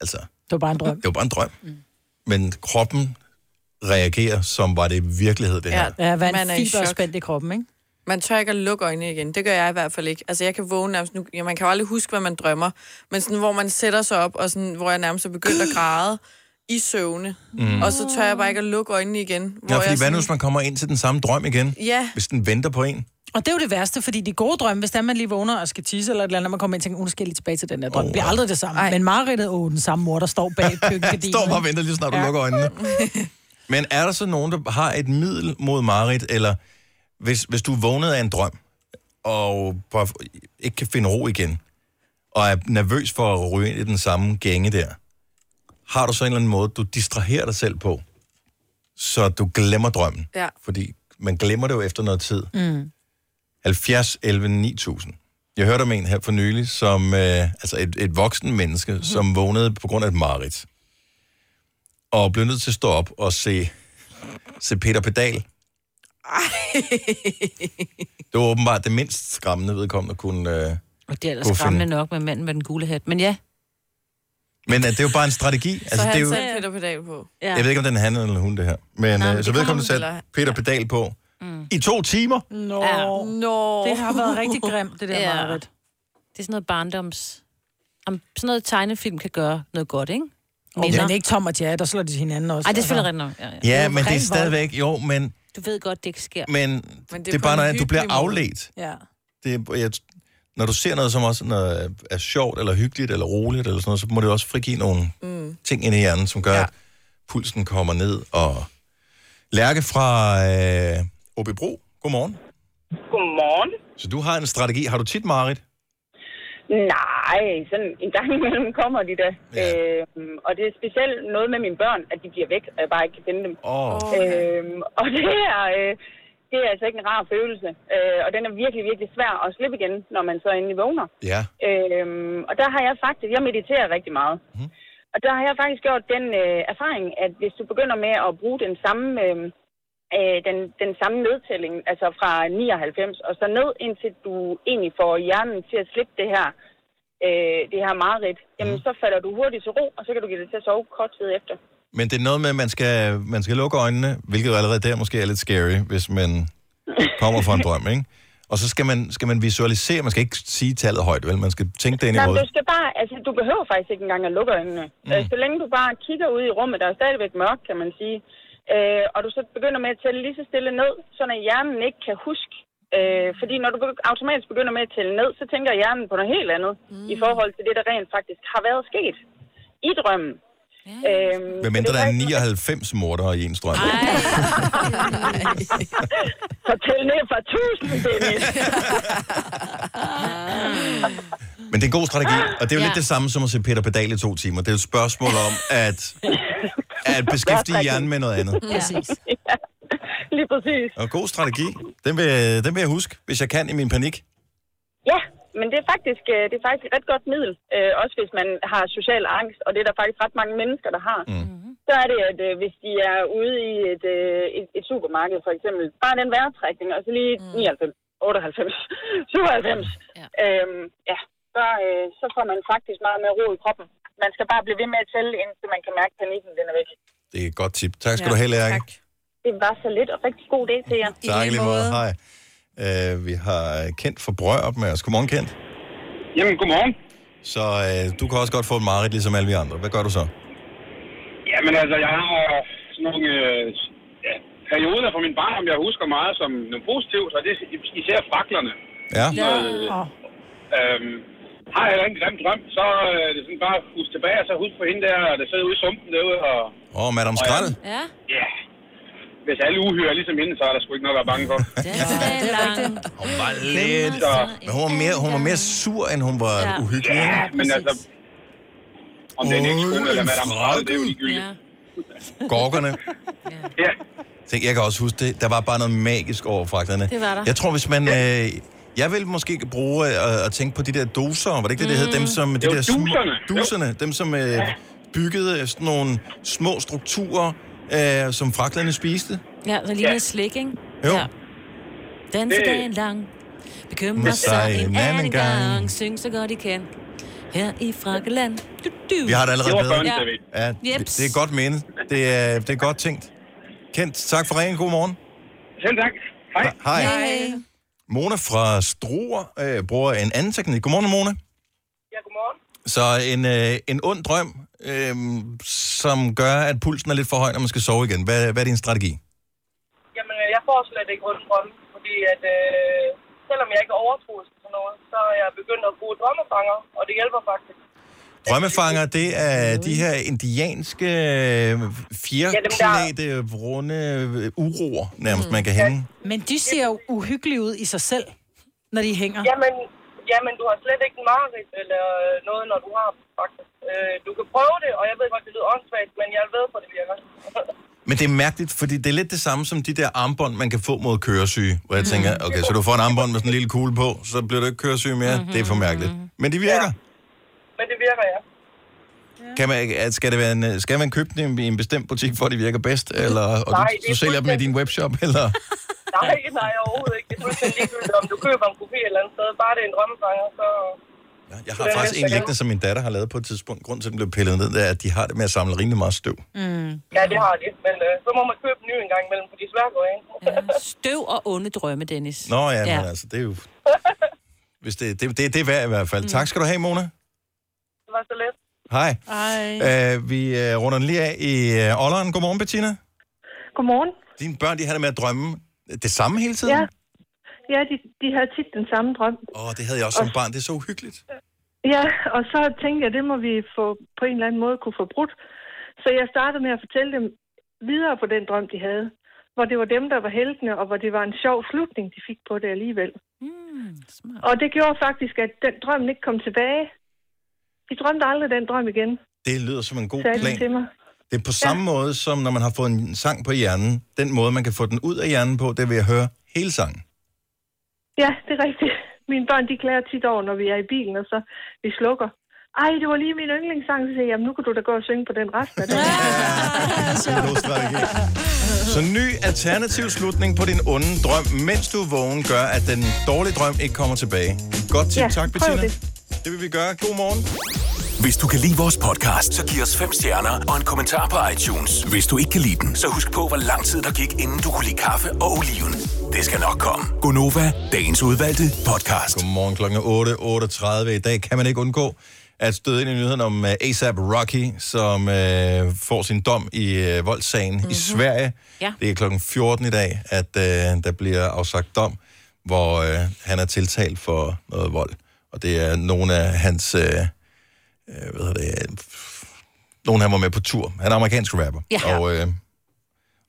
S1: altså,
S2: Det var bare en drøm.
S1: det var bare en drøm. Mm. Men kroppen reagerer, som var det virkelighed, det her.
S2: Ja, hvad en
S5: Man er i
S2: fiber er
S5: chok.
S2: spændt i kroppen, ikke?
S5: Man tør ikke at lukke øjnene igen. Det gør jeg i hvert fald ikke. Altså, jeg kan vågne nærmest nu. Ja, man kan jo aldrig huske, hvad man drømmer. Men sådan, hvor man sætter sig op, og sådan, hvor jeg nærmest er begyndt at græde i søvne.
S1: Mm.
S5: Mm. Og så tør jeg bare ikke at lukke øjnene igen. Hvor
S1: Ja, fordi
S5: jeg
S1: hvad nu, hvis man kommer ind til den samme drøm igen?
S2: Ja.
S1: Hvis den venter på en?
S2: Og det er jo det værste, fordi de gode drømme, hvis der man lige vågner og skal tisse eller et eller andet, og man kommer ind og tænker, "Uh, nu skal jeg lige tilbage til den der drøm. Oh, bliver aldrig det samme. Ej. Men mareridtet, åh, den samme mor, der står
S1: [laughs]
S2: bag køkkengardinen.
S1: Står bare og venter lige så snart, du lukker øjnene. Men er der så nogen, der har et middel mod mareridt, eller hvis, hvis du er vågnet af en drøm, og bare ikke kan finde ro igen, og er nervøs for at ryge ind i den samme gænge der, har du så en eller anden måde, du distraherer dig selv på, så du glemmer drømmen?
S5: Ja.
S1: Fordi man glemmer det jo efter noget tid.
S2: Mm.
S1: 70, 11, 9000. Jeg hørte om en her for nylig, som, øh, altså et, et voksen menneske, mm. som vågnede på grund af et mareridt. Og blev nødt til at stå op og se, se Peter Pedal. Det var åbenbart det mindst skræmmende vedkommende kunne... Øh,
S3: Og det er ellers
S1: Hvorfor?
S3: skræmmende nok med manden med den gule hat. Men ja.
S1: men øh, det er jo bare en strategi.
S5: Så altså,
S1: det
S5: han
S1: er jo,
S5: satte Peter Pedal på. Ja.
S1: jeg ved ikke, om den handler eller hun, det her. Men,
S5: Nej,
S1: Nej,
S5: men
S1: øh,
S5: det
S1: så
S5: kommer
S1: vedkommende
S5: hun
S1: satte Peter Pedal på mm. i to timer.
S2: Nå.
S3: Ja.
S5: Nå.
S2: Det har været rigtig grimt, det der ja. mareridt.
S3: Det er sådan noget barndoms... Om sådan noget tegnefilm kan gøre noget godt, ikke?
S2: Oh, men ikke Tom og Jerry, der slår de hinanden også.
S3: Ej, det er selvfølgelig
S2: Altså.
S3: rigtigt nok. Ja,
S1: Ja, men det er stadigvæk... Jo, men,
S3: Du ved godt, det ikke sker.
S1: men, men det, det er bare noget, andet. du bliver afledt.
S2: Ja.
S1: det, jeg, når du ser noget, som også noget er- er sjovt, eller hyggeligt, eller roligt, eller sådan noget, så må det også frigive nogle mm. ting ind i hjernen, som gør, ja. at pulsen kommer ned. Og Lærke fra øh, OB Bro, godmorgen.
S23: Godmorgen.
S1: Så du har en strategi. Har du tit, Marit?
S23: Nej, sådan en gang imellem kommer de da. Ja. Øhm, og det er specielt noget med mine børn, at de bliver væk, og jeg bare ikke kan finde dem.
S1: Oh.
S23: Øhm, [laughs] og det er, øh, det er altså ikke en rar følelse. Øh, og den er virkelig, virkelig svær at slippe igen, når man så endelig vågner.
S1: Ja.
S23: Øhm, og der har jeg faktisk, jeg mediterer rigtig meget.
S1: Mhm.
S23: Mm. Og der har jeg faktisk gjort den øh, erfaring, at hvis du begynder med at bruge den samme, øh, øh, den, den samme nedtælling, altså fra 99 og så ned, indtil du egentlig får hjernen til at slippe det her, øh, det her mareridt, jamen
S1: Mhm.
S23: så falder du hurtigt til ro, og så kan du give dig til at sove kort tid efter.
S1: Men det er noget med, at man skal, man skal lukke øjnene, hvilket jo allerede der måske er lidt scary, hvis man kommer
S23: [laughs]
S1: fra en drøm, ikke? Og så skal man, skal man visualisere, man skal ikke sige tallet højt, vel? Man skal tænke det ind i
S23: Nej, men du
S1: hovedet.
S23: skal bare, altså du behøver faktisk ikke engang at lukke øjnene.
S1: Mm.
S23: Mm. Øh, så længe du bare kigger ud i rummet, der er stadigvæk mørkt, kan man sige, øh, og du så begynder med at tælle lige så stille ned, så at hjernen ikke kan huske. Øh, fordi når du begy- automatisk begynder med at tælle ned, så tænker hjernen på noget helt andet mm. i forhold til det, der rent faktisk har været sket i drømmen. Ja, øhm, [laughs]
S1: Hvem
S23: så
S1: mindre
S23: det
S1: der
S23: er
S1: er
S23: faktisk-
S1: 99 morder i ens drøm.
S23: Fortæl ned fra 1000,
S1: [laughs]
S23: Dennis.
S1: Men det er en god strategi, og det er jo ja.
S23: Ja.
S1: lidt det samme som at se Peter Pedal i to timer. Det er jo et spørgsmål om at,
S23: [laughs]
S1: at beskæftige hjernen med noget andet.
S23: Præcis. ja,
S17: [laughs]
S23: lige præcis.
S1: Og god strategi, den vil, den vil jeg huske, hvis jeg kan i min panik.
S23: Ja, men det er faktisk, øh, det er faktisk et ret godt middel, øh, også hvis man har social angst, og det er der faktisk ret mange mennesker, der har. Mm. Så er det, at øh, hvis de er ude i et, øh, et, et supermarked for eksempel, bare den vejrtrækning, og så lige mm. 99, [laughs] 98, 97, ja. Øhm, ja, så, øh, så får man faktisk meget mere ro i kroppen. Man skal bare blive ved med at tælle, indtil man kan mærke, at panikken den er væk.
S1: Det er et godt tip. Tak skal
S23: Ja,
S1: du have, Lærke.
S23: tak. Det var så lidt, og rigtig god dag til jer.
S1: Tak i lige måde. Hej. Uh, vi har Kent fra Brørup med os. Godmorgen, Kent. øh, Jamen, godmorgen. Så uh, du kan også godt få et mareridt, ligesom alle vi andre. Hvad gør du så?
S11: Ja,
S4: men altså, jeg har øh, sådan nogle øh, ja, perioder fra min barndom, jeg husker meget som noget positivt, og det er især fraklerne.
S1: Ja.
S4: Øh, øhm, har jeg da en grim drøm, så øh, det er sådan bare husk tilbage, og så husk på hende der, der sidder ude i sumpen derude, og
S1: Åh, oh, Madame Skrald.
S3: Ja.
S4: ja, hvis alle uhyrer er ligesom hende, så er der sgu ikke noget at være bange
S1: [laughs]
S4: for.
S1: Hun var lidt... Men hun var mere, hun var mere sur, end hun var
S4: Ja.
S1: uhyggelig.
S4: Ja,
S1: ikke?
S4: men altså, om det er en ekskone eller hvad der er meget, det er jo ligegyldigt.
S1: Mm. Gorkerne.
S4: Ja.
S1: Tænk, jeg kan også huske det. Der var bare noget magisk over fragterne.
S4: Det var der.
S1: Jeg tror, hvis man... Øh, jeg vil måske bruge øh, at tænke på de der doser. Var det ikke det, det hed? Dem, som, de
S4: Jo,
S1: der små-
S4: duserne. Jo.
S1: duserne. Dem, som øh, byggede øh, sådan nogle små strukturer, øh, som fragterne spiste.
S3: Ja, så lige ja. slik, ikke?
S1: Jo.
S3: Ja. Danse
S1: Det-
S3: dagen lang. Bekymre
S1: Med
S3: sig en anden gang. Syng så godt I kan. Her i Frakkeland. Du, du.
S1: Vi har det allerede bedre. Ja,
S3: Ja.
S1: det, det er et godt minde. Det er, det er godt tænkt. Kent, tak for ringen. God morgen.
S4: Selv tak. Hej.
S1: Hej. Mona fra Struer øh, bruger en anden teknik. Godmorgen, Mona.
S17: Ja, godmorgen.
S1: Så en, øh, en ond drøm, øh, som gør, at pulsen er lidt for høj, når man skal sove igen. Hvad, hvad er din strategi?
S17: Jamen, øh, jeg får slet ikke onde drømme, fordi at, øh, selvom jeg ikke er overtroisk til sådan noget, så er jeg begyndt at bruge drømmefanger, og det hjælper faktisk.
S1: Drømmefanger, det er de her indianske øh, fjerklædte, runde øh, uroer, nærmest man kan hænge.
S2: Men de ser jo uhyggelige ud i sig selv, når de hænger.
S17: Jamen, jamen du har slet ikke en mareridt eller øh, noget, når du har dem, faktisk. Øh, du kan prøve det, og jeg ved godt, det lyder åndssvagt, men jeg ved, for det virker.
S1: Men det er mærkeligt, fordi det er lidt det samme som de der armbånd, man kan få mod køresyge. Hvor jeg tænker, okay, så du får en armbånd med sådan en lille kugle på, så bliver du ikke køresyge mere.
S17: Mhm.
S1: Det er for mærkeligt. Men de virker.
S17: men det virker, ja.
S1: Kan man, at- skal, det være en, øh, skal man købe dem i en bestemt butik, hvor de virker bedst? Eller og du,
S17: Mm. Nej, det er
S1: du sælger dem i din webshop? Eller?
S17: Nej, nej, overhovedet ikke. Det er fuldstændig ligegyldigt, om du køber en kopi et eller andet sted. Bare det er en drømmefanger, så...
S1: Jeg har faktisk en liggende, som min datter har lavet på et tidspunkt. Grunden til, at den blev pillet ned, det er, at de har det med at samle rimelig meget støv.
S17: Mm. Ja, det har de. Men øh, så må man købe en ny en gang imellem, for de er svært at gå ind.
S3: Støv og onde drømme, Dennis.
S1: Nå ja, ja. Men, altså, det er jo... Hvis det, det, det, det er værd i hvert fald. Mm. Tak skal du have, Mona.
S17: Det var så let.
S1: Hej.
S17: Hej.
S1: Uh, vi uh, runder den lige af i øh, ålderen. Uh, Godmorgen, Bettina.
S6: Godmorgen.
S1: Dine børn, de har det med at drømme det samme hele tiden?
S6: Ja, ja de, de havde tit den samme drøm.
S1: Åh, oh, det havde jeg også som barn. Det er så uhyggeligt.
S6: Ja, og så tænkte jeg, det må vi få, på en eller anden måde kunne få brudt. Så jeg startede med at fortælle dem videre på den drøm, de havde. Hvor det var dem, der var heltene, og hvor det var en sjov slutning, de fik på det alligevel.
S1: [laughs]
S6: Mm, og det gjorde faktisk, at den drøm ikke kom tilbage. De drømte aldrig den drøm igen,
S1: Det lyder som en god
S6: sagde de
S1: plan.
S6: til mig.
S1: Det er på samme ja. måde, som når man har fået en sang på hjernen. Den måde, man kan få den ud af hjernen på, det er ved at høre hele sangen.
S6: Ja, det er rigtigt. [laughs] Mine børn, de klager tit over, når vi er i bilen, og så vi slukker. Ej, det var lige min yndlingssang, så siger jeg, jamen nu kan du da gå og synge på den resten af den.
S1: Så ny alternativ slutning på din onde drøm, mens du er vågen, gør, at den dårlige drøm ikke kommer tilbage. Godt tip.
S12: Ja,
S1: tak,
S12: prøv
S1: Bettina.
S12: det.
S1: Det vil vi gøre. God morgen.
S12: Hvis du kan lide vores podcast, så giv os fem stjerner og en kommentar på iTunes. Hvis du ikke kan lide den, så husk på, hvor lang tid der gik, inden du kunne lide kaffe og oliven. Det skal nok komme.
S1: Gonova, dagens udvalgte podcast. Godmorgen klokken er 8.38. I dag kan man ikke undgå at støde ind i nyhederne om øh, ASAP Rocky, som øh, får sin dom i øh, voldssagen
S2: Mhm.
S1: mm-hmm. i Sverige.
S3: Ja.
S1: Det er klokken 14 i dag, at øh, der bliver afsagt dom, hvor øh, han er tiltalt for noget vold. Og det er nogle af hans... Øh, øh, hvad hedder det? øh, Nogle han var med på tur. Han er amerikansk rapper.
S2: Ja.
S1: Og øh,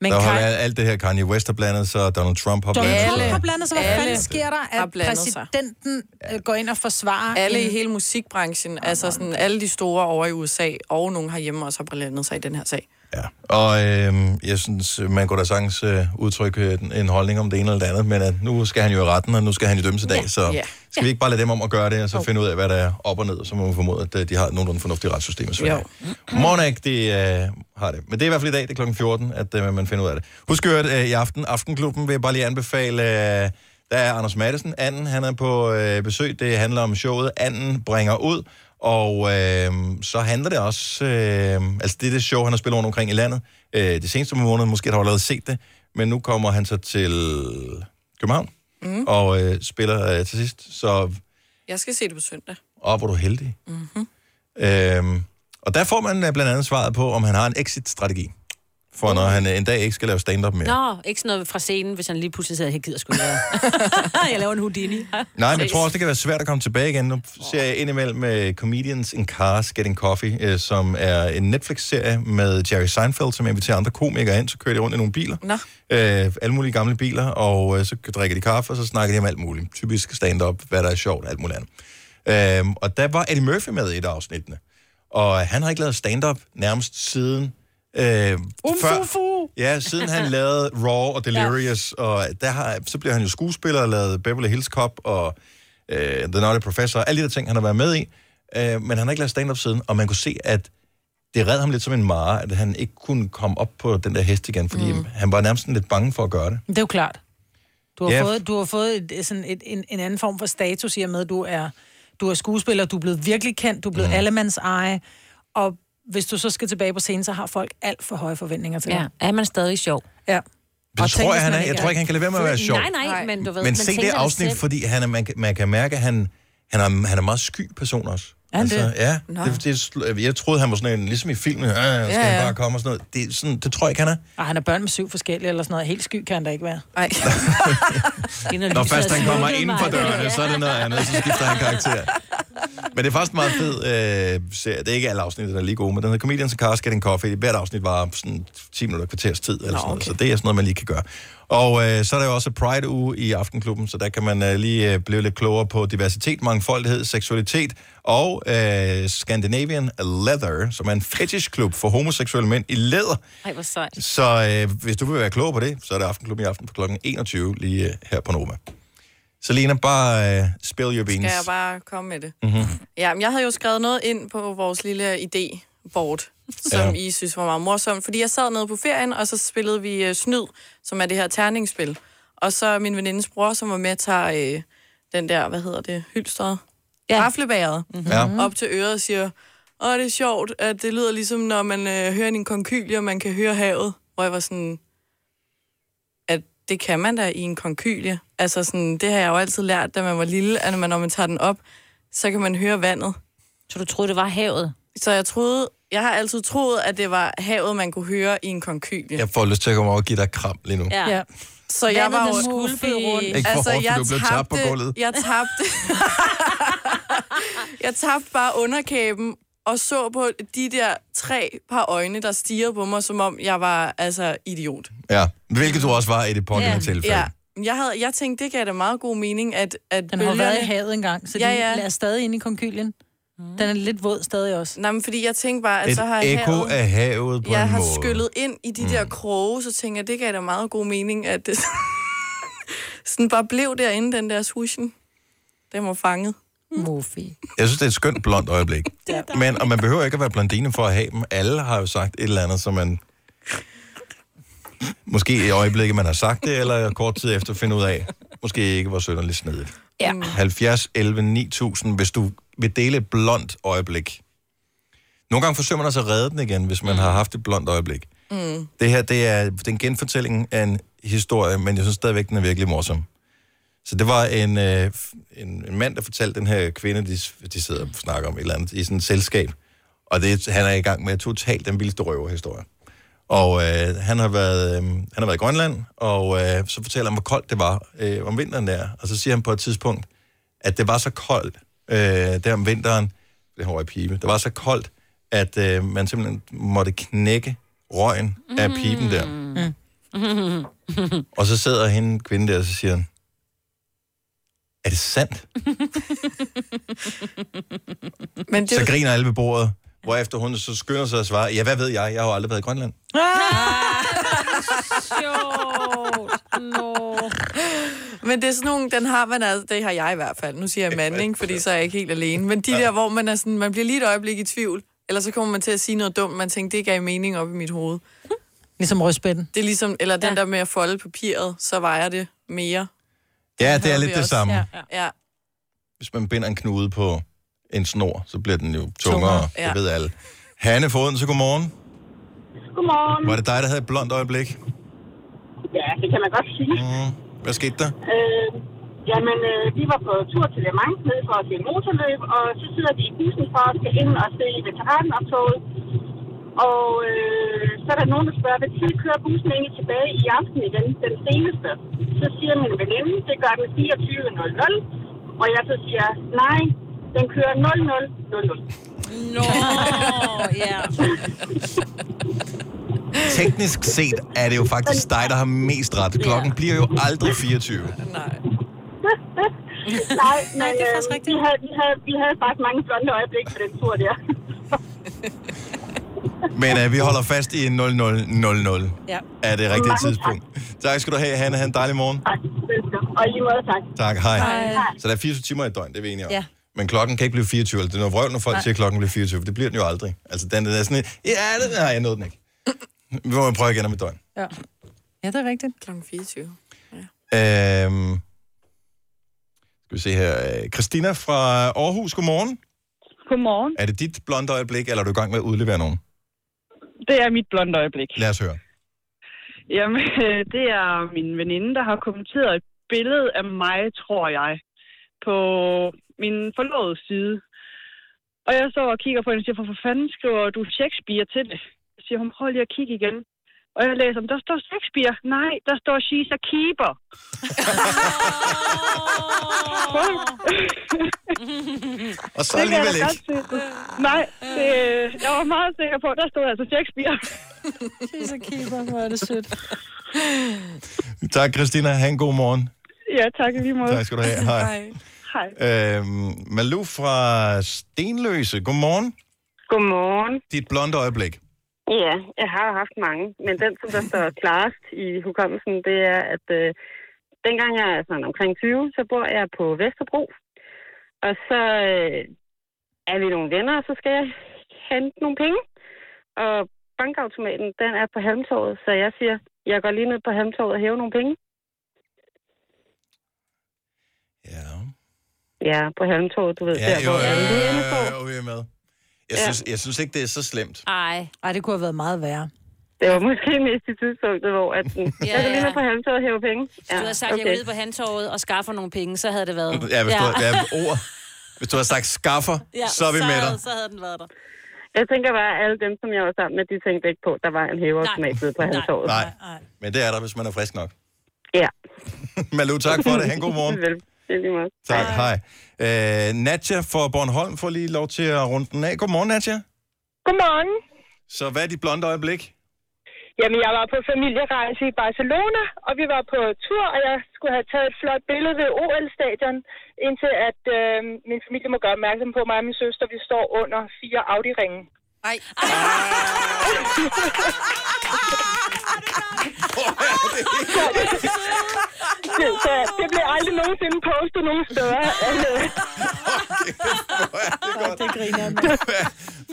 S2: Men
S1: der har
S2: Kanye-
S1: været alt det her. Kanye West har blandet sig, Donald Trump har blandet
S2: Donald
S1: sig.
S2: Trump har blandet sig. Hvad
S5: Alle
S2: fanden sker der,
S5: har
S2: at
S5: blandet sig.
S2: præsidenten øh, går ind og forsvarer...
S5: Alle
S2: en-
S5: i hele musikbranchen, altså sådan alle de store over i USA, og nogen herhjemme også har blandet sig i den her sag.
S1: Og øh, jeg synes, man kunne da sagtens øh, udtrykke øh, en- en holdning om det ene eller det andet, men at nu skal han jo i retten, og nu skal han jo dømmes i dag,
S12: Ja.
S1: så
S12: Ja.
S1: skal vi ikke bare lade dem om at gøre det, og så finde ud af, hvad der er op og ned, og så må man formode, at øh, de har et nogenlunde fornuftigt retssystem i Sverige. Monak, det øh, har det. Men det er i hvert fald i dag, det er klokken 14, at øh, man finder ud af det. Husk at øh, i aften, Aftenklubben vil jeg bare lige anbefale, øh, der er Anders Madsen, Anden, han er på øh, besøg, det handler om showet, Anden bringer ud, og øh, så handler det også, øh, altså det er det show, han har spillet rundt omkring i landet, øh, det seneste måned, måske har du allerede set det, men nu kommer han så til København, mm. og øh, spiller øh, til sidst, så
S5: Jeg skal se det på søndag.
S1: Åh, hvor er du heldig. Mm-hmm. Øhm, Og der får man øh, blandt andet svaret på, om han har en exit-strategi. For når han øh, en dag ikke skal lave stand-up mere.
S3: Nå, ikke sådan noget fra scenen, hvis han lige pludselig sidder her, gider sgu
S1: [laughs]
S3: ikke. jeg laver en Houdini.
S1: Nej, men jeg tror også, det kan være svært at komme tilbage igen. Nu ser jeg indimellem uh, Comedians in Cars Getting Coffee, uh, som er en Netflix-serie med Jerry Seinfeld, som inviterer andre komikere ind, så kører de rundt i nogle biler.
S5: Nå.
S1: Uh, alle mulige gamle biler, og uh, så drikker de kaffe, og så snakker de om alt muligt. Typisk stand-up, hvad der er sjovt, alt muligt andet. Uh, og der var Eddie Murphy med i et af afsnittene. Og han har ikke lavet stand-up nærmest siden... Øh,
S24: fufu.
S1: Ja, siden han lavede Raw og Delirious, [laughs] ja. og der har, så blev han jo skuespiller og lavede Beverly Hills Cop og øh, The Naughty Professor, og alle de der ting, han har været med i. Øh, men han har ikke lavet stand-up siden, og man kunne se, at det red ham lidt som en mare, at han ikke kunne komme op på den der hest igen, fordi mm. han var nærmest sådan lidt bange for at gøre det.
S2: Det er jo klart. Du har
S1: Ja.
S2: fået, du har fået et, sådan et, en, en anden form for status i og med, at du er, du er skuespiller, du er blevet virkelig kendt, du er blevet mm. allemands eje, og hvis du så skal tilbage på scenen, så har folk alt for høje forventninger til
S3: Ja.
S2: dig. er man stadig sjov? Ja. Og
S1: Det tror
S2: tænk,
S1: jeg,
S2: hvis
S1: han
S2: man
S1: er. Jeg tror ikke, han kan lade være med at være sjov.
S3: Nej, nej, men du ved,
S1: Men
S3: man
S1: se
S3: tænker
S1: det
S3: da
S1: afsnit,
S3: selv.
S1: fordi han er, man, kan- man kan mærke, at han, han, er, han er en meget sky person også. Altså,
S3: Er han det?
S1: Ja,
S3: Nå.
S1: det, det, sl- jeg troede, han var sådan en, ligesom i filmen, øh, skal ja,
S2: Ja,
S1: han
S2: ja.
S1: bare komme og sådan noget. Det, er sådan, det tror jeg ikke, han er.
S2: Og han er børn med syv forskellige eller sådan noget. Helt sky kan han da ikke være.
S1: [laughs]
S5: Nej.
S1: Når først han kommer ind for dørene, så er det noget andet, så skifter han karakter. Men det er faktisk en meget fed øh, serie. Det er ikke alle afsnit, der er lige gode, men den hedder Comedians in Cars Getting Coffee. Hvert afsnit var sådan 10 minutter kvarters tid, eller sådan noget, så det er sådan noget, man lige kan gøre. Og øh, så er der jo også Pride-uge i Aftenklubben, så der kan man øh, lige øh, blive lidt klogere på diversitet, mangfoldighed, seksualitet og øh, Scandinavian Leather, som er en fetishklub for homoseksuelle mænd i læder.
S3: Ej, hvor sejt.
S1: Så øh, hvis du vil være klogere på det, så er det Aftenklubben i aften på kl. 21 lige øh, her på Noma. Selena, bare øh, spill your beans.
S5: Skal jeg bare komme med det?
S1: Mm-hmm.
S5: Ja, men jeg havde jo skrevet noget ind på vores lille idé-board, som
S1: Ja.
S5: ja. I synes var meget morsomt. Fordi jeg sad nede på ferien, og så spillede vi øh, Snyd, som er det her terningsspil. Og så min venindes bror, som var med, tager øh, den der, hvad hedder det, hylstret? Ja. Raflebæret. Mm-hmm.
S1: Mhm. Ja.
S5: Op til øret og siger, åh, det er sjovt, at det lyder ligesom, når man øh, hører en konkylie, og man kan høre havet. Hvor jeg var sådan, at det kan man da i en konkylie. Altså sådan, det har jeg jo altid lært, da man var lille, at når man, når man tager den op, så kan man høre vandet.
S3: Så du troede, det var havet?
S5: Så jeg troede, jeg har altid troet, at det var havet, man kunne høre i en konkylie.
S1: Jeg får lyst til at komme over og give dig kram lige nu.
S5: Ja. Så jeg
S3: Vandet,
S5: var
S3: der
S5: jo Altså,
S3: skulle flyde rundt.
S1: Ikke for hårdt, for du blev tabt på gulvet.
S5: Jeg tabte...
S1: [laughs]
S5: jeg tabte bare underkæben og så på de der tre par øjne, der stirrede på mig, som om jeg var altså idiot.
S1: Ja, hvilket du også var i det pågældende tilfælde.
S5: Ja. Jeg, havde, jeg tænkte, det gav da meget god mening, at, at
S2: Den har jo været i
S5: bølgerne-
S2: havet engang, så de
S5: Ja, ja. Mm.
S2: er stadig inde i konkylien. Den er lidt våd stadig også.
S5: Nej, men fordi jeg tænkte bare, at
S1: Et
S5: Altså, så har
S1: ekko
S5: havet...
S1: af havet på
S5: jeg
S1: en
S5: har
S1: måde. Mm.
S5: skyllet ind i de der kroge, så tænker jeg, det gav da meget god mening, at det sådan bare blev derinde, den der sushen. Den var fanget.
S2: Mofi.
S1: Jeg synes, det er et skønt blondt
S5: [laughs]
S1: øjeblik. Men, og man behøver ikke at være blondine for at have dem. Alle har jo sagt et eller andet, som man... Måske i øjeblikket, man har sagt det, eller kort tid efter finde ud af, måske ikke var sønderligt snedigt.
S3: Ja.
S1: 70, 11, 9000, hvis du vil dele et blondt øjeblik. Nogle gange forsøger man altså at redde den igen, hvis man har haft et blondt øjeblik.
S5: Mm.
S1: Det her, det er den genfortælling af en historie, men jeg synes stadigvæk, den er virkelig morsom. Så det var en, øh, f- en, en mand, der fortalte den her kvinde, de, s- de sidder og snakker om et eller andet, i sådan et selskab. Og det, han er i gang med totalt den vildeste røverhistorie. Og øh, han, har været, øh, han har været i Grønland, og øh, så fortæller han, hvor koldt det var øh, om vinteren der. Og så siger han på et tidspunkt, at det var så koldt øh, der om vinteren, det var i pibe, det var så koldt, at øh, man simpelthen måtte knække røgen af piben der. Og så sidder hende kvinde der, og så siger han, er det sandt?
S5: Men
S1: det... Så griner alle ved bordet, hvorefter hun så skynder sig at svare, ja, hvad ved jeg, jeg har jo aldrig været i Grønland.
S5: Ah! Sjovt. No. [laughs] Men det er sådan nogle, den har man altså, det har jeg i hvert fald. Nu siger jeg mand, ikke? fordi så er jeg ikke helt alene. Men de der, hvor man er sådan, man bliver lige et øjeblik i tvivl, eller så kommer man til at sige noget dumt, man tænker, det gav mening op i mit hoved.
S2: Ligesom rødspætten.
S5: Det er ligesom, eller den der med at folde papiret, så vejer det mere.
S1: Ja, det er
S5: Havde vi
S1: lidt det
S5: også.
S1: samme.
S5: Ja. ja.
S1: Hvis man binder en knude på en snor, så bliver den jo tungere,
S5: ja.
S1: det ved alle. Hanne Foden, så godmorgen.
S10: Godmorgen.
S1: Var det dig, der havde et blondt øjeblik?
S10: Ja, det kan man godt sige.
S1: Hvad skete der?
S10: Øh,
S14: Jamen, øh, vi var på tur til Le Mans ned for at se et motorløb, og så sidder vi i bussen for at skal ind og se veteranoptoget. Og øh, så er der nogen, der spørger, hvad tid kører bussen egentlig tilbage i aften igen, den seneste? Så siger min veninde, det gør den 24.00, og jeg så siger, nej, den kører [laughs] 00.00. Nå,
S3: ja.
S1: Teknisk set er det jo faktisk dig, der har mest ret. Klokken bliver jo aldrig 24.
S14: nej, men nej, det er faktisk rigtigt. Vi havde, vi, havde, vi havde faktisk mange flotte øjeblikke på den tur der.
S1: Men øh, vi holder fast i 0000.
S14: Ja.
S1: Er det rigtige tidspunkt. Tak skal du have, Hanne. Ha' en dejlig morgen.
S14: Og i lige måde, tak.
S1: Tak, hej.
S14: Hej.
S1: Så der er 24 timer i et døgn, det er vi enige om.
S14: Ja.
S1: Men klokken kan ikke blive 24, eller det er noget vrøvl, når folk
S14: Nej.
S1: siger, at klokken bliver 24, for det bliver den jo aldrig. Altså, den er sådan et, ja, det, nej, jeg nåede den ikke. Vi må prøve igen om et døgn.
S2: Ja. ja, det er rigtigt.
S5: Klokken 24.
S1: Øhm, skal vi se her. Øh, Christina fra Aarhus, godmorgen.
S23: Godmorgen.
S1: Er det dit blonde øjeblik, eller er du i gang med at udlevere nogen?
S23: Det er mit blonde øjeblik.
S1: Lad os høre.
S23: Jamen, øh, det er min veninde, der har kommenteret et billede af mig, tror jeg, på min forlovede side. Og jeg står og kigger på hende og siger, hvorfor fanden skriver du Shakespeare til det? Så siger hun, prøv lige at kigge igen. Og jeg læser, der står Shakespeare. Nej, der står She's a keeper.
S1: [laughs] Og så
S23: Det kan jeg da
S1: alligevel
S23: godt
S1: ikke.
S23: se. Nej, det, jeg var meget sikker på, der stod altså Shakespeare.
S2: She's a keeper, hvor er det sødt.
S1: Tak, Christina. Ha' en god morgen.
S23: Ja, tak i lige måde.
S1: Tak skal du have. Hej. Hej.
S23: Hej.
S1: Øhm, Malou fra Stenløse, godmorgen.
S14: Godmorgen.
S1: Dit blonde øjeblik.
S14: Ja, jeg har haft mange, men den, som der står klarest i hukommelsen, det er, at øh, dengang jeg er sådan omkring 20, så bor jeg på Vesterbro. Og så øh, er vi nogle venner, og så skal jeg hente nogle penge. Og bankautomaten, den er på Halmtorvet, så jeg siger, jeg går lige ned på Halmtorvet og hæver nogle penge. Ja. Ja, på Halmtorvet, du ved.
S1: Ja,
S14: der,
S1: jo,
S14: hvor
S1: jo,
S14: alle
S1: jo,
S14: de ender på.
S1: jo, jo, vi er med. Jeg synes, jeg synes ikke, det er så slemt.
S3: Ej.
S2: Ej, det kunne have været meget værre.
S14: Det var måske mest i tidspunktet, hvor at,
S1: [laughs]
S14: ja, jeg kan lige ned på Halmtorvet og hæve penge.
S3: Ja, du har sagt, okay. jeg går ned på handtorvet og skaffer nogle penge, så havde det været...
S1: Ja, hvis du, ja. ord. Hvis du har sagt skaffer, ja, så er vi med dig.
S3: Så havde den været der.
S14: Jeg tænker bare, at alle dem, som jeg var sammen med, de tænkte ikke på, at der var en hæveautomat ude på hans år.
S1: Nej, men det er der, hvis man er frisk nok. [laughs]
S14: Ja.
S1: Malou, tak for det. Ha' en god morgen.
S14: Vel, det er lige meget.
S1: Tak, hej. hej. Øh, Nadja fra Bornholm får lige lov til at runde den af. Godmorgen, Nadja.
S10: Godmorgen.
S1: Så hvad er dit blonde øjeblik?
S10: Jamen, jeg var på familierejse i Barcelona, og vi var på tur, og jeg skulle have taget et flot billede ved OL-stadion, indtil at øh, min familie må gøre opmærksom på at mig og min søster. Vi står under fire Audi-ringen.
S5: Ej.
S10: Så, så det blev aldrig nogensinde postet nogen
S1: [laughs]
S10: steder.
S2: Det griner jeg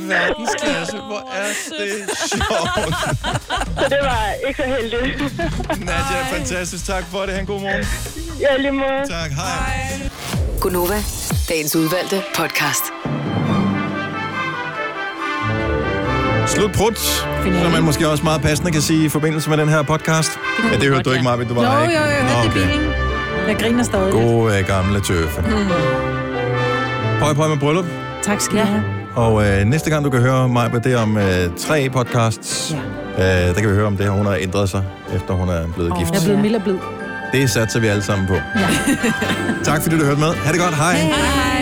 S1: Verdensklasse, hvor er det sjovt.
S10: [laughs] Så det var ikke så
S1: [laughs]
S10: heldigt.
S1: Nadja, fantastisk. Tak for det. Ha' en god morgen.
S10: Ja, lige måde.
S1: Tak, hej.
S21: Gunova, dagens udvalgte podcast.
S1: Slut prut, som man måske også meget passende kan sige i forbindelse med den her podcast. Ja, det hørte du ikke, Marvind. Du var
S2: Jo,
S1: der
S2: jo,
S1: ikke.
S2: jo, jeg
S1: Nå,
S2: hørte det i bilen. Jeg griner stadig. Hmm.
S1: God øh, gamle tøffe. Pøj, pøj med bryllup.
S2: Tak skal I have.
S1: Og øh, næste gang, du kan høre mig på det er om øh, tre podcasts, ja. øh, der kan vi høre om det her. Hun har ændret sig, efter hun er blevet oh, gift.
S2: Jeg er blevet mild og blid.
S1: Det satser vi alle sammen på. Ja. tak fordi du hørte med. Ha' det godt. Hej.
S2: Hej.